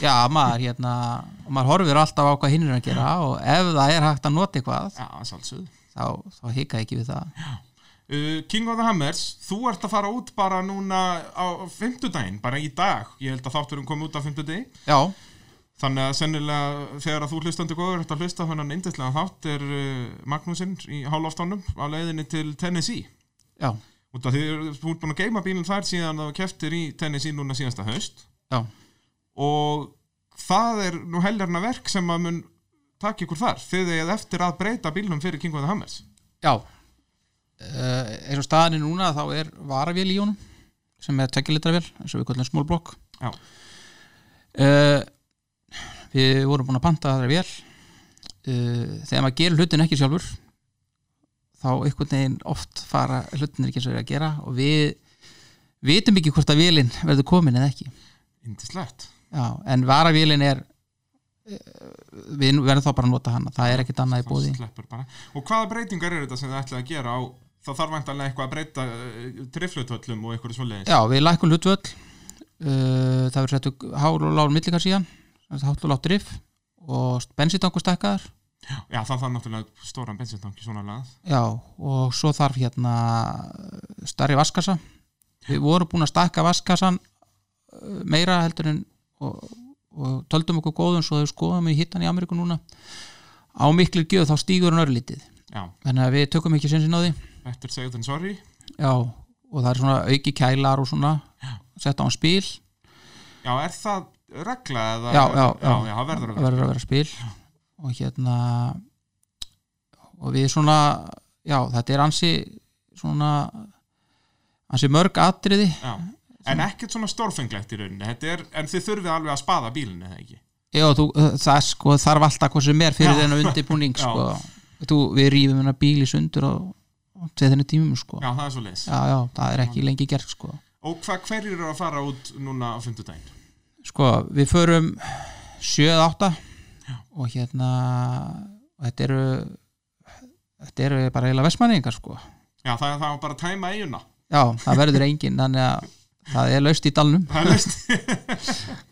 Speaker 2: já, maður hérna og maður horfir alltaf á hvað hinn er að gera og ef það er hægt að nota eitthvað
Speaker 1: Já, það er sálsöð
Speaker 2: þá, þá hika ég ekki við það
Speaker 1: Uh, King of the Hammers, þú ert að fara út bara núna á fimmtudaginn, bara í dag, ég held að þátturum kom út á fimmtudegi,
Speaker 2: já,
Speaker 1: þannig að sennilega þegar að þú hlustandi góður ert að hlusta þannig indislega þátt er uh, Magnúsinn í hálóftónum á leiðinni til Tennessee
Speaker 2: já,
Speaker 1: út af því þú ert búin að geima bílinn þar síðan það keftir í Tennessee núna síðasta haust
Speaker 2: já
Speaker 1: og það er nú helgarna verk sem að mun taka ykkur þar þegar þið eftir að breyta bílnum fyrir King of the Hammers
Speaker 2: Já uh, eins og staðan er núna þá er varavél í honum sem er tekjulitra vél eins og við kvöldum small block
Speaker 1: Já.
Speaker 2: uh, Við vorum búin að panta aðra vél uh, þegar maður gerir hlutin ekki sjálfur þá einhvern veginn oft fara hlutin ekki eins og er að gera og við vitum ekki hvort að vélin verður komin eða ekki
Speaker 1: Indislegt
Speaker 2: Já, en varavélin er eh, við verðum þá bara að nota hana það er ekkert annað í
Speaker 1: Það
Speaker 2: bóði
Speaker 1: sleppur bara. Og hvaða breytingar eru þetta sem þið ætlaði að gera á það þarf vantanlega eitthvað að breyta uh, triflutöllum og eitthvað svoleiðis
Speaker 2: Já, við lækum hlutvöll uh, það verður settu hár og lágur millikar síðan hár og lágur drif og bensintanku stækkaðar
Speaker 1: Já, það þarf náttúrulega stóran bensintanki svona lagað
Speaker 2: já, og svo þarf hérna eh, stærri vaskasa við vorum búin að stækka vaskasan eh, meira heldur en og, og töldum okkur góðum svo þau skoðum við hittan í Ameríku núna á miklu gjöð þá stígur hann örlítið
Speaker 1: Já,
Speaker 2: þannig að við tökum ekki sinnsinn á því
Speaker 1: better say than sorry
Speaker 2: já, og það er svona auki kælar og svona setta á hann spil
Speaker 1: Já, er það regla eða
Speaker 2: Já, já, já.
Speaker 1: já, það verður að
Speaker 2: það
Speaker 1: vera
Speaker 2: verður að vera spil og hérna og við svona já þetta er ansi svona ansi mörg atriði
Speaker 1: já. En ekkert svona stórfenglegt í rauninni Þetta er, En þið þurfið alveg að spaða bílinni eða ekki
Speaker 2: já þú það sko þarf alltaf hvað sem er fyrir
Speaker 1: Já.
Speaker 2: þennan undirbúning
Speaker 1: Já.
Speaker 2: sko þú, við rýfum hennar bíl í sundur og, og til þennan tímum sko
Speaker 1: Já,
Speaker 2: já.
Speaker 1: það er svoleiðis
Speaker 2: já það er ekki lengi gert sko
Speaker 1: Og hvað hverjir eru að fara út núna á fimmtudaginn?
Speaker 2: sko við förum 7-8 og hérna og þetta eru þetta eru bara eiginlega vestmanningar sko
Speaker 1: Já, það, það var bara að tæma eiguna
Speaker 2: Já, það verður engin þannig að það er laust í dalnum
Speaker 1: Það er veist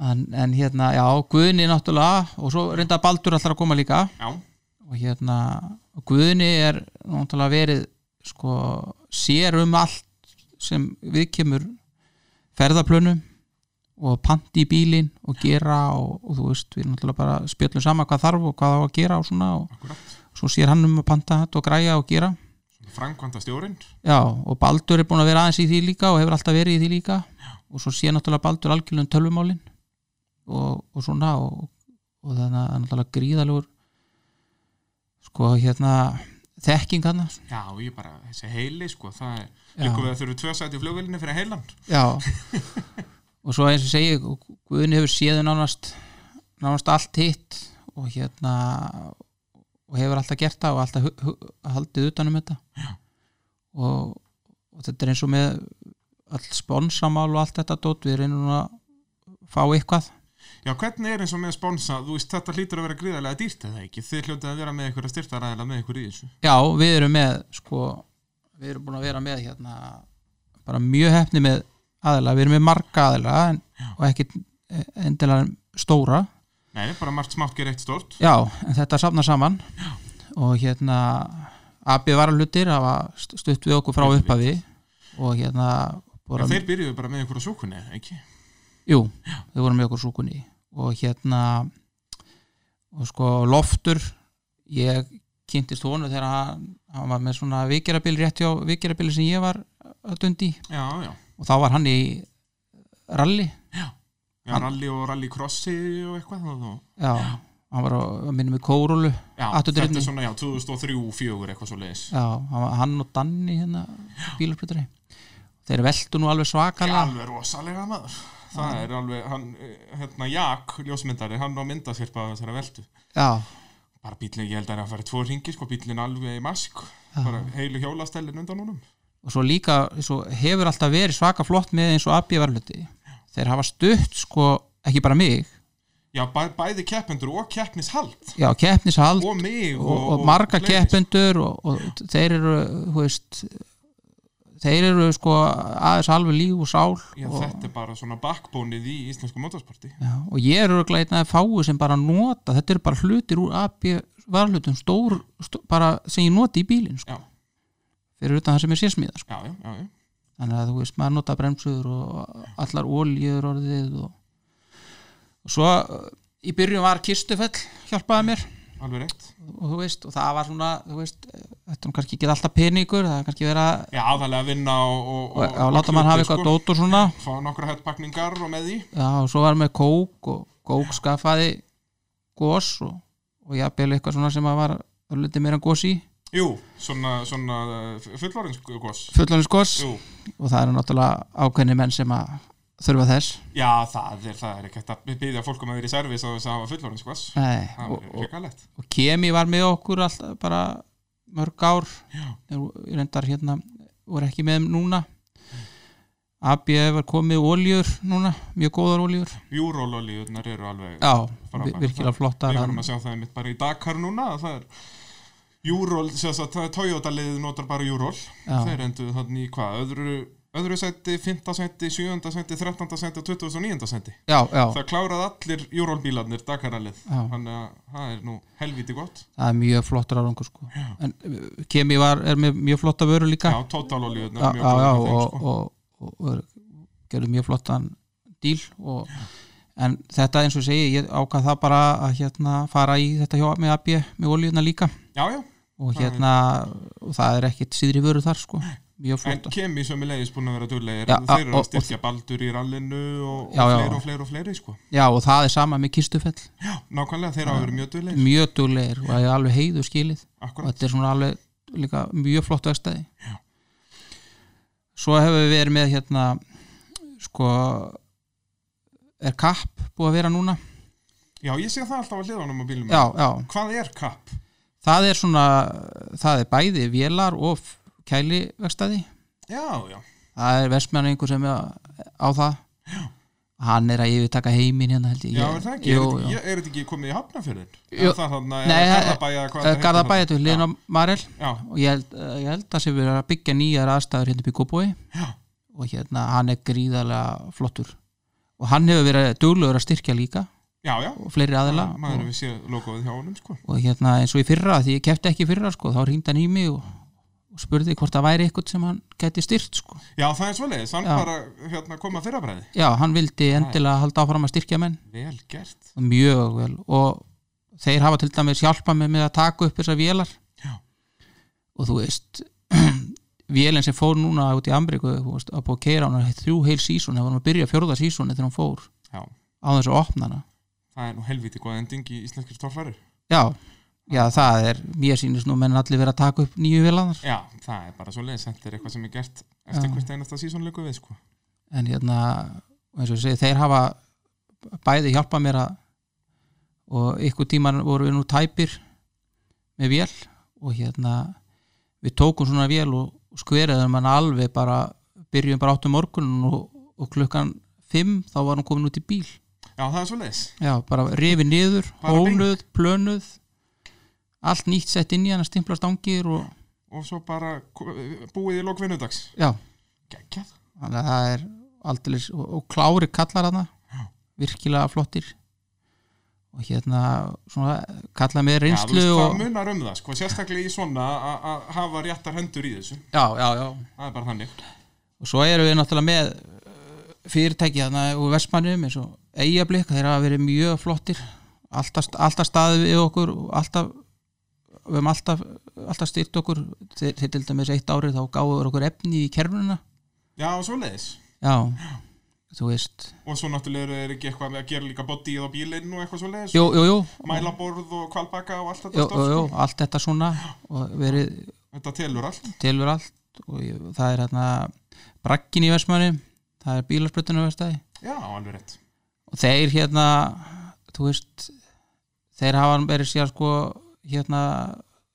Speaker 2: en, en hérna, já, Guðni náttúrulega og svo reynda Baldur allar að koma líka
Speaker 1: Já,
Speaker 2: og hérna, og Guðni er náttúrulega verið sko, sér um allt sem við kemur ferðaplönum og panti í bílinn og gera og, og þú veist, við náttúrulega bara spjöllum sama hvað þarf og hvað á að gera og svona og
Speaker 1: akkurat
Speaker 2: svo sér hann um að panta þetta og græja og gera
Speaker 1: Frankvanda stjórinn
Speaker 2: Já, og Baldur er búin að vera aðeins í því líka og hefur alltaf verið í því líka og svo sé náttúrulega Baldur algjörlega um tölvumálin og, og svona og, og þannig að hann er náttúrulega gríðalegur sko hérna þekking hann
Speaker 1: Já, ég bara, þessi heili sko Það er,
Speaker 2: Já.
Speaker 1: líka við að þurfum tvö sæti í flugvélinni fyrir heilan
Speaker 2: Já og svo eins og segi Guðni hefur séð nánast nánast allt hitt og hérna og hefur alltaf gert það og alltaf hu- hu- haldið utanum þetta og, og þetta er eins og með all sponsamál og allt þetta dót við reynum nú að fá eitthvað
Speaker 1: Já, hvernig er eins og með sponsa, þú veist, þetta hlýtur að vera gríðarlega dýrt eða ekki, þið hljótið að vera með ykkur að styrta ræðilega með ykkur í þessu.
Speaker 2: já við erum með sko við erum búin að vera með hérna bara mjög hefni með aðila við erum með marga aðila en, og ekki endilega stóra
Speaker 1: Nei, bara margt smátt gerir eitt stort.
Speaker 2: Já, en þetta safnar saman og hérna AB varahlutir hafa st- stutt við okkur frá
Speaker 1: Heldur
Speaker 2: upphafi og hérna
Speaker 1: Já,
Speaker 2: voru,
Speaker 1: þeir byrjuðu bara með ykkur á súkunni, eða ekki?
Speaker 2: jú, við vorum með okkur súkunni og hérna og sko loftur ég kynntist honu þegar hann, hann var með svona vikerabil rétt hjá vikerabili sem ég var að dundi í
Speaker 1: já, já,
Speaker 2: og þá var hann í rally
Speaker 1: já
Speaker 2: Hann-
Speaker 1: rally og rally crossi og eitthvað og, og,
Speaker 2: já, hann var á- að minna með Kórólu
Speaker 1: já,
Speaker 2: Afturdrifni.
Speaker 1: þetta er svona, já, 2003-04 eitthvað svo leiðis
Speaker 2: já, hann, var- hann og Danni hérna bílarbrutari þeir veltu nú alveg svakala
Speaker 1: alveg rosalega maður það er alveg, hann, eh, hérna, Jak ljósmyndari, hann á myndasirpa þessara veldu
Speaker 2: já,
Speaker 1: bara bílinn, ég held að hann að fara tvo ringi sko, bílinn alveg í mask bara heilu hjólastellin undan honum
Speaker 2: og svo líka svo hefur alltaf verið svaka flott með eins og AB varluti þeir hafa stutt sko, ekki bara mig
Speaker 1: já, bæ, bæði keppendur og keppnishald
Speaker 2: já, keppnishald
Speaker 1: og mig
Speaker 2: og, og, marga
Speaker 1: fleiri.
Speaker 2: keppendur og, og þeir eru þú veist, þeir eru sko aðeins alveg líf og sál
Speaker 1: já,
Speaker 2: og,
Speaker 1: þetta er bara svona backbónið í íslensku motorsporti
Speaker 2: já, og ég eru glæðin að fáu sem bara nota þetta eru bara hlutir úr AB varlutum stór, stór bara sem ég noti í bílinn sko.
Speaker 1: já,
Speaker 2: fyrir utan það sem er sérsmíða sko.
Speaker 1: já, já, já, já.
Speaker 2: þannig að þú veist, maður nota bremsuður og allar oljur orðið og, og svo uh, í byrjun var kistufell hjálpaði mér
Speaker 1: alveg rétt
Speaker 2: og þú veist, og það var svona þú veist, eh, þetta er nú kannski ekki alltaf peningur það er kannski verið að,
Speaker 1: já, aðalega að vinna og, og, sko.
Speaker 2: að, að láta mann hafa eitthvað dót og svona
Speaker 1: fá nokkra hettpakningar og með því
Speaker 2: já, og svo var með kók og kók skaffaði gós og, og jafnvel eitthvað svona sem að var örliti meira en gós í,
Speaker 1: jú, svona, svona fullorðinsgos
Speaker 2: fullanins gós
Speaker 1: jú
Speaker 2: og það eru náttúrulega ákveðni menn sem að þurfa þess
Speaker 1: Já, það er, það er ekki hægt að byggja fólkum að vera í servis á þess að hafa fullorðins, hvað?
Speaker 2: Nei,
Speaker 1: Það
Speaker 2: og,
Speaker 1: er
Speaker 2: og,
Speaker 1: hrikalegt.
Speaker 2: og Kemi var með okkur alltaf bara mörg ár
Speaker 1: Já.
Speaker 2: ég reyndar hérna voru ekki með þeim núna AB var komið oljur núna mjög góðar oljur
Speaker 1: Júrólolíurnar eru alveg...
Speaker 2: já, vi-
Speaker 1: frábærar.
Speaker 2: virkilega flottar
Speaker 1: Við
Speaker 2: hann-
Speaker 1: vorum að sjá það einmitt bara í Dakar núna, að það er... Júról, þess að Toyota liðið notar bara Júról.
Speaker 2: Já.
Speaker 1: Þeir endur þannig í hvað? Öðru, öðru seti, finta seti, sjöunda seti, þrettanda seti og 29. seti.
Speaker 2: já, já,
Speaker 1: Það kláraði allir Júrólbílarnir Dakaralið.
Speaker 2: Já.
Speaker 1: Þannig að það er nú helviti gott.
Speaker 2: það er mjög flottar árangur sko. en uh, Kemi var, er með mjög flotta vöru líka
Speaker 1: Já, totalolíurnar.
Speaker 2: já,
Speaker 1: mjög
Speaker 2: já,
Speaker 1: góðar
Speaker 2: já
Speaker 1: af þeim,
Speaker 2: og,
Speaker 1: sko.
Speaker 2: og, og, og gerðu mjög flottan díl og, en þetta eins og ég segi ég ákvað það bara að hérna, fara í þetta hjá með AB með oljuna líka
Speaker 1: Já, já.
Speaker 2: og hérna og það er ekkit síðri vöru þar sko mjög
Speaker 1: En
Speaker 2: flott
Speaker 1: Kemi sömulegis búin að vera duglegir
Speaker 2: Já,
Speaker 1: Þeir eru
Speaker 2: og-
Speaker 1: að styrkja Baldur í rallinu og,
Speaker 2: Já,
Speaker 1: og
Speaker 2: já.
Speaker 1: fleiri og fleiri og fleiri sko.
Speaker 2: já og það er sama með kistufell
Speaker 1: já, Nákvæmlega, þeir hafa verið mjög duglegir
Speaker 2: mjög duglegir og það er alveg heiðu skilið og
Speaker 1: Akkurat,
Speaker 2: þetta er svona alveg líka mjög flott vegstæði svo hefur við verið með hérna sko er kapp búið að vera núna
Speaker 1: Mm. já ég sé það alltaf að hliðanum á bílum
Speaker 2: já, já,
Speaker 1: Hvað er kapp?
Speaker 2: það er svona það er bæði vélar og kæli vegstæði
Speaker 1: Já, já,
Speaker 2: það er versmjörn einhver sem er á það hann er að yfirtaka heiminn hérna held ég
Speaker 1: já er það ekki?
Speaker 2: Jú,
Speaker 1: er, þetta,
Speaker 2: jú. Eh,
Speaker 1: ég, er þetta ekki komið í hafnafjörðin?
Speaker 2: Jú.
Speaker 1: Er það þarna,
Speaker 2: Nei,
Speaker 1: er
Speaker 2: það-
Speaker 1: Garðabæja
Speaker 2: Eh, Garðabæ, þetta er hliðin á Marel
Speaker 1: Já,
Speaker 2: og ég held, eh, ég held að sé verið að byggja nýjar aðstæður hérna upp í Kópói
Speaker 1: já,
Speaker 2: og hérna hann er gríðarlega flottur og hann hefur verið duglegur að styrkja líka
Speaker 1: já, já.
Speaker 2: og fleiri aðila
Speaker 1: Maður
Speaker 2: og,
Speaker 1: við séð logoðið hjá honum sko.
Speaker 2: og hérna eins og í fyrra því ég kefti ekki í fyrra sko, þá ringd hann í mig og, og spurði hvort það væri eitthvað sem hann gæti styrt sko.
Speaker 1: Já, það er svoleiðis, hann
Speaker 2: Já.
Speaker 1: bara hérna, koma fyrra bræði
Speaker 2: já, hann vildi endilega halda áfram að styrkja menn
Speaker 1: Vel gert
Speaker 2: mjög vel og þeir hafa til dæmis hjálpað mig með að taka upp þessar vélar
Speaker 1: Já.
Speaker 2: og þú veist vélinn sem fór núna út í Amriku þú veist, að búið að keira hann þrjú heil sísón það var hann að byrja fjórða sísóni þegar hann fór
Speaker 1: Já,
Speaker 2: á þessu opnana
Speaker 1: það er nú helviti góð ending í íslenskir torfæri
Speaker 2: já, já það er mér sýnist nú menn allir vera að taka upp nýju vélanar
Speaker 1: Já, það er bara svoleiðis, þetta er eitthvað sem er gert eftir
Speaker 2: Já.
Speaker 1: hvert einasta sísón leikum við sko.
Speaker 2: en hérna, eins og ég segi, þeir hafa bæði hjálpað mér að og ykkur tíman voru við nú tæpir með vél og hérna við tókum svona vél og skveriðum hann alveg bara, byrjum bara áttum morgun og, og klukkan fimm þá var hann komin út í bíl
Speaker 1: Já, það er svoleiðis
Speaker 2: já, bara rifi niður,
Speaker 1: Bara
Speaker 2: hóluð, plönuð allt nýtt sett inn í hann að stimpla stangir og
Speaker 1: og svo bara ko- búið í lok vinnudags
Speaker 2: já,
Speaker 1: Gægjað
Speaker 2: þannig að það er aldrei og, og klári kallar hana virkilega flottir og hérna svona kalla með
Speaker 1: Já, þú
Speaker 2: reynslu
Speaker 1: veist,
Speaker 2: og,
Speaker 1: það munar um það, sko, sérstaklega í svona að- að hafa réttar hendur í þessu
Speaker 2: já, já, já.
Speaker 1: það er bara þannig
Speaker 2: og svo erum við náttúrulega með uh, fyrirtæki þarna úr Vestmannum eins og Eyjablik, þeir hafa verið mjög flottir alltaf, alltaf staðið við okkur og alltaf við höfum alltaf, alltaf styrt okkur til, til til dæmis eitt árið þá gáður okkur efni í kerfuna
Speaker 1: Já, og svo leiðis
Speaker 2: já, þú veist
Speaker 1: Og svo náttúrulega er ekki eitthvað með að gera líka bodyið á bílinn og eitthvað svo leiðis
Speaker 2: jú, jú, jú,
Speaker 1: Mæla borð og kvalbaka og allt þetta
Speaker 2: jú,
Speaker 1: stoff,
Speaker 2: jú,
Speaker 1: sko.
Speaker 2: jú allt þetta svona og verið
Speaker 1: Þetta telur allt
Speaker 2: tilur allt og ég, það er hérna brakkin í versmanni það er bílarsplutinu verstaði
Speaker 1: Já, alveg rétt
Speaker 2: og þeir hérna þú veist þeir hafa verið síðan sko hérna,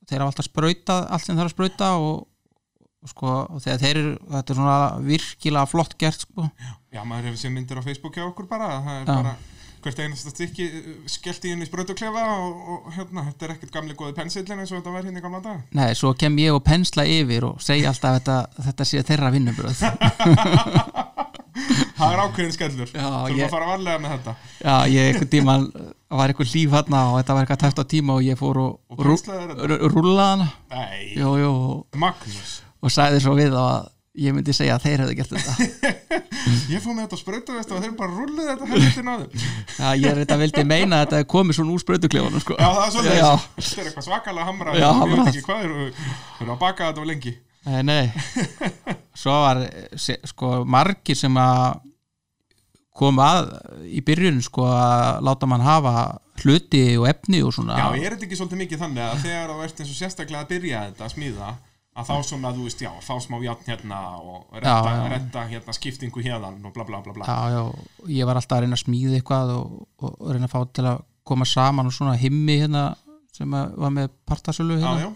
Speaker 2: þeir hafa alltaf sprauta allt sem þarf að sprauta og, og sko, og þegar þeir eru, þetta er svona virkilega flott gert sko
Speaker 1: Já, maður hefur séð myndir á Facebook hjá okkur bara það er
Speaker 2: Já.
Speaker 1: bara hvert einasta stykki uh, skellt í henni spröðuklefa og, og hérna, þetta er ekkert gamli góði pensillin eins og þetta var hérna í gamla dag
Speaker 2: Nei, svo kem ég og pensla yfir og segja alltaf þetta, þetta sé þeirra vinnubröð
Speaker 1: Það er ákveðin skellur
Speaker 2: Já,
Speaker 1: Þurfum
Speaker 2: ég-
Speaker 1: að fara varlega með þetta
Speaker 2: Já, ég einhvern tíman var eitthvað líf hérna og þetta var eitthvað tæft á tíma og ég fór og,
Speaker 1: Og penslaðir þetta?
Speaker 2: rú- rúllaði hana
Speaker 1: Nei,
Speaker 2: Jú, jú, og
Speaker 1: Magnús
Speaker 2: og sagði svo við þá að ég myndi segja að þeir hefðu gert þetta
Speaker 1: Ég fór með þetta sprautu og þeir bara rúlluð þetta helviti náður
Speaker 2: Já, ég er þetta vildi meina að þetta hefði komið svona úr sprautuklefanum sko.
Speaker 1: Já, það er svolítið
Speaker 2: Já.
Speaker 1: Þetta er eitthvað svakalega hamra
Speaker 2: Já,
Speaker 1: Ég veit
Speaker 2: hamrað.
Speaker 1: ekki hvað þeir eru Þeir eru að baka þetta á lengi
Speaker 2: Nei, nei Svo var eh, se- sko, margir sem að kom að í byrjun sko, að láta mann hafa hluti og efni og svona
Speaker 1: Já, er þetta ekki svolítið mikið þannig að þegar þú ert eins og sérstaklega að byrja þetta að smíða að þá svona, þú veist, já, þá smá játn hérna og retta,
Speaker 2: Mm. Já, já.
Speaker 1: retta hérna skiptingu hérna og bla bla bla bla
Speaker 2: já, já, og ég var alltaf að reyna að smíða eitthvað og, og, og reyna að fá til að koma saman og svona himmi hérna sem að var með partasölu
Speaker 1: Já,
Speaker 2: hérna.
Speaker 1: já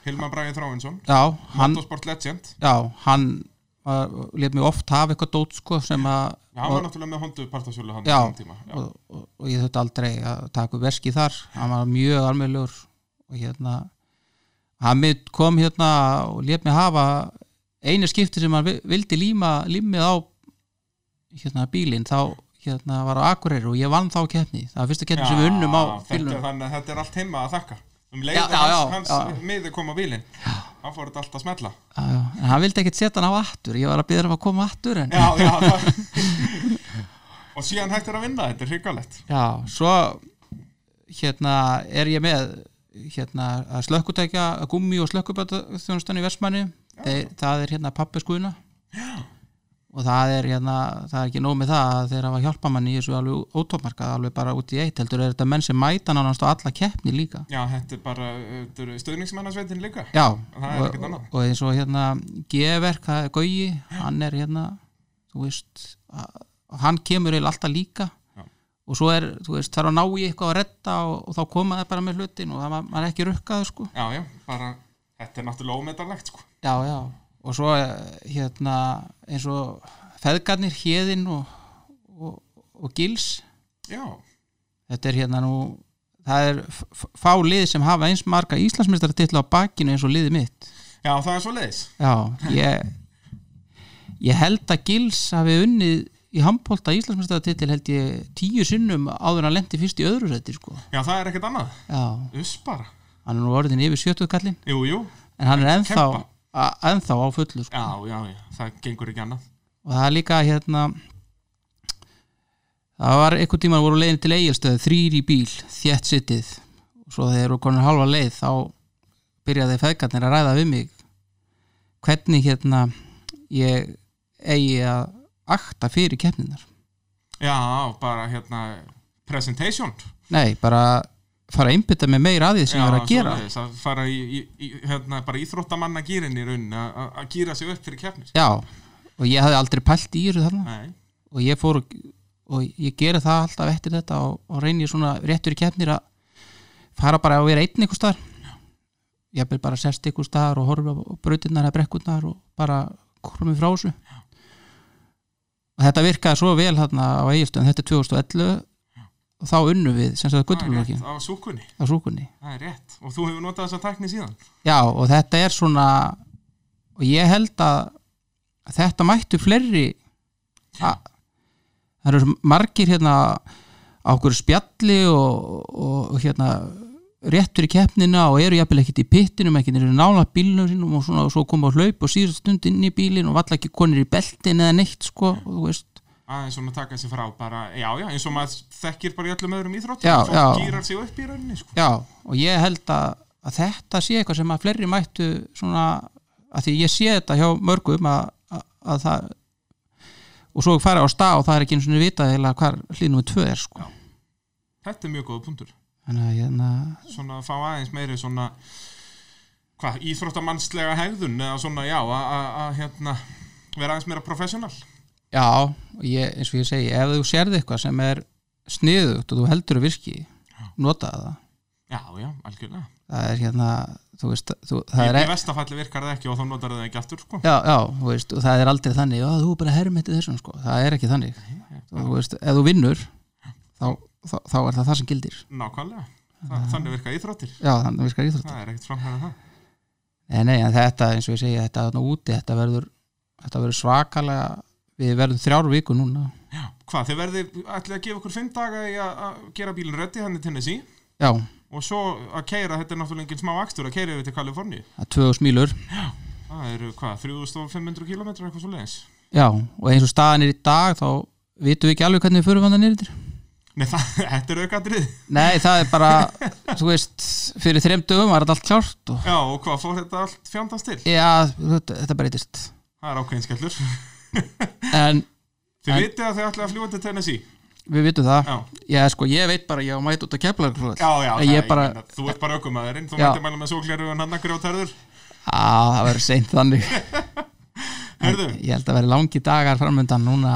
Speaker 1: Hilmar Bragi Þráinsson
Speaker 2: já, hann
Speaker 1: Motorsport Legend
Speaker 2: já, hann var, let mig oft hafa eitthvað dót sko sem að
Speaker 1: Já, hann var náttúrulega með hondu partasölu hann
Speaker 2: Já.
Speaker 1: á þeim tíma. já.
Speaker 2: og, og, og ég þurfti aldrei að taka upp veski þar, hann var mjög almennlegur og hérna hann mitt kom hérna og let mig hafa einu skipti sem hann vi- vildi líma, límið á hérna bílinn, þá hérna var á Akureyri og ég vann þá keppni það var fyrsta keppni sem við unnum á
Speaker 1: þetta, er
Speaker 2: bílunum
Speaker 1: þannig að þetta er allt heima að þakka um
Speaker 2: Já,
Speaker 1: leiða
Speaker 2: já, já,
Speaker 1: hans, hans
Speaker 2: já.
Speaker 1: miði kom á bílinn hann fór þetta allt að smetla
Speaker 2: Já, já, en hann vildi ekkert setja hann á aftur ég var að byrja um að koma aftur en
Speaker 1: já, já, það og síðan hættir að vinna, þetta er hrigalegt
Speaker 2: Já, svo hérna er ég með hérna að slökkutækja að gummi og slökkubætaþjónustan í Vestmanni Þeir, það er hérna pappi skuðuna og það er hérna það er ekki nóg með það að þeir hafa hjálpa manni í þessu alveg ótómarkað, alveg bara út í eitt heldur er þetta menn sem mæta nánast á alla keppni líka
Speaker 1: já, þetta er bara þetta eru stuðningsmannasveitin líka
Speaker 2: Já,
Speaker 1: Það er
Speaker 2: og,
Speaker 1: ekkert annað.
Speaker 2: og eins og hérna G-verk, það er Gauji, hann er hérna, þú veist að, hann kemur eiginlega alltaf líka
Speaker 1: Já.
Speaker 2: og svo er, þú veist, þarf að ná í eitthvað að redda og, og þá koma það bara með hlutin og það ma- maður er ekki rukkað, sko
Speaker 1: já, já, bara, þetta er náttúrulega ómetarlegt sko.
Speaker 2: Já, já, og svo eh, hérna, eins og feðgarnir, hérðin og, og, og gils
Speaker 1: já,
Speaker 2: þetta er hérna nú það er f- f- fá lið sem hafa eins marga Íslandsmeistar á bakinu eins og liðið mitt
Speaker 1: já, það er svo leiðis
Speaker 2: Já, ég ég held að Gils hafi unnið í handbólta Íslandsmyndstöðatitil held ég tíu sinnum áður en hann lendi fyrst í öðru sæti sko.
Speaker 1: já, það er ekkert annað,
Speaker 2: Já,
Speaker 1: us bara
Speaker 2: hann er nú orðin yfir 70 kallinn
Speaker 1: jú, jú,
Speaker 2: en hann er ennþá,
Speaker 1: Kempa.
Speaker 2: a- ennþá á fullu sko.
Speaker 1: já, já, já, það gengur ekki annað
Speaker 2: og það er líka hérna það var einhvern tímann voru leiðin til eigilstöð þrýr í bíl, þjætt sittið og svo þegar eru konar halva leið þá byrjaði feðgarnir að ræða við mig hvernig hérna ég eigi að akta fyrir keppninar
Speaker 1: já, bara hérna presentation
Speaker 2: nei, bara fara að einbytta mig meira að því sem ég er að gera
Speaker 1: svoleiðis, að fara í, í, í hérna, bara íþróttamanna gýrin í raunin að gýra sig upp fyrir keppnis
Speaker 2: já, og ég hafði aldrei pælt í þessu þarna
Speaker 1: Nei,
Speaker 2: og ég fór og, og ég geri það alltaf eftir þetta og, og reyni svona réttur í keppnir að fara bara að vera einn einhver staðar ég byrði bara að sest einhver staðar og horfa á brautinnar eða brekkurnar og bara komið frá þessu og þetta virkaði svo vel þarna á Egilstöðum, þetta er 2011 og þá unnum við sem sagt
Speaker 1: það er rétt
Speaker 2: gullumlokkin
Speaker 1: á súkunni
Speaker 2: á súkunni
Speaker 1: Það er rétt og þú hefur notað þessa tækni síðan
Speaker 2: Já, og þetta er svona og ég held að þetta mættu fleiri að það eru margir hérna á okkur spjalli og, og, og hérna réttur í keppnina og eru jafnvel ekkert í pittinum ekkert eru nála bílnum sínum og svona og svo koma á hlaup og síðast stund inn í bílinn og valla ekki konir í beltin eða neitt sko og þú veist
Speaker 1: aðeins svona taka sér frá bara, já, já, eins og maður þekkir bara í öllum öðrum íþróttum
Speaker 2: Já,
Speaker 1: fólk
Speaker 2: já.
Speaker 1: gýrar sig upp í rauninni sko.
Speaker 2: Já, og ég held að að þetta sé eitthvað sem að fleiri mættu svona, að því ég sé þetta hjá mörgum að, að, að það og svo fara á stað og það er ekki einu svona vitað eða hvar hlýnum við tvö er sko.
Speaker 1: Þetta er mjög góða punktur
Speaker 2: þannig að hérna,
Speaker 1: Svona að fá aðeins meiri svona Hvað, íþróttamannslega hegðun eða svona, já, að- að að, hérna vera aðeins meira professional
Speaker 2: já, og ég, eins og ég segi ef þú sérð eitthvað sem er sniðugt og þú heldur að virki notaðu það
Speaker 1: Já, já, algjörlega
Speaker 2: það er hérna, þú veist þú, það
Speaker 1: Í
Speaker 2: er, e-
Speaker 1: í versta falli virkar það ekki og þá notar það ekki aftur, sko
Speaker 2: já, já, þú veist, og það er aldrei þannig að þú er bara hermiti þessum sko. það er ekki þannig þú veist, ef þú vinnur þá, þá, þá er það það sem gildir
Speaker 1: Nákvæmlega, Þa, þannig virka íþróttir
Speaker 2: já, þannig virkar íþrótt
Speaker 1: Það er ekkert framhæra það
Speaker 2: nei, nei, en þetta, eins og ég segi, þetta þarna úti þetta verður, þetta verður svakalega við verðum þrjár viku núna
Speaker 1: Já, hvað, þið verðið ætlið að gefa okkur fimm daga í að að gera bílinn reddi hann í Tennessee
Speaker 2: já,
Speaker 1: og svo að keira, þetta er náttúrulega engin smá akstur að keira yfir til Kaliforníu
Speaker 2: það er tvö smílur
Speaker 1: Það eru hvað, 3500 km eitthvað svo leiðis
Speaker 2: já, og eins og staðan er í dag þá vitum við ekki alveg hvernig við förum vandar nýrðir
Speaker 1: Nei, það, þetta er aukaðrið
Speaker 2: nei, það er bara, þú veist fyrir þreim dögum var þetta allt klárt og
Speaker 1: Já, og hvað, fór þetta allt fjandast til?
Speaker 2: já, þetta, þetta breytist
Speaker 1: Það er ákveðin skellur
Speaker 2: en
Speaker 1: Þið
Speaker 2: En-
Speaker 1: vitið að þið ætlaði að fljúa til Tennessee
Speaker 2: við vitum það
Speaker 1: Já,
Speaker 2: já, sko, ég veit bara, ég á mæt út að kepla
Speaker 1: já, já
Speaker 2: ég
Speaker 1: það-
Speaker 2: bara,
Speaker 1: meina, Þú ert bara aukumæðurinn, þú
Speaker 2: Já.
Speaker 1: mætti mæla með sókleru en hann að grjótarður
Speaker 2: á, það verður seint þannig
Speaker 1: Herðu,
Speaker 2: ég held að verði langi dagar framöndan núna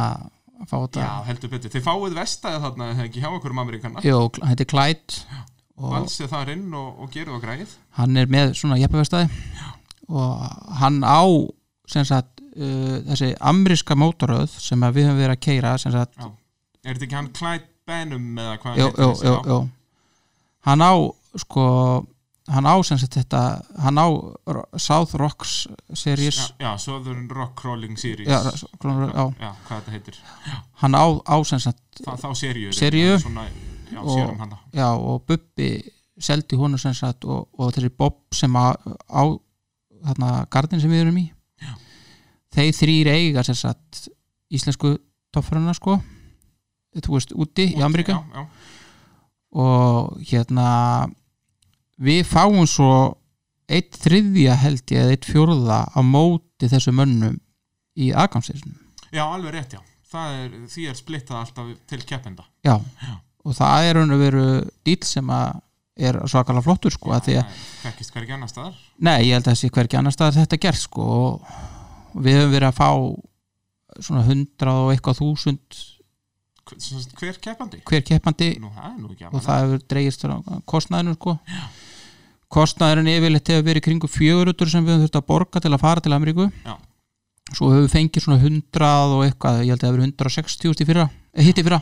Speaker 2: að fá þetta
Speaker 1: já, heldur betur Þið fáið vestæði þarna, er það ekki hjá okkur um Amerikana
Speaker 2: Jó, hætti Clyde og
Speaker 1: Valsið þar inn og, og gerðu og græð
Speaker 2: hann er með svona jeppavestæði og hann á sem sagt uh, þessi amriska mótoröð sem að við höfum verið að keira sem sagt,
Speaker 1: Já. Er þetta ekki hann Clyde Benum eða hvað
Speaker 2: jú,
Speaker 1: heitir
Speaker 2: jú,
Speaker 1: þessi?
Speaker 2: jú,
Speaker 1: Já.
Speaker 2: jú hann á sko hann á sem sagt þetta hann á Ro- South Rocks series
Speaker 1: Já, já, Southern Rock Crawling Series
Speaker 2: já, já, já,
Speaker 1: Já, hvað þetta heitir
Speaker 2: hann á, á sem sagt
Speaker 1: Þa, Þá serju
Speaker 2: Seríu.
Speaker 1: Svona, já,
Speaker 2: Og-
Speaker 1: sérum hana
Speaker 2: já, og Bubbi seldi honum sem sagt og, og þessi Bob sem á, á þarna gardin sem við erum í
Speaker 1: Já.
Speaker 2: þeir þrýr eiga sem sagt íslensku toppfæruna sko þú veist úti í Ameríku
Speaker 1: Já, já,
Speaker 2: og hérna við fáum svo eitt þriðja held ég eða eitt fjórða á móti þessu mönnum í aðgangsleysinu
Speaker 1: já, alveg rétt, já Það er, því er splittað alltaf til keppenda
Speaker 2: já.
Speaker 1: Já.
Speaker 2: og það er hann að veru dýl sem að er svakalega flottur sko að því að
Speaker 1: Það er- Þekkist hvergi annar staðar
Speaker 2: Nei, ég held að það sé hvergi annars staðar þetta gert sko og við höfum verið að fá svona hundrað og eitthvað þúsund
Speaker 1: Hver, sem sagt, hver keppandi?
Speaker 2: hver keppandi
Speaker 1: Nú, það er nú ekki
Speaker 2: og
Speaker 1: að
Speaker 2: það hefur dreigist á kostnaðinu sko kostnaðurinn yfirleitt hefur verið kringu fjögurutur sem við höfum þurft að borga til að fara til Ameríku
Speaker 1: Já.
Speaker 2: svo höfum við fengið svona hundrað og eitthvað, ég held að það hefur 160 í fyrra, eh, hitt í fyrra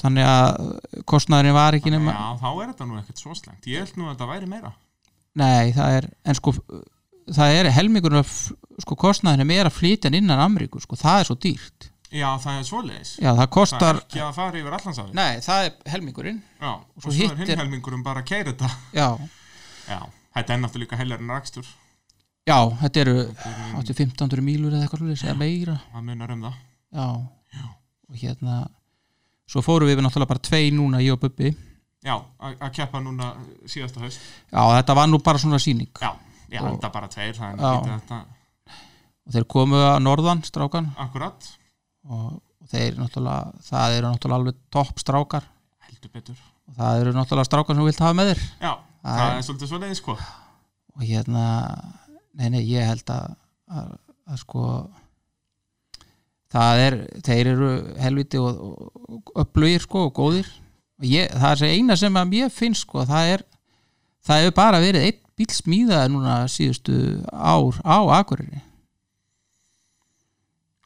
Speaker 2: þannig að kostnaðurinn var ekki nema
Speaker 1: Já, þá er þetta nú ekkert svo slengt Ég held nú að þetta væri meira
Speaker 2: Nei, það er, en sko það er helmingur af sko kostnaðinu meira að flytja hann innan Ameríku sko, það er svo dýrt
Speaker 1: Já, það er svoleiðis
Speaker 2: Já, það
Speaker 1: Það er
Speaker 2: kostar,
Speaker 1: ekki að fara yfir allansafi
Speaker 2: nei, það er helmingurinn
Speaker 1: Já, og
Speaker 2: svo
Speaker 1: svo er
Speaker 2: hitt
Speaker 1: hinn
Speaker 2: er-
Speaker 1: helmingurum bara að keira þetta
Speaker 2: Já,
Speaker 1: Já, þetta er náttúrulega heilar en rakstur
Speaker 2: já, þetta eru 8-1500 mílur eða eitthvað svoleiðis, eða meira
Speaker 1: Það munar um það
Speaker 2: Já, og hérna svo fórum við náttúrulega bara tvei núna ég og Bubbi
Speaker 1: Já, að að keppa núna uh, síðasta haust
Speaker 2: Já, þetta var nú bara svona sýning
Speaker 1: Já, já,
Speaker 2: Og-
Speaker 1: enda bara tveir Það er
Speaker 2: Já.
Speaker 1: ekki þetta
Speaker 2: og þeir komu að norðan, strákan
Speaker 1: akkurat
Speaker 2: og, og þeir náttúrulega, það eru náttúrulega alveg topp strákar
Speaker 1: Heldur betur
Speaker 2: og það eru náttúrulega strákar sem þú vilt hafa með þér
Speaker 1: Já, það
Speaker 2: er-
Speaker 1: er svolítið svo leiðis sko
Speaker 2: og hérna nei, nei, ég held að, að, að sko það er, þeir eru helviti og, og upplugir sko og góðir og ég, það er það eina sem að mér finnst sko, það er það hefur bara verið einn bíl smíðaði núna síðustu ár á Akureyri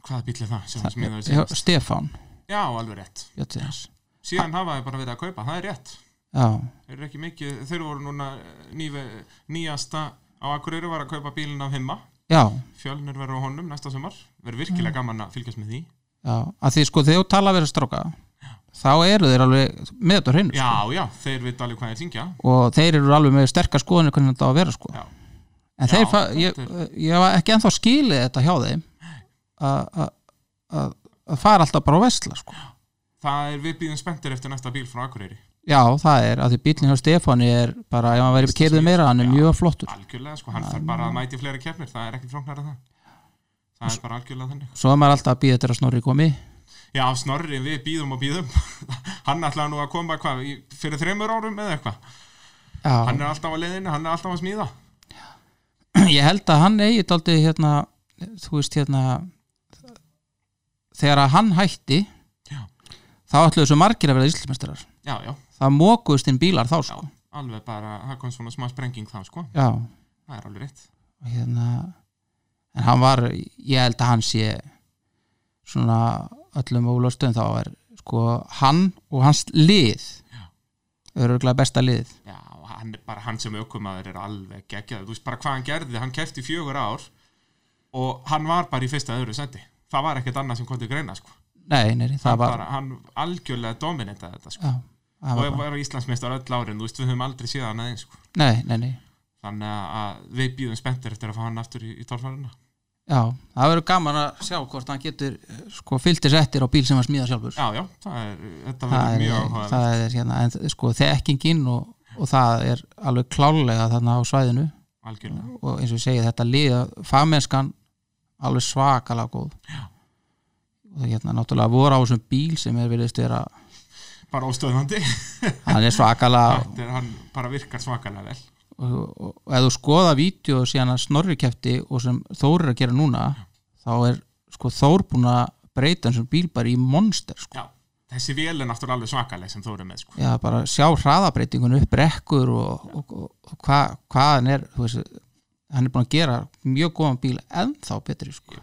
Speaker 1: Hvaða bíl er það sem það smiðaði
Speaker 2: Hjá
Speaker 1: síðast?
Speaker 2: Stefán
Speaker 1: Já, alveg rétt
Speaker 2: Björnsins
Speaker 1: Síðan hafa þið bara verið að kaupa, það er rétt
Speaker 2: já,
Speaker 1: Þeir eru ekki mikið, þeir voru núna eh, nýve, nýjasta á Akureyri var að kaupa bílinn af himma
Speaker 2: já,
Speaker 1: Fjölnir verður á honum næsta sumar Verður virkilega gaman að fylgjast með því
Speaker 2: já að því sko þegar þú tala verið að stráka þá eru þeir alveg með þetta á hreinu sko.
Speaker 1: Já, já, þeir vita alveg hvað þeir syngja
Speaker 2: og þeir eru alveg með sterkar skoðanir hvernig þetta á að vera sko
Speaker 1: Já.
Speaker 2: en
Speaker 1: Já,
Speaker 2: þeir, fa- ég,
Speaker 1: þetta
Speaker 2: ég var ekki ennþá skilið þetta hjá þeim að- að að- að fara alltaf bara á vesla sko.
Speaker 1: Það er við býðum spenntir eftir næsta bíl frá Akureyri
Speaker 2: já, það er, að því bílinn hjá Stefáni er bara, ef hann væri keirðið meira, hann er
Speaker 1: Já.
Speaker 2: mjög flottur
Speaker 1: algjörlega sko, hann þarf bara að mæti fleiri keppnir það er ekki fróknar að það það er bara algjörlega þannig
Speaker 2: svo er maður alltaf að býða þetta að snorri komi
Speaker 1: já, snorri, við býðum og býðum hann ætlaði nú að koma hvað, í- fyrir þreymur árum eða eitthvað
Speaker 2: já,
Speaker 1: hann er alltaf á leiðinu, hann er alltaf að smíða
Speaker 2: ég held að hann eigi daldi hérna, þú veist hérna þegar að hann hætti
Speaker 1: Já.
Speaker 2: þá ætluðu svo margir að vera íslmestrar
Speaker 1: já, já,
Speaker 2: það mókuðust inn bílar þá sko
Speaker 1: alveg bara, það kom svona smá sprenging þá sko,
Speaker 2: já,
Speaker 1: það er alveg rétt
Speaker 2: og hérna en hann var, ég held að hann sé svona öllum ólöstum þá er sko hann og hans lið öruglega besta lið
Speaker 1: Já, og hann, er bara hann sem aukumæður er alveg geggjaður, þú veist bara hvað hann gerði, hann kefti fjögur ár og hann var bara í fyrsta öðru sendi, það var ekkert annað sem kom til greina sko,
Speaker 2: nei, nei, það
Speaker 1: hann,
Speaker 2: var
Speaker 1: bara, hann algjörlega dominantaði þetta sko,
Speaker 2: já, það
Speaker 1: og
Speaker 2: var
Speaker 1: var,
Speaker 2: bara,
Speaker 1: var Íslandsmeistar öll árin, þú veist við höfum aldrei séð hann aðeins sko,
Speaker 2: nei, nei, nei
Speaker 1: þannig að við býðum spenntir eftir að fá hann aftur í, í tólfarina.
Speaker 2: já, það verður gaman að sjá hvort hann getur eh, sko fylgtis eftir á bíl sem hann smíða sjálfur
Speaker 1: Já, já, það er, þetta
Speaker 2: það
Speaker 1: verður
Speaker 2: er,
Speaker 1: mjög áhugað.
Speaker 2: það er hérna en þ- sko þekkingin og, og það er alveg klálega þarna á svæðinu
Speaker 1: algjörlega,
Speaker 2: og eins og ég segi þetta liða fagmennskan alveg svakalega góð Já. og hérna náttúrulega voru á þessum bíl sem er viljast vera
Speaker 1: bara óstöðvandi,
Speaker 2: hann er svakalega
Speaker 1: Þetta er- hann bara virkar svakalega vel.
Speaker 2: og, og, og ef þú skoða vídeo síðan að snorri kefti og sem Þór er að gera núna þá er sko Þór búin að breyta þessum bíl bara í monster sko.
Speaker 1: Já, þessi vél er náttúrulega alveg svakaleg sem þú eru með sko.
Speaker 2: Já, bara sjá hraðabreitingun upp rekkur og, og, og, og hvað hva hann er þú veist, hann er búin að gera mjög góðan bíl ennþá betri sko.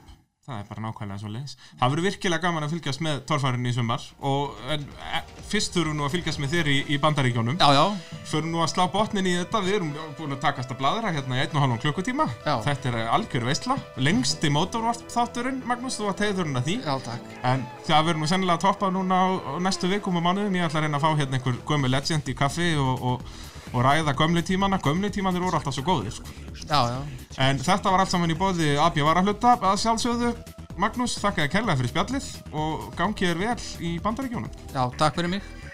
Speaker 1: það er bara nákvæmlega svo leiðis það verður virkilega gaman að fylgjast með torfærinni í sumar og en, e, fyrst þurfum nú að fylgjast með þér í, í bandaríkjónum
Speaker 2: Já, já,
Speaker 1: förum nú að slá botnin í þetta við erum búin að takast að bladra hérna í einn og halvan klukkutíma
Speaker 2: Já.
Speaker 1: þetta er algjör veisla lengsti mótorvart þátturinn Magnús, þú var tegðurinn að því
Speaker 2: já takk
Speaker 1: en það verður nú sennilega að toppa núna á, á næstu vikum og mánuðum ég ætla að reyna að fá hérna einhver gömmu legend í kaffi og, og, og ræða gömlu tímana gömlu tímanir voru alltaf svo góðir sko.
Speaker 2: Já, já,
Speaker 1: En þetta var allt saman í bóði AB Varahluta að sjálfsögðu. Magnús, þakka þér kærlega fyrir spjallið og gangi þér vel í bandaríkjónum.
Speaker 2: já, takk fyrir mig